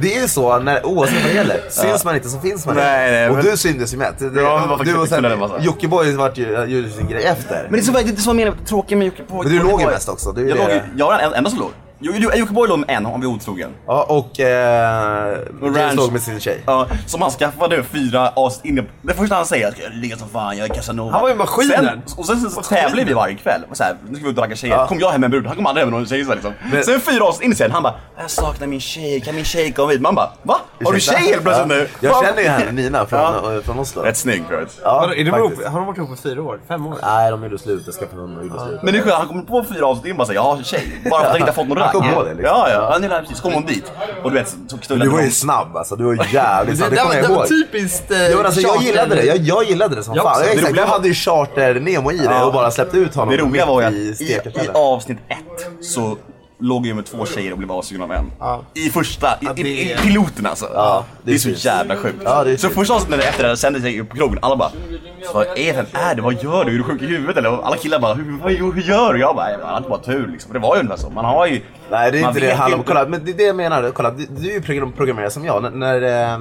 [SPEAKER 2] Det är ju så när, oavsett vad det gäller, syns man inte så finns man inte.
[SPEAKER 3] Nej, nej,
[SPEAKER 2] och
[SPEAKER 3] men-
[SPEAKER 2] du syndes ju med. Det, det,
[SPEAKER 3] Ja, men varför
[SPEAKER 2] du och
[SPEAKER 3] kunde det vara så?
[SPEAKER 2] sen Jockiboi vart ju, gjorde sin grej efter.
[SPEAKER 3] Men det är så, det är så meningen är tråkig med Jocke Boy.
[SPEAKER 2] Men du låg ju mest också, det är ju
[SPEAKER 3] jag,
[SPEAKER 2] det.
[SPEAKER 3] låg, ju- jag var den enda som låg. Jo, jo, Jocke Boy låg med en, han blev otrogen.
[SPEAKER 2] Ja, och eh, James
[SPEAKER 3] Ranch.
[SPEAKER 2] låg med sin tjej.
[SPEAKER 3] Ja, som han skaffade fyra avsnitt inne på. Det första han säger är att jag ligger som fan, jag är Casanova.
[SPEAKER 4] Han var ju maskinen.
[SPEAKER 3] Sen, och sen så tävlar vi varje kväll. Och Så här, nu ska vi ut och ragga tjejer. Kom jag hem med en brud, han kom aldrig hem med någon tjej. Så här, liksom.
[SPEAKER 2] Men-
[SPEAKER 3] Sen fyra avsnitt in sen, han bara jag saknar min tjej, kan min tjej komma hit? Man bara va? Har du
[SPEAKER 2] Ursäkta?
[SPEAKER 3] tjej helt plötsligt
[SPEAKER 2] Ja.
[SPEAKER 3] nu?
[SPEAKER 2] Jag
[SPEAKER 3] Fan.
[SPEAKER 2] känner ju henne, Nina från,
[SPEAKER 3] Ja.
[SPEAKER 2] eh, från Oslo.
[SPEAKER 3] Rätt snygg för övrigt.
[SPEAKER 2] Ja,
[SPEAKER 4] Vadå, är de
[SPEAKER 2] faktiskt.
[SPEAKER 4] ihop, har de varit ihop i fyra år? Fem år?
[SPEAKER 2] Nej, de gjorde slut. Jag skaffade hund och gjorde slut.
[SPEAKER 3] Men det är skönt, han kommer på fyra avsnitt in bara säger jag har en tjej. Bara för att han inte har fått någon
[SPEAKER 2] Han
[SPEAKER 3] ragg.
[SPEAKER 2] kom på det, liksom.
[SPEAKER 3] Ja, ja. Han gillar precis. Kom hon dit och du vet, så knullade
[SPEAKER 2] Du var ju
[SPEAKER 3] de.
[SPEAKER 2] snabb alltså, du var ju jävligt snabb. Det
[SPEAKER 6] där
[SPEAKER 2] kommer
[SPEAKER 6] var-
[SPEAKER 2] jag
[SPEAKER 6] där var
[SPEAKER 2] ihåg.
[SPEAKER 3] typ
[SPEAKER 6] typiskt, eh,
[SPEAKER 2] Jo, men alltså, jag
[SPEAKER 6] charter-
[SPEAKER 2] gillade det, jag, jag gillade det som
[SPEAKER 4] Jag
[SPEAKER 2] fan.
[SPEAKER 4] också.
[SPEAKER 2] Ja, exakt,
[SPEAKER 3] Det
[SPEAKER 2] jag
[SPEAKER 3] roliga-
[SPEAKER 2] hade ju charter Nemo i det och bara släppt ut honom
[SPEAKER 3] Det roliga var ju att
[SPEAKER 2] i
[SPEAKER 3] i,
[SPEAKER 2] steket.
[SPEAKER 3] i avsnitt ett så låg jag med två tjejer och blev avsugen av en. I första, i, i, i piloten alltså.
[SPEAKER 2] det
[SPEAKER 3] det,
[SPEAKER 2] är
[SPEAKER 3] är så
[SPEAKER 2] fint.
[SPEAKER 3] jävla sjukt.
[SPEAKER 2] Ja, det är
[SPEAKER 3] så
[SPEAKER 2] fint.
[SPEAKER 3] första avsnittet efter det här sändes jag ju på krogen, alla bara vad är, vem är det? Vad gör du? Är du sjuk i huvudet eller? Och Alla killar bara, hur, vad, hur gör du? Jag bara, jag hade bara tur liksom. Det var ju ungefär så. Man har ju...
[SPEAKER 2] Nej det är
[SPEAKER 3] man
[SPEAKER 2] inte det
[SPEAKER 3] vet
[SPEAKER 2] det handlar om.
[SPEAKER 3] inte.
[SPEAKER 2] Kolla, men det är det jag menar. Kolla, du, du är ju program- programmerare som jag. N- när, eh,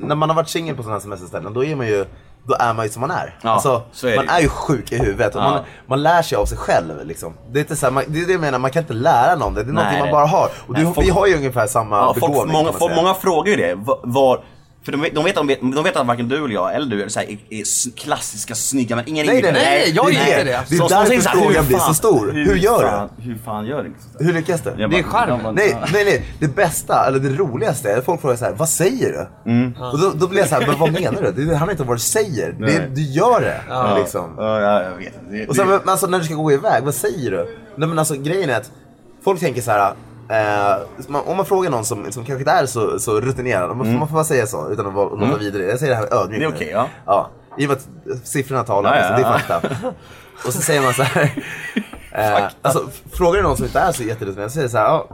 [SPEAKER 2] när man har varit singel på sådana här semesterställen då är man ju då är man ju som man är.
[SPEAKER 3] Ja,
[SPEAKER 2] alltså,
[SPEAKER 3] så är det
[SPEAKER 2] man
[SPEAKER 3] ju.
[SPEAKER 2] är ju sjuk i huvudet. Och
[SPEAKER 3] Ja.
[SPEAKER 2] man, man lär sig av sig själv. Liksom. Det, är inte så här, man, det är det jag menar, man kan inte lära någon det. Det är någonting man
[SPEAKER 3] det-
[SPEAKER 2] bara har. Och du,
[SPEAKER 3] nej, folk-
[SPEAKER 2] vi har ju ungefär samma
[SPEAKER 3] Ja,
[SPEAKER 2] begåvning.
[SPEAKER 3] folk,
[SPEAKER 2] kan
[SPEAKER 3] många,
[SPEAKER 2] man
[SPEAKER 3] folk,
[SPEAKER 2] säga.
[SPEAKER 3] många frågar ju det. va- Var, för de, vet- de, vet, de, vet, de vet att varken du eller jag, eller du, är, så här, är, är s- klassiska snygga men ingen
[SPEAKER 2] Nej, nej, nej,
[SPEAKER 6] Nej, jag
[SPEAKER 2] det är
[SPEAKER 6] gillar inte det.
[SPEAKER 2] Det är
[SPEAKER 3] Så- så
[SPEAKER 2] därför
[SPEAKER 3] säger så här, hur
[SPEAKER 2] frågan blir så
[SPEAKER 3] fan-
[SPEAKER 2] stor. Hur gör
[SPEAKER 3] fan, Hur fan gör du?
[SPEAKER 2] du? Hur lyckas du?
[SPEAKER 3] Jag
[SPEAKER 6] Det är
[SPEAKER 3] bara-
[SPEAKER 6] charmen.
[SPEAKER 3] jag bara-
[SPEAKER 2] Nej, nej, nej. Det bästa, eller det roligaste, är att folk frågar så här, vad säger du?
[SPEAKER 3] Mm.
[SPEAKER 2] Och då, då blir jag så här, men vad menar du? Det handlar inte om vad du säger. Det,
[SPEAKER 3] Nej.
[SPEAKER 2] du gör det. Liksom.
[SPEAKER 3] Ja, ja, jag vet inte. Det-
[SPEAKER 2] Och sen,
[SPEAKER 3] det-
[SPEAKER 2] men, alltså, när du ska gå iväg, vad säger du? Nej men alltså grejen är att folk tänker så här. Eh, man- om man frågar någon som, som kanske inte är så, så rutinerad, man, man får bara säga så utan att vara- låta vidare. Jag säger det här ödmjukt
[SPEAKER 3] Mm. Det är
[SPEAKER 2] nu.
[SPEAKER 3] okej, ja.
[SPEAKER 2] ja. I och med att siffrorna talar,
[SPEAKER 3] Ja, ja,
[SPEAKER 2] alltså, det är
[SPEAKER 3] ja.
[SPEAKER 2] fakta. och så säger man så här. Eh, alltså, frågar du någon som inte är så jätterutinerad så säger så här. Ja,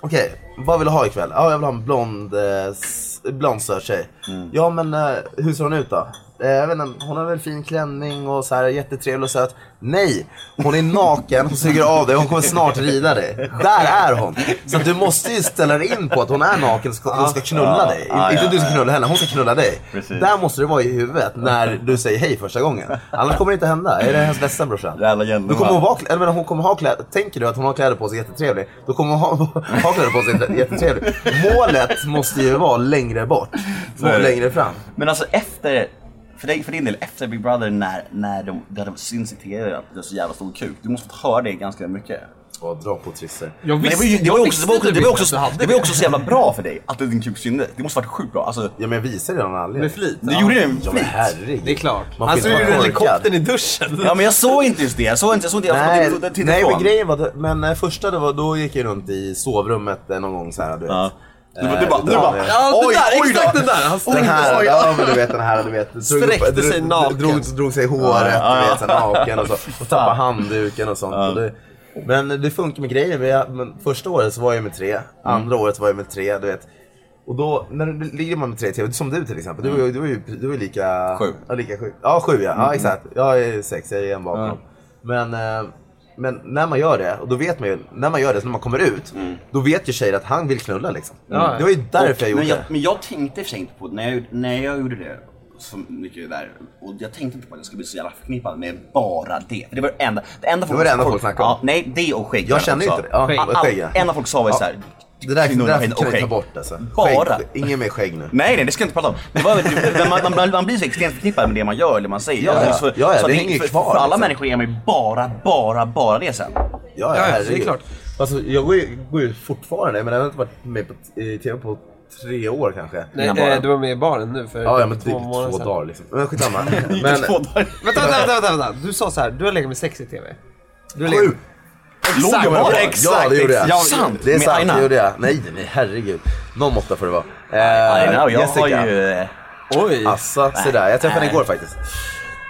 [SPEAKER 2] Okej, vad vill du ha ikväll? Ja, jag vill ha en blond, eh, s- blond söt tjej.
[SPEAKER 3] Mm.
[SPEAKER 2] Ja, men eh, hur ser hon ut då? Eh, jag vet inte, hon har väl fin klänning och så här jättetrevlig och söt. Nej! Hon är naken, hon suger av dig, hon kommer snart rida dig. Där är hon! Så att du måste ju ställa dig in på att hon är naken och hon ska knulla dig.
[SPEAKER 3] Ja,
[SPEAKER 2] Inte
[SPEAKER 3] ja,
[SPEAKER 2] du ska knulla henne, hon ska knulla dig.
[SPEAKER 3] Precis.
[SPEAKER 2] Där måste du vara i huvudet när du säger hej första gången. Annars kommer det inte hända. Är det hennes ledsen brorsan?
[SPEAKER 3] Jävla gentleman.
[SPEAKER 2] Du kommer hon vara, klä- eller men hon kommer ha kläder, tänker du att hon har kläder på sig jättetrevlig, då kommer hon ha, ha kläder på sig jätte- jättetrevlig. Målet måste ju vara längre bort,
[SPEAKER 3] är
[SPEAKER 2] vara
[SPEAKER 3] det.
[SPEAKER 2] längre fram.
[SPEAKER 3] Men alltså efter, för, dig, för din del, efter Big Brother när, när de, där de syns i TV att det är så jävla stor kuk, du måste ha hört det ganska mycket.
[SPEAKER 2] Åh, dra på trisser.
[SPEAKER 6] Jag
[SPEAKER 3] Men det var ju det var ju också, det var
[SPEAKER 4] typ
[SPEAKER 3] också,
[SPEAKER 2] typ
[SPEAKER 3] det var också, det var också så jävla bra för dig att din kuk syntes. Det måste varit sjukt bra. Alltså,
[SPEAKER 2] Ja men jag visade det av någon anledning.
[SPEAKER 6] Med flit?
[SPEAKER 3] du gjorde det med
[SPEAKER 2] Ja men
[SPEAKER 3] flit. Alltså,
[SPEAKER 2] herregud.
[SPEAKER 6] Det är klart.
[SPEAKER 2] Man
[SPEAKER 4] Han
[SPEAKER 2] får
[SPEAKER 4] såg
[SPEAKER 2] inte
[SPEAKER 4] ju
[SPEAKER 2] vara
[SPEAKER 4] helikoptern
[SPEAKER 2] korkad.
[SPEAKER 4] i duschen.
[SPEAKER 3] Ja men jag såg inte just det, jag såg inte, jag såg inte, jag såg
[SPEAKER 2] Nej,
[SPEAKER 3] inte, jag tittade
[SPEAKER 2] nej men
[SPEAKER 3] ifrån.
[SPEAKER 2] grejen var, det- men eh, första det var, då gick jag runt i sovrummet eh, någon gång så här, du vet.
[SPEAKER 3] Ja. Du,
[SPEAKER 2] Eh,
[SPEAKER 3] du bara, du
[SPEAKER 2] ja,
[SPEAKER 3] bara,
[SPEAKER 2] ja.
[SPEAKER 4] Ja,
[SPEAKER 3] oj,
[SPEAKER 4] det där,
[SPEAKER 3] oj då.
[SPEAKER 4] exakt den där. Han
[SPEAKER 2] Den här,
[SPEAKER 4] oj,
[SPEAKER 2] ja men du vet den här, du vet. drog upp-
[SPEAKER 4] Sträckte
[SPEAKER 2] drog-
[SPEAKER 4] sig naken.
[SPEAKER 2] Drog, drog sig i håret,
[SPEAKER 3] Ja,
[SPEAKER 2] du
[SPEAKER 3] ja.
[SPEAKER 2] vet, så här naken och så. Och tappade handduken och sånt. Och det, men det funkar med grejer. Men jag, men första året så var jag med tre, andra året var jag med tre, du vet. Och då, när du ligger man med tre TV, som du till exempel, du, var ju- du, var ju, du var ju lika...
[SPEAKER 3] Sju.
[SPEAKER 2] Ja, lika sju. Ja, sju ja. ja exakt. Jag är sex, jag är en bakom. Men, eh, men när man gör det, och då vet man ju, när man gör det, så när man kommer ut, då vet ju tjejer att han vill knulla liksom.
[SPEAKER 6] Ja.
[SPEAKER 2] Det var ju därför jag gjorde
[SPEAKER 3] men, jag,
[SPEAKER 2] det.
[SPEAKER 3] men jag tänkte i och för sig inte på det, när jag, gjorde- när jag gjorde det så mycket där, och jag tänkte inte på att jag skulle bli så jävla förknippad med bara det. För det var det enda, det enda folk,
[SPEAKER 2] var det enda folk snackade om.
[SPEAKER 3] Ja, nej, det och skägg.
[SPEAKER 2] Jag känner ju inte det. Ja,
[SPEAKER 3] All-
[SPEAKER 2] och
[SPEAKER 3] all-
[SPEAKER 2] skägg, ja.
[SPEAKER 3] enda folk sa var ju
[SPEAKER 2] Ja.
[SPEAKER 3] såhär,
[SPEAKER 2] Det där, det
[SPEAKER 3] kvinnor
[SPEAKER 2] där
[SPEAKER 3] och
[SPEAKER 2] kan ni ta
[SPEAKER 3] skägg.
[SPEAKER 2] bort alltså.
[SPEAKER 3] Bara?
[SPEAKER 2] Skägg, inget mer skägg nu.
[SPEAKER 3] Nej, nej, det ska jag inte prata om. Det var, men man, man, man blir så extremt förknippad med det man gör eller man säger.
[SPEAKER 2] Ja, ja.
[SPEAKER 3] Så-
[SPEAKER 2] Ja, ja,
[SPEAKER 3] så
[SPEAKER 2] det hänger ju
[SPEAKER 3] för,
[SPEAKER 2] kvar,
[SPEAKER 3] För alla
[SPEAKER 2] liksom.
[SPEAKER 3] människor är man ju bara, bara, bara det sen.
[SPEAKER 2] Ja,
[SPEAKER 6] ja,
[SPEAKER 2] ja,
[SPEAKER 6] det är
[SPEAKER 2] herregud.
[SPEAKER 6] klart.
[SPEAKER 2] Alltså, jag går ju, går ju fortfarande, men jag har inte varit med på t- i TV på tre år kanske.
[SPEAKER 4] Nej,
[SPEAKER 3] Innan
[SPEAKER 4] eh,
[SPEAKER 3] baren.
[SPEAKER 4] du var med i baren nu för
[SPEAKER 2] Ja, ja men typ
[SPEAKER 4] två månader
[SPEAKER 2] två
[SPEAKER 4] sedan.
[SPEAKER 2] dagar liksom. Men skitsamma.
[SPEAKER 3] Men,
[SPEAKER 2] Men,
[SPEAKER 4] Vänta, vänta, vänta, vänta, vänta. Du sa så här, du har legat med sex i TV. Du har legat...
[SPEAKER 2] sju!
[SPEAKER 3] Låg jag bara?
[SPEAKER 2] ja, det gjorde jag.
[SPEAKER 3] Ja, sant.
[SPEAKER 2] Det är
[SPEAKER 3] Med
[SPEAKER 2] sant,
[SPEAKER 3] Aina.
[SPEAKER 2] det gjorde jag. Nej, nej herregud. Någon måtta får det vara.
[SPEAKER 3] I
[SPEAKER 2] Eh,
[SPEAKER 3] know, jag
[SPEAKER 2] Jessica.
[SPEAKER 3] har ju... eh,
[SPEAKER 4] Oj!
[SPEAKER 2] Assa, se där. Jag träffade henne igår faktiskt.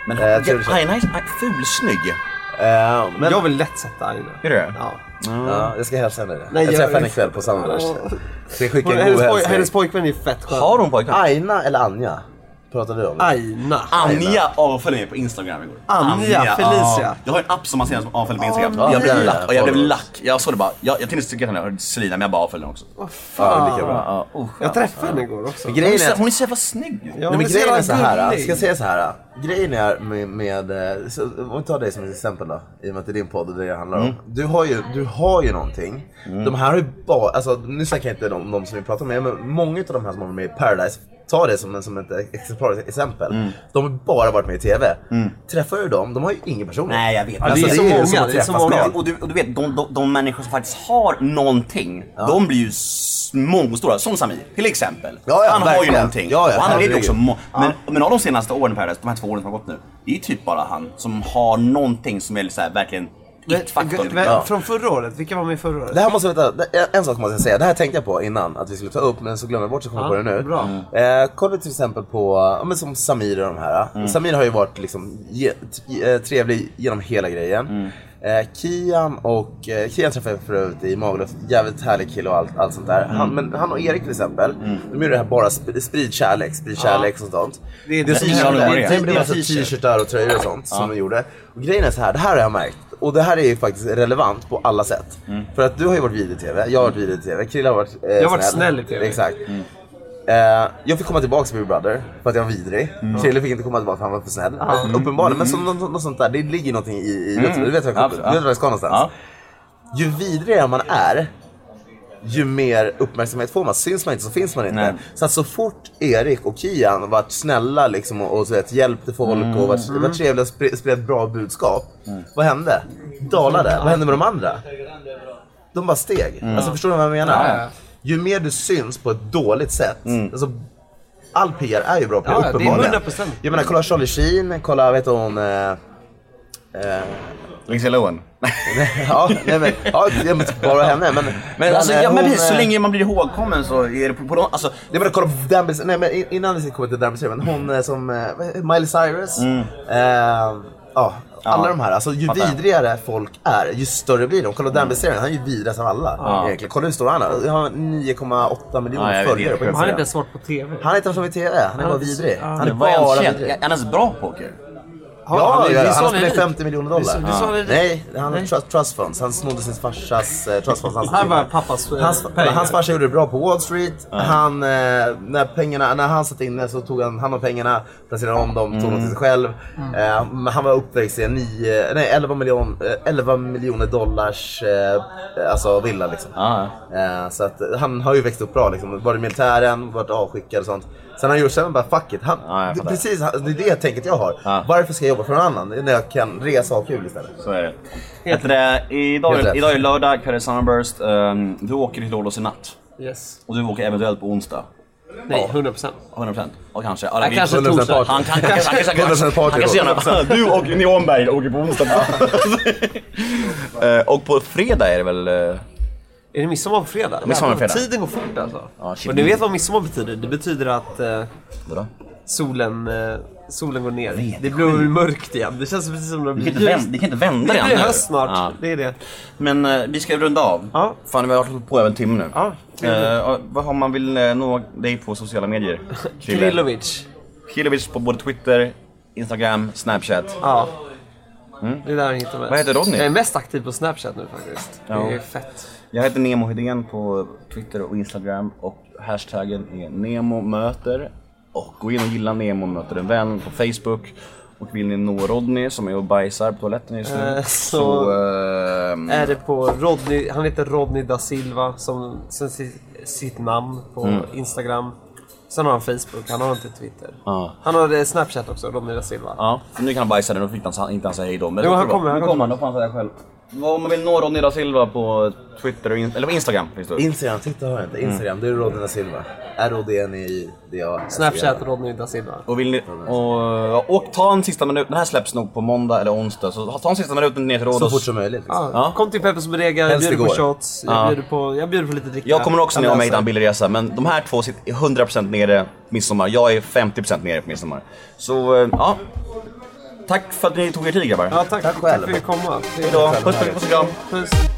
[SPEAKER 3] Men
[SPEAKER 2] Eh, trevlig tjej.
[SPEAKER 3] Aina är så- fulsnygg.
[SPEAKER 2] Eh, men,
[SPEAKER 4] Jag
[SPEAKER 2] jag,
[SPEAKER 4] vill lätt sätta Aina.
[SPEAKER 3] Är det?
[SPEAKER 4] Ja.
[SPEAKER 2] ja, jag ska hälsa henne det.
[SPEAKER 4] Nej,
[SPEAKER 2] jag
[SPEAKER 4] jag-
[SPEAKER 2] träffade henne ikväll på Sounders. Ska jag skicka
[SPEAKER 4] Hon,
[SPEAKER 2] en
[SPEAKER 4] hennes,
[SPEAKER 2] god
[SPEAKER 4] poj, hennes
[SPEAKER 2] hälsning?
[SPEAKER 4] pojkvän är fett skön.
[SPEAKER 3] Har hon pojkvän?
[SPEAKER 2] Aina eller Anja? Pratade du om?
[SPEAKER 4] Aina.
[SPEAKER 3] Anja avföljde mig på Instagram igår.
[SPEAKER 4] Anja Felicia.
[SPEAKER 3] ja. Jag har en app som man ser som avföljer på Instagram.
[SPEAKER 2] nej.
[SPEAKER 3] jag blev lack och jag blev
[SPEAKER 2] Followers.
[SPEAKER 3] lack. Jag såg det bara. Jag, jag tänkte tycka att henne var Selina men jag bara avföljde henne också.
[SPEAKER 2] Ja, lika bra.
[SPEAKER 3] Ja, usch.
[SPEAKER 4] Jag träffade henne igår också.
[SPEAKER 2] Men
[SPEAKER 3] Hon är
[SPEAKER 2] Grejen är
[SPEAKER 3] så-
[SPEAKER 2] att
[SPEAKER 3] Hon är så jävla snygg.
[SPEAKER 4] Ja,
[SPEAKER 2] Nej,
[SPEAKER 4] hon
[SPEAKER 2] men
[SPEAKER 4] är så
[SPEAKER 2] grejen är
[SPEAKER 4] jävla
[SPEAKER 2] så här,
[SPEAKER 4] gullig.
[SPEAKER 2] ska jag säga så här. Grejen är med, med eh, så, om vi tar dig som ett exempel då, i och med att det är din podd och det är det det handlar om. Du har ju, du har ju någonting. De här har ju bara, alltså nu snackar jag inte om de som vi pratar med, men många av de här som har varit med i Paradise, ta det som, en- som ett exemplariskt exempel. De har bara varit med i TV. Träffar du dem, de har ju ingen person.
[SPEAKER 3] Nej, jag vet.
[SPEAKER 2] Alltså, det, är så många, som att
[SPEAKER 4] det är så
[SPEAKER 2] träffa
[SPEAKER 4] många.
[SPEAKER 2] skal.
[SPEAKER 3] Och, och, du, och du vet, de, de, de människor som faktiskt har någonting, de blir ju s- mångstora. Som Samir, till exempel.
[SPEAKER 2] Ja, ja,
[SPEAKER 3] han har ju
[SPEAKER 2] verkligen.
[SPEAKER 3] någonting.
[SPEAKER 2] Ja, ja,
[SPEAKER 3] och han är ju
[SPEAKER 2] herregud.
[SPEAKER 3] också må- men, men av de senaste åren i Paradise, de här två åren som har gått nu, det är ju typ bara han som har någonting som är så här, verkligen it-faktorn.
[SPEAKER 4] Men,
[SPEAKER 3] tycker jag.
[SPEAKER 4] men, från förra året, vilka var med i förra året?
[SPEAKER 2] Det här måste jag veta, det- en sak måste jag säga, det här tänkte jag på innan att vi skulle ta upp men så glömde jag bort så kom jag
[SPEAKER 4] Ja,
[SPEAKER 2] på det nu.
[SPEAKER 4] bra.
[SPEAKER 2] Eh, kolla till exempel på, ja, men som Samir och de här.
[SPEAKER 4] Mm.
[SPEAKER 2] Samir har ju varit liksom ge, t- eh, trevlig genom hela grejen.
[SPEAKER 4] Mm.
[SPEAKER 2] Eh, Kian och, eh, Kian träffade jag förut i Magaluf, jävligt härlig kille och allt, allt sånt där. Han,
[SPEAKER 4] Mm.
[SPEAKER 2] men han och Erik till exempel, de gjorde det här bara sp- sprid kärlek, sprid kärlek och sånt.
[SPEAKER 4] Det är
[SPEAKER 2] som
[SPEAKER 4] t-shirt.
[SPEAKER 2] hände-
[SPEAKER 3] Ja, det var det.
[SPEAKER 2] det- det var
[SPEAKER 4] Det är
[SPEAKER 2] så
[SPEAKER 4] t-shirt.
[SPEAKER 2] t-shirtar alltså, och tröjor och sånt som de gjorde. Och grejen är så här, det här har jag märkt. Och det här är ju faktiskt relevant på alla sätt. För att du har ju varit vidrig i TV, Mm. jag har varit vidrig i TV, Krilla har varit eh,
[SPEAKER 4] har varit snäll i TV.
[SPEAKER 2] Exakt. Eh, jag fick komma tillbaka till Big Brother för att jag var vidrig. Chrille fick inte komma tillbaka för han var för snäll. Mm. Uppenbarligen, men som, något, något sånt där. Det ligger ju någonting i... i Du vet vad jag,
[SPEAKER 3] Absolut,
[SPEAKER 2] du
[SPEAKER 3] ja.
[SPEAKER 2] vet var jag ska någonstans.
[SPEAKER 3] Ja.
[SPEAKER 2] Ju vidrigare man är, ju mer uppmärksamhet får man. Syns man inte så finns man inte.
[SPEAKER 3] Nej.
[SPEAKER 2] Så att så fort Erik och Kian varit snälla liksom och, och så vet, hjälpte folk och
[SPEAKER 3] Mm.
[SPEAKER 2] varit, varit trevliga och spred, spred bra budskap. Vad hände? Dalade. Vad hände med de andra? De bara steg.
[SPEAKER 3] Mm.
[SPEAKER 2] Alltså förstår du vad jag menar? Ju mer du syns på ett dåligt sätt.
[SPEAKER 3] Mm.
[SPEAKER 2] Alltså, all PR är ju bra PR,
[SPEAKER 4] Ja, det är
[SPEAKER 2] uppenbarligen.
[SPEAKER 4] 100%.
[SPEAKER 2] Jag menar kolla Charlie Sheen, kolla vet du, hon... Eh,
[SPEAKER 3] Lindsay Lohan.
[SPEAKER 2] ja, nej, men, ja, ja, men bara henne. Men,
[SPEAKER 3] Men alltså,
[SPEAKER 2] eh,
[SPEAKER 3] ja, men
[SPEAKER 2] hon,
[SPEAKER 3] precis, så
[SPEAKER 2] eh,
[SPEAKER 3] länge man blir ihågkommen så är det på, på någon, alltså,
[SPEAKER 2] Jag menar kolla på Damn, nej men in- innan vi ska komma till Damn men hon eh, som, eh, vad heter- Miley Cyrus. Eh, ja, alla
[SPEAKER 3] Mm. Ja,
[SPEAKER 2] de här. Alltså ju
[SPEAKER 3] fattar. Mm.
[SPEAKER 2] vidrigare folk är, ju större blir de. Kolla Damn serien han är ju vidrigast av alla.
[SPEAKER 3] Ja.
[SPEAKER 2] Egentligen. Kolla hur stor han är. Han har 9,8
[SPEAKER 3] Ja,
[SPEAKER 2] miljoner
[SPEAKER 3] jag vet, det
[SPEAKER 2] följare
[SPEAKER 3] är
[SPEAKER 2] på
[SPEAKER 3] sjukt.
[SPEAKER 2] Instagram.
[SPEAKER 4] Han är inte ens svårt på TV.
[SPEAKER 2] Han är inte ens med i TV, han är bara vidrig.
[SPEAKER 4] Ja.
[SPEAKER 2] Han är
[SPEAKER 3] vad är
[SPEAKER 2] bara
[SPEAKER 3] han känd?
[SPEAKER 2] vidrig.
[SPEAKER 3] Är han ens bra på poker?
[SPEAKER 2] Ja,
[SPEAKER 4] han är-
[SPEAKER 2] ja,
[SPEAKER 4] det
[SPEAKER 2] han
[SPEAKER 4] sa
[SPEAKER 2] har
[SPEAKER 4] ni
[SPEAKER 2] spelat
[SPEAKER 4] lite.
[SPEAKER 2] 50 miljoner dollar.
[SPEAKER 4] Det sa ni lite.
[SPEAKER 2] Nej, han har trust, trust funds. Han snodde sin farsas eh, trust funds.
[SPEAKER 4] Han var pappas eh,
[SPEAKER 2] Hans,
[SPEAKER 4] pengar.
[SPEAKER 2] hans farsa gjorde det bra på Wall Street. Han, eh, när, pengarna, när han satt inne så tog han hand om pengarna, placerade om dem, tog dem till sig själv. Eh, men han var uppväxt i en nio, nej, 11, miljon, eh, 11 miljoner dollars eh, alltså villa. Liksom.
[SPEAKER 3] Ja,
[SPEAKER 2] Eh, så att, eh, han har ju växt upp bra. Liksom. Varit i militären, varit avskickad och sånt. Sen har han gjort sen bara fuck it. Han,
[SPEAKER 3] Ja, jag
[SPEAKER 2] det,
[SPEAKER 3] fattar.
[SPEAKER 2] precis, han- det är det tänket jag har.
[SPEAKER 3] Ja.
[SPEAKER 2] Varför ska jag jobba för någon annan? Det är när jag kan resa och ha kul istället.
[SPEAKER 3] Så är det. Vet du det, idag,
[SPEAKER 2] Helt rätt.
[SPEAKER 3] idag är lördag, kväll är Summerburst. Ehm, du åker till Ålås i natt.
[SPEAKER 4] Yes.
[SPEAKER 3] Och du åker eventuellt på onsdag.
[SPEAKER 4] Nej, 100%.
[SPEAKER 3] 100% och kanske. Ja, det-
[SPEAKER 4] kanske
[SPEAKER 3] han,
[SPEAKER 4] torsdag.
[SPEAKER 3] han, han, han, han, han, han, han, han, han kan se honom. Du och Ni Åhnberg åker på onsdag. Eh, och på fredag är det väl... eh,
[SPEAKER 4] Är det midsommar på fredag?
[SPEAKER 3] Midsommar på fredag.
[SPEAKER 4] Tiden går fort alltså.
[SPEAKER 3] Ja, shit.
[SPEAKER 4] och ni vet vad midsommar betyder? Det betyder att eh,
[SPEAKER 3] Vadå?
[SPEAKER 4] solen, eh, solen går ner.
[SPEAKER 3] vet
[SPEAKER 4] Det blir mörkt igen. Det känns precis som det
[SPEAKER 3] Vi
[SPEAKER 4] blir
[SPEAKER 3] kan inte vända, vi kan inte vända
[SPEAKER 4] Det
[SPEAKER 3] redan
[SPEAKER 4] blir
[SPEAKER 3] nu.
[SPEAKER 4] höst snart.
[SPEAKER 3] Ja.
[SPEAKER 4] Det är det.
[SPEAKER 3] Men eh, vi ska runda av.
[SPEAKER 4] Ja.
[SPEAKER 3] Fan, vi har hållit på över en timme nu.
[SPEAKER 4] Ja,
[SPEAKER 3] Eh, och vad har man vill eh, nå dig på sociala medier? Krille?
[SPEAKER 4] Krilovic.
[SPEAKER 3] Krilovic på både Twitter, Instagram, Snapchat.
[SPEAKER 4] Ja. Det är där han hittar mig.
[SPEAKER 3] Mm. Vad heter Rodney?
[SPEAKER 4] Jag är mest aktiv på Snapchat nu faktiskt.
[SPEAKER 3] Ja.
[SPEAKER 4] Det är fett.
[SPEAKER 3] Jag heter Nemo Hedén på Twitter och Instagram och hashtaggen är NEMOMÖTER. Och gå in och gilla Nemo möter en vän på Facebook. Och vill ni nå Rodney som är och bajsar på toaletten just nu
[SPEAKER 4] Eh,
[SPEAKER 3] Mm. så...
[SPEAKER 4] så-
[SPEAKER 3] ehm,
[SPEAKER 4] Är det på Rodney, han heter Rodney da Silva som sen sitt, sitt namn på
[SPEAKER 3] Mm.
[SPEAKER 4] Instagram. Sen har han Facebook, han har inte Twitter.
[SPEAKER 3] Ja.
[SPEAKER 4] Han har eh, Snapchat också, Rodney da Silva.
[SPEAKER 3] Ja, för nu kan han bajsa den och fick han sa- inte han säga hej då. Men
[SPEAKER 4] Jo,
[SPEAKER 3] då
[SPEAKER 4] han
[SPEAKER 3] får det
[SPEAKER 4] kommer,
[SPEAKER 3] vara.
[SPEAKER 4] han
[SPEAKER 3] Nu kommer han, då får han säga själv. Vad Om man vill nå Ronny da Silva på Twitter och in- eller på Instagram finns det.
[SPEAKER 2] Instagram, titta har jag inte. Instagram, det är Rodney da Silva. R-O-D-N-I-D-A.
[SPEAKER 4] Snapchat, Rodney da Silva.
[SPEAKER 3] Och, vill ni, och, och ta en sista minut, den här släpps nog på måndag eller onsdag. Så ta en sista minuten ner till
[SPEAKER 2] Så
[SPEAKER 3] Rhodos.
[SPEAKER 2] fort som möjligt. Liksom.
[SPEAKER 4] Ja,
[SPEAKER 3] Ja.
[SPEAKER 4] Kom till Peppes Bodega, jag
[SPEAKER 2] Helst
[SPEAKER 4] bjuder på
[SPEAKER 2] igår.
[SPEAKER 4] shots, jag,
[SPEAKER 3] Ja.
[SPEAKER 4] bjuder på, jag bjuder på lite dricka.
[SPEAKER 3] Jag kommer också när jag har
[SPEAKER 4] löser.
[SPEAKER 3] mig en billig resa, men de här två sitter 100% nere på midsommar. Jag är 50% nere på midsommar. Så eh, ja, tack för att ni tog er tid grabbar.
[SPEAKER 4] Ja, tack, tack,
[SPEAKER 2] själv.
[SPEAKER 4] för att du kom.
[SPEAKER 3] Hejdå, puss puss puss och kram.
[SPEAKER 4] Puss.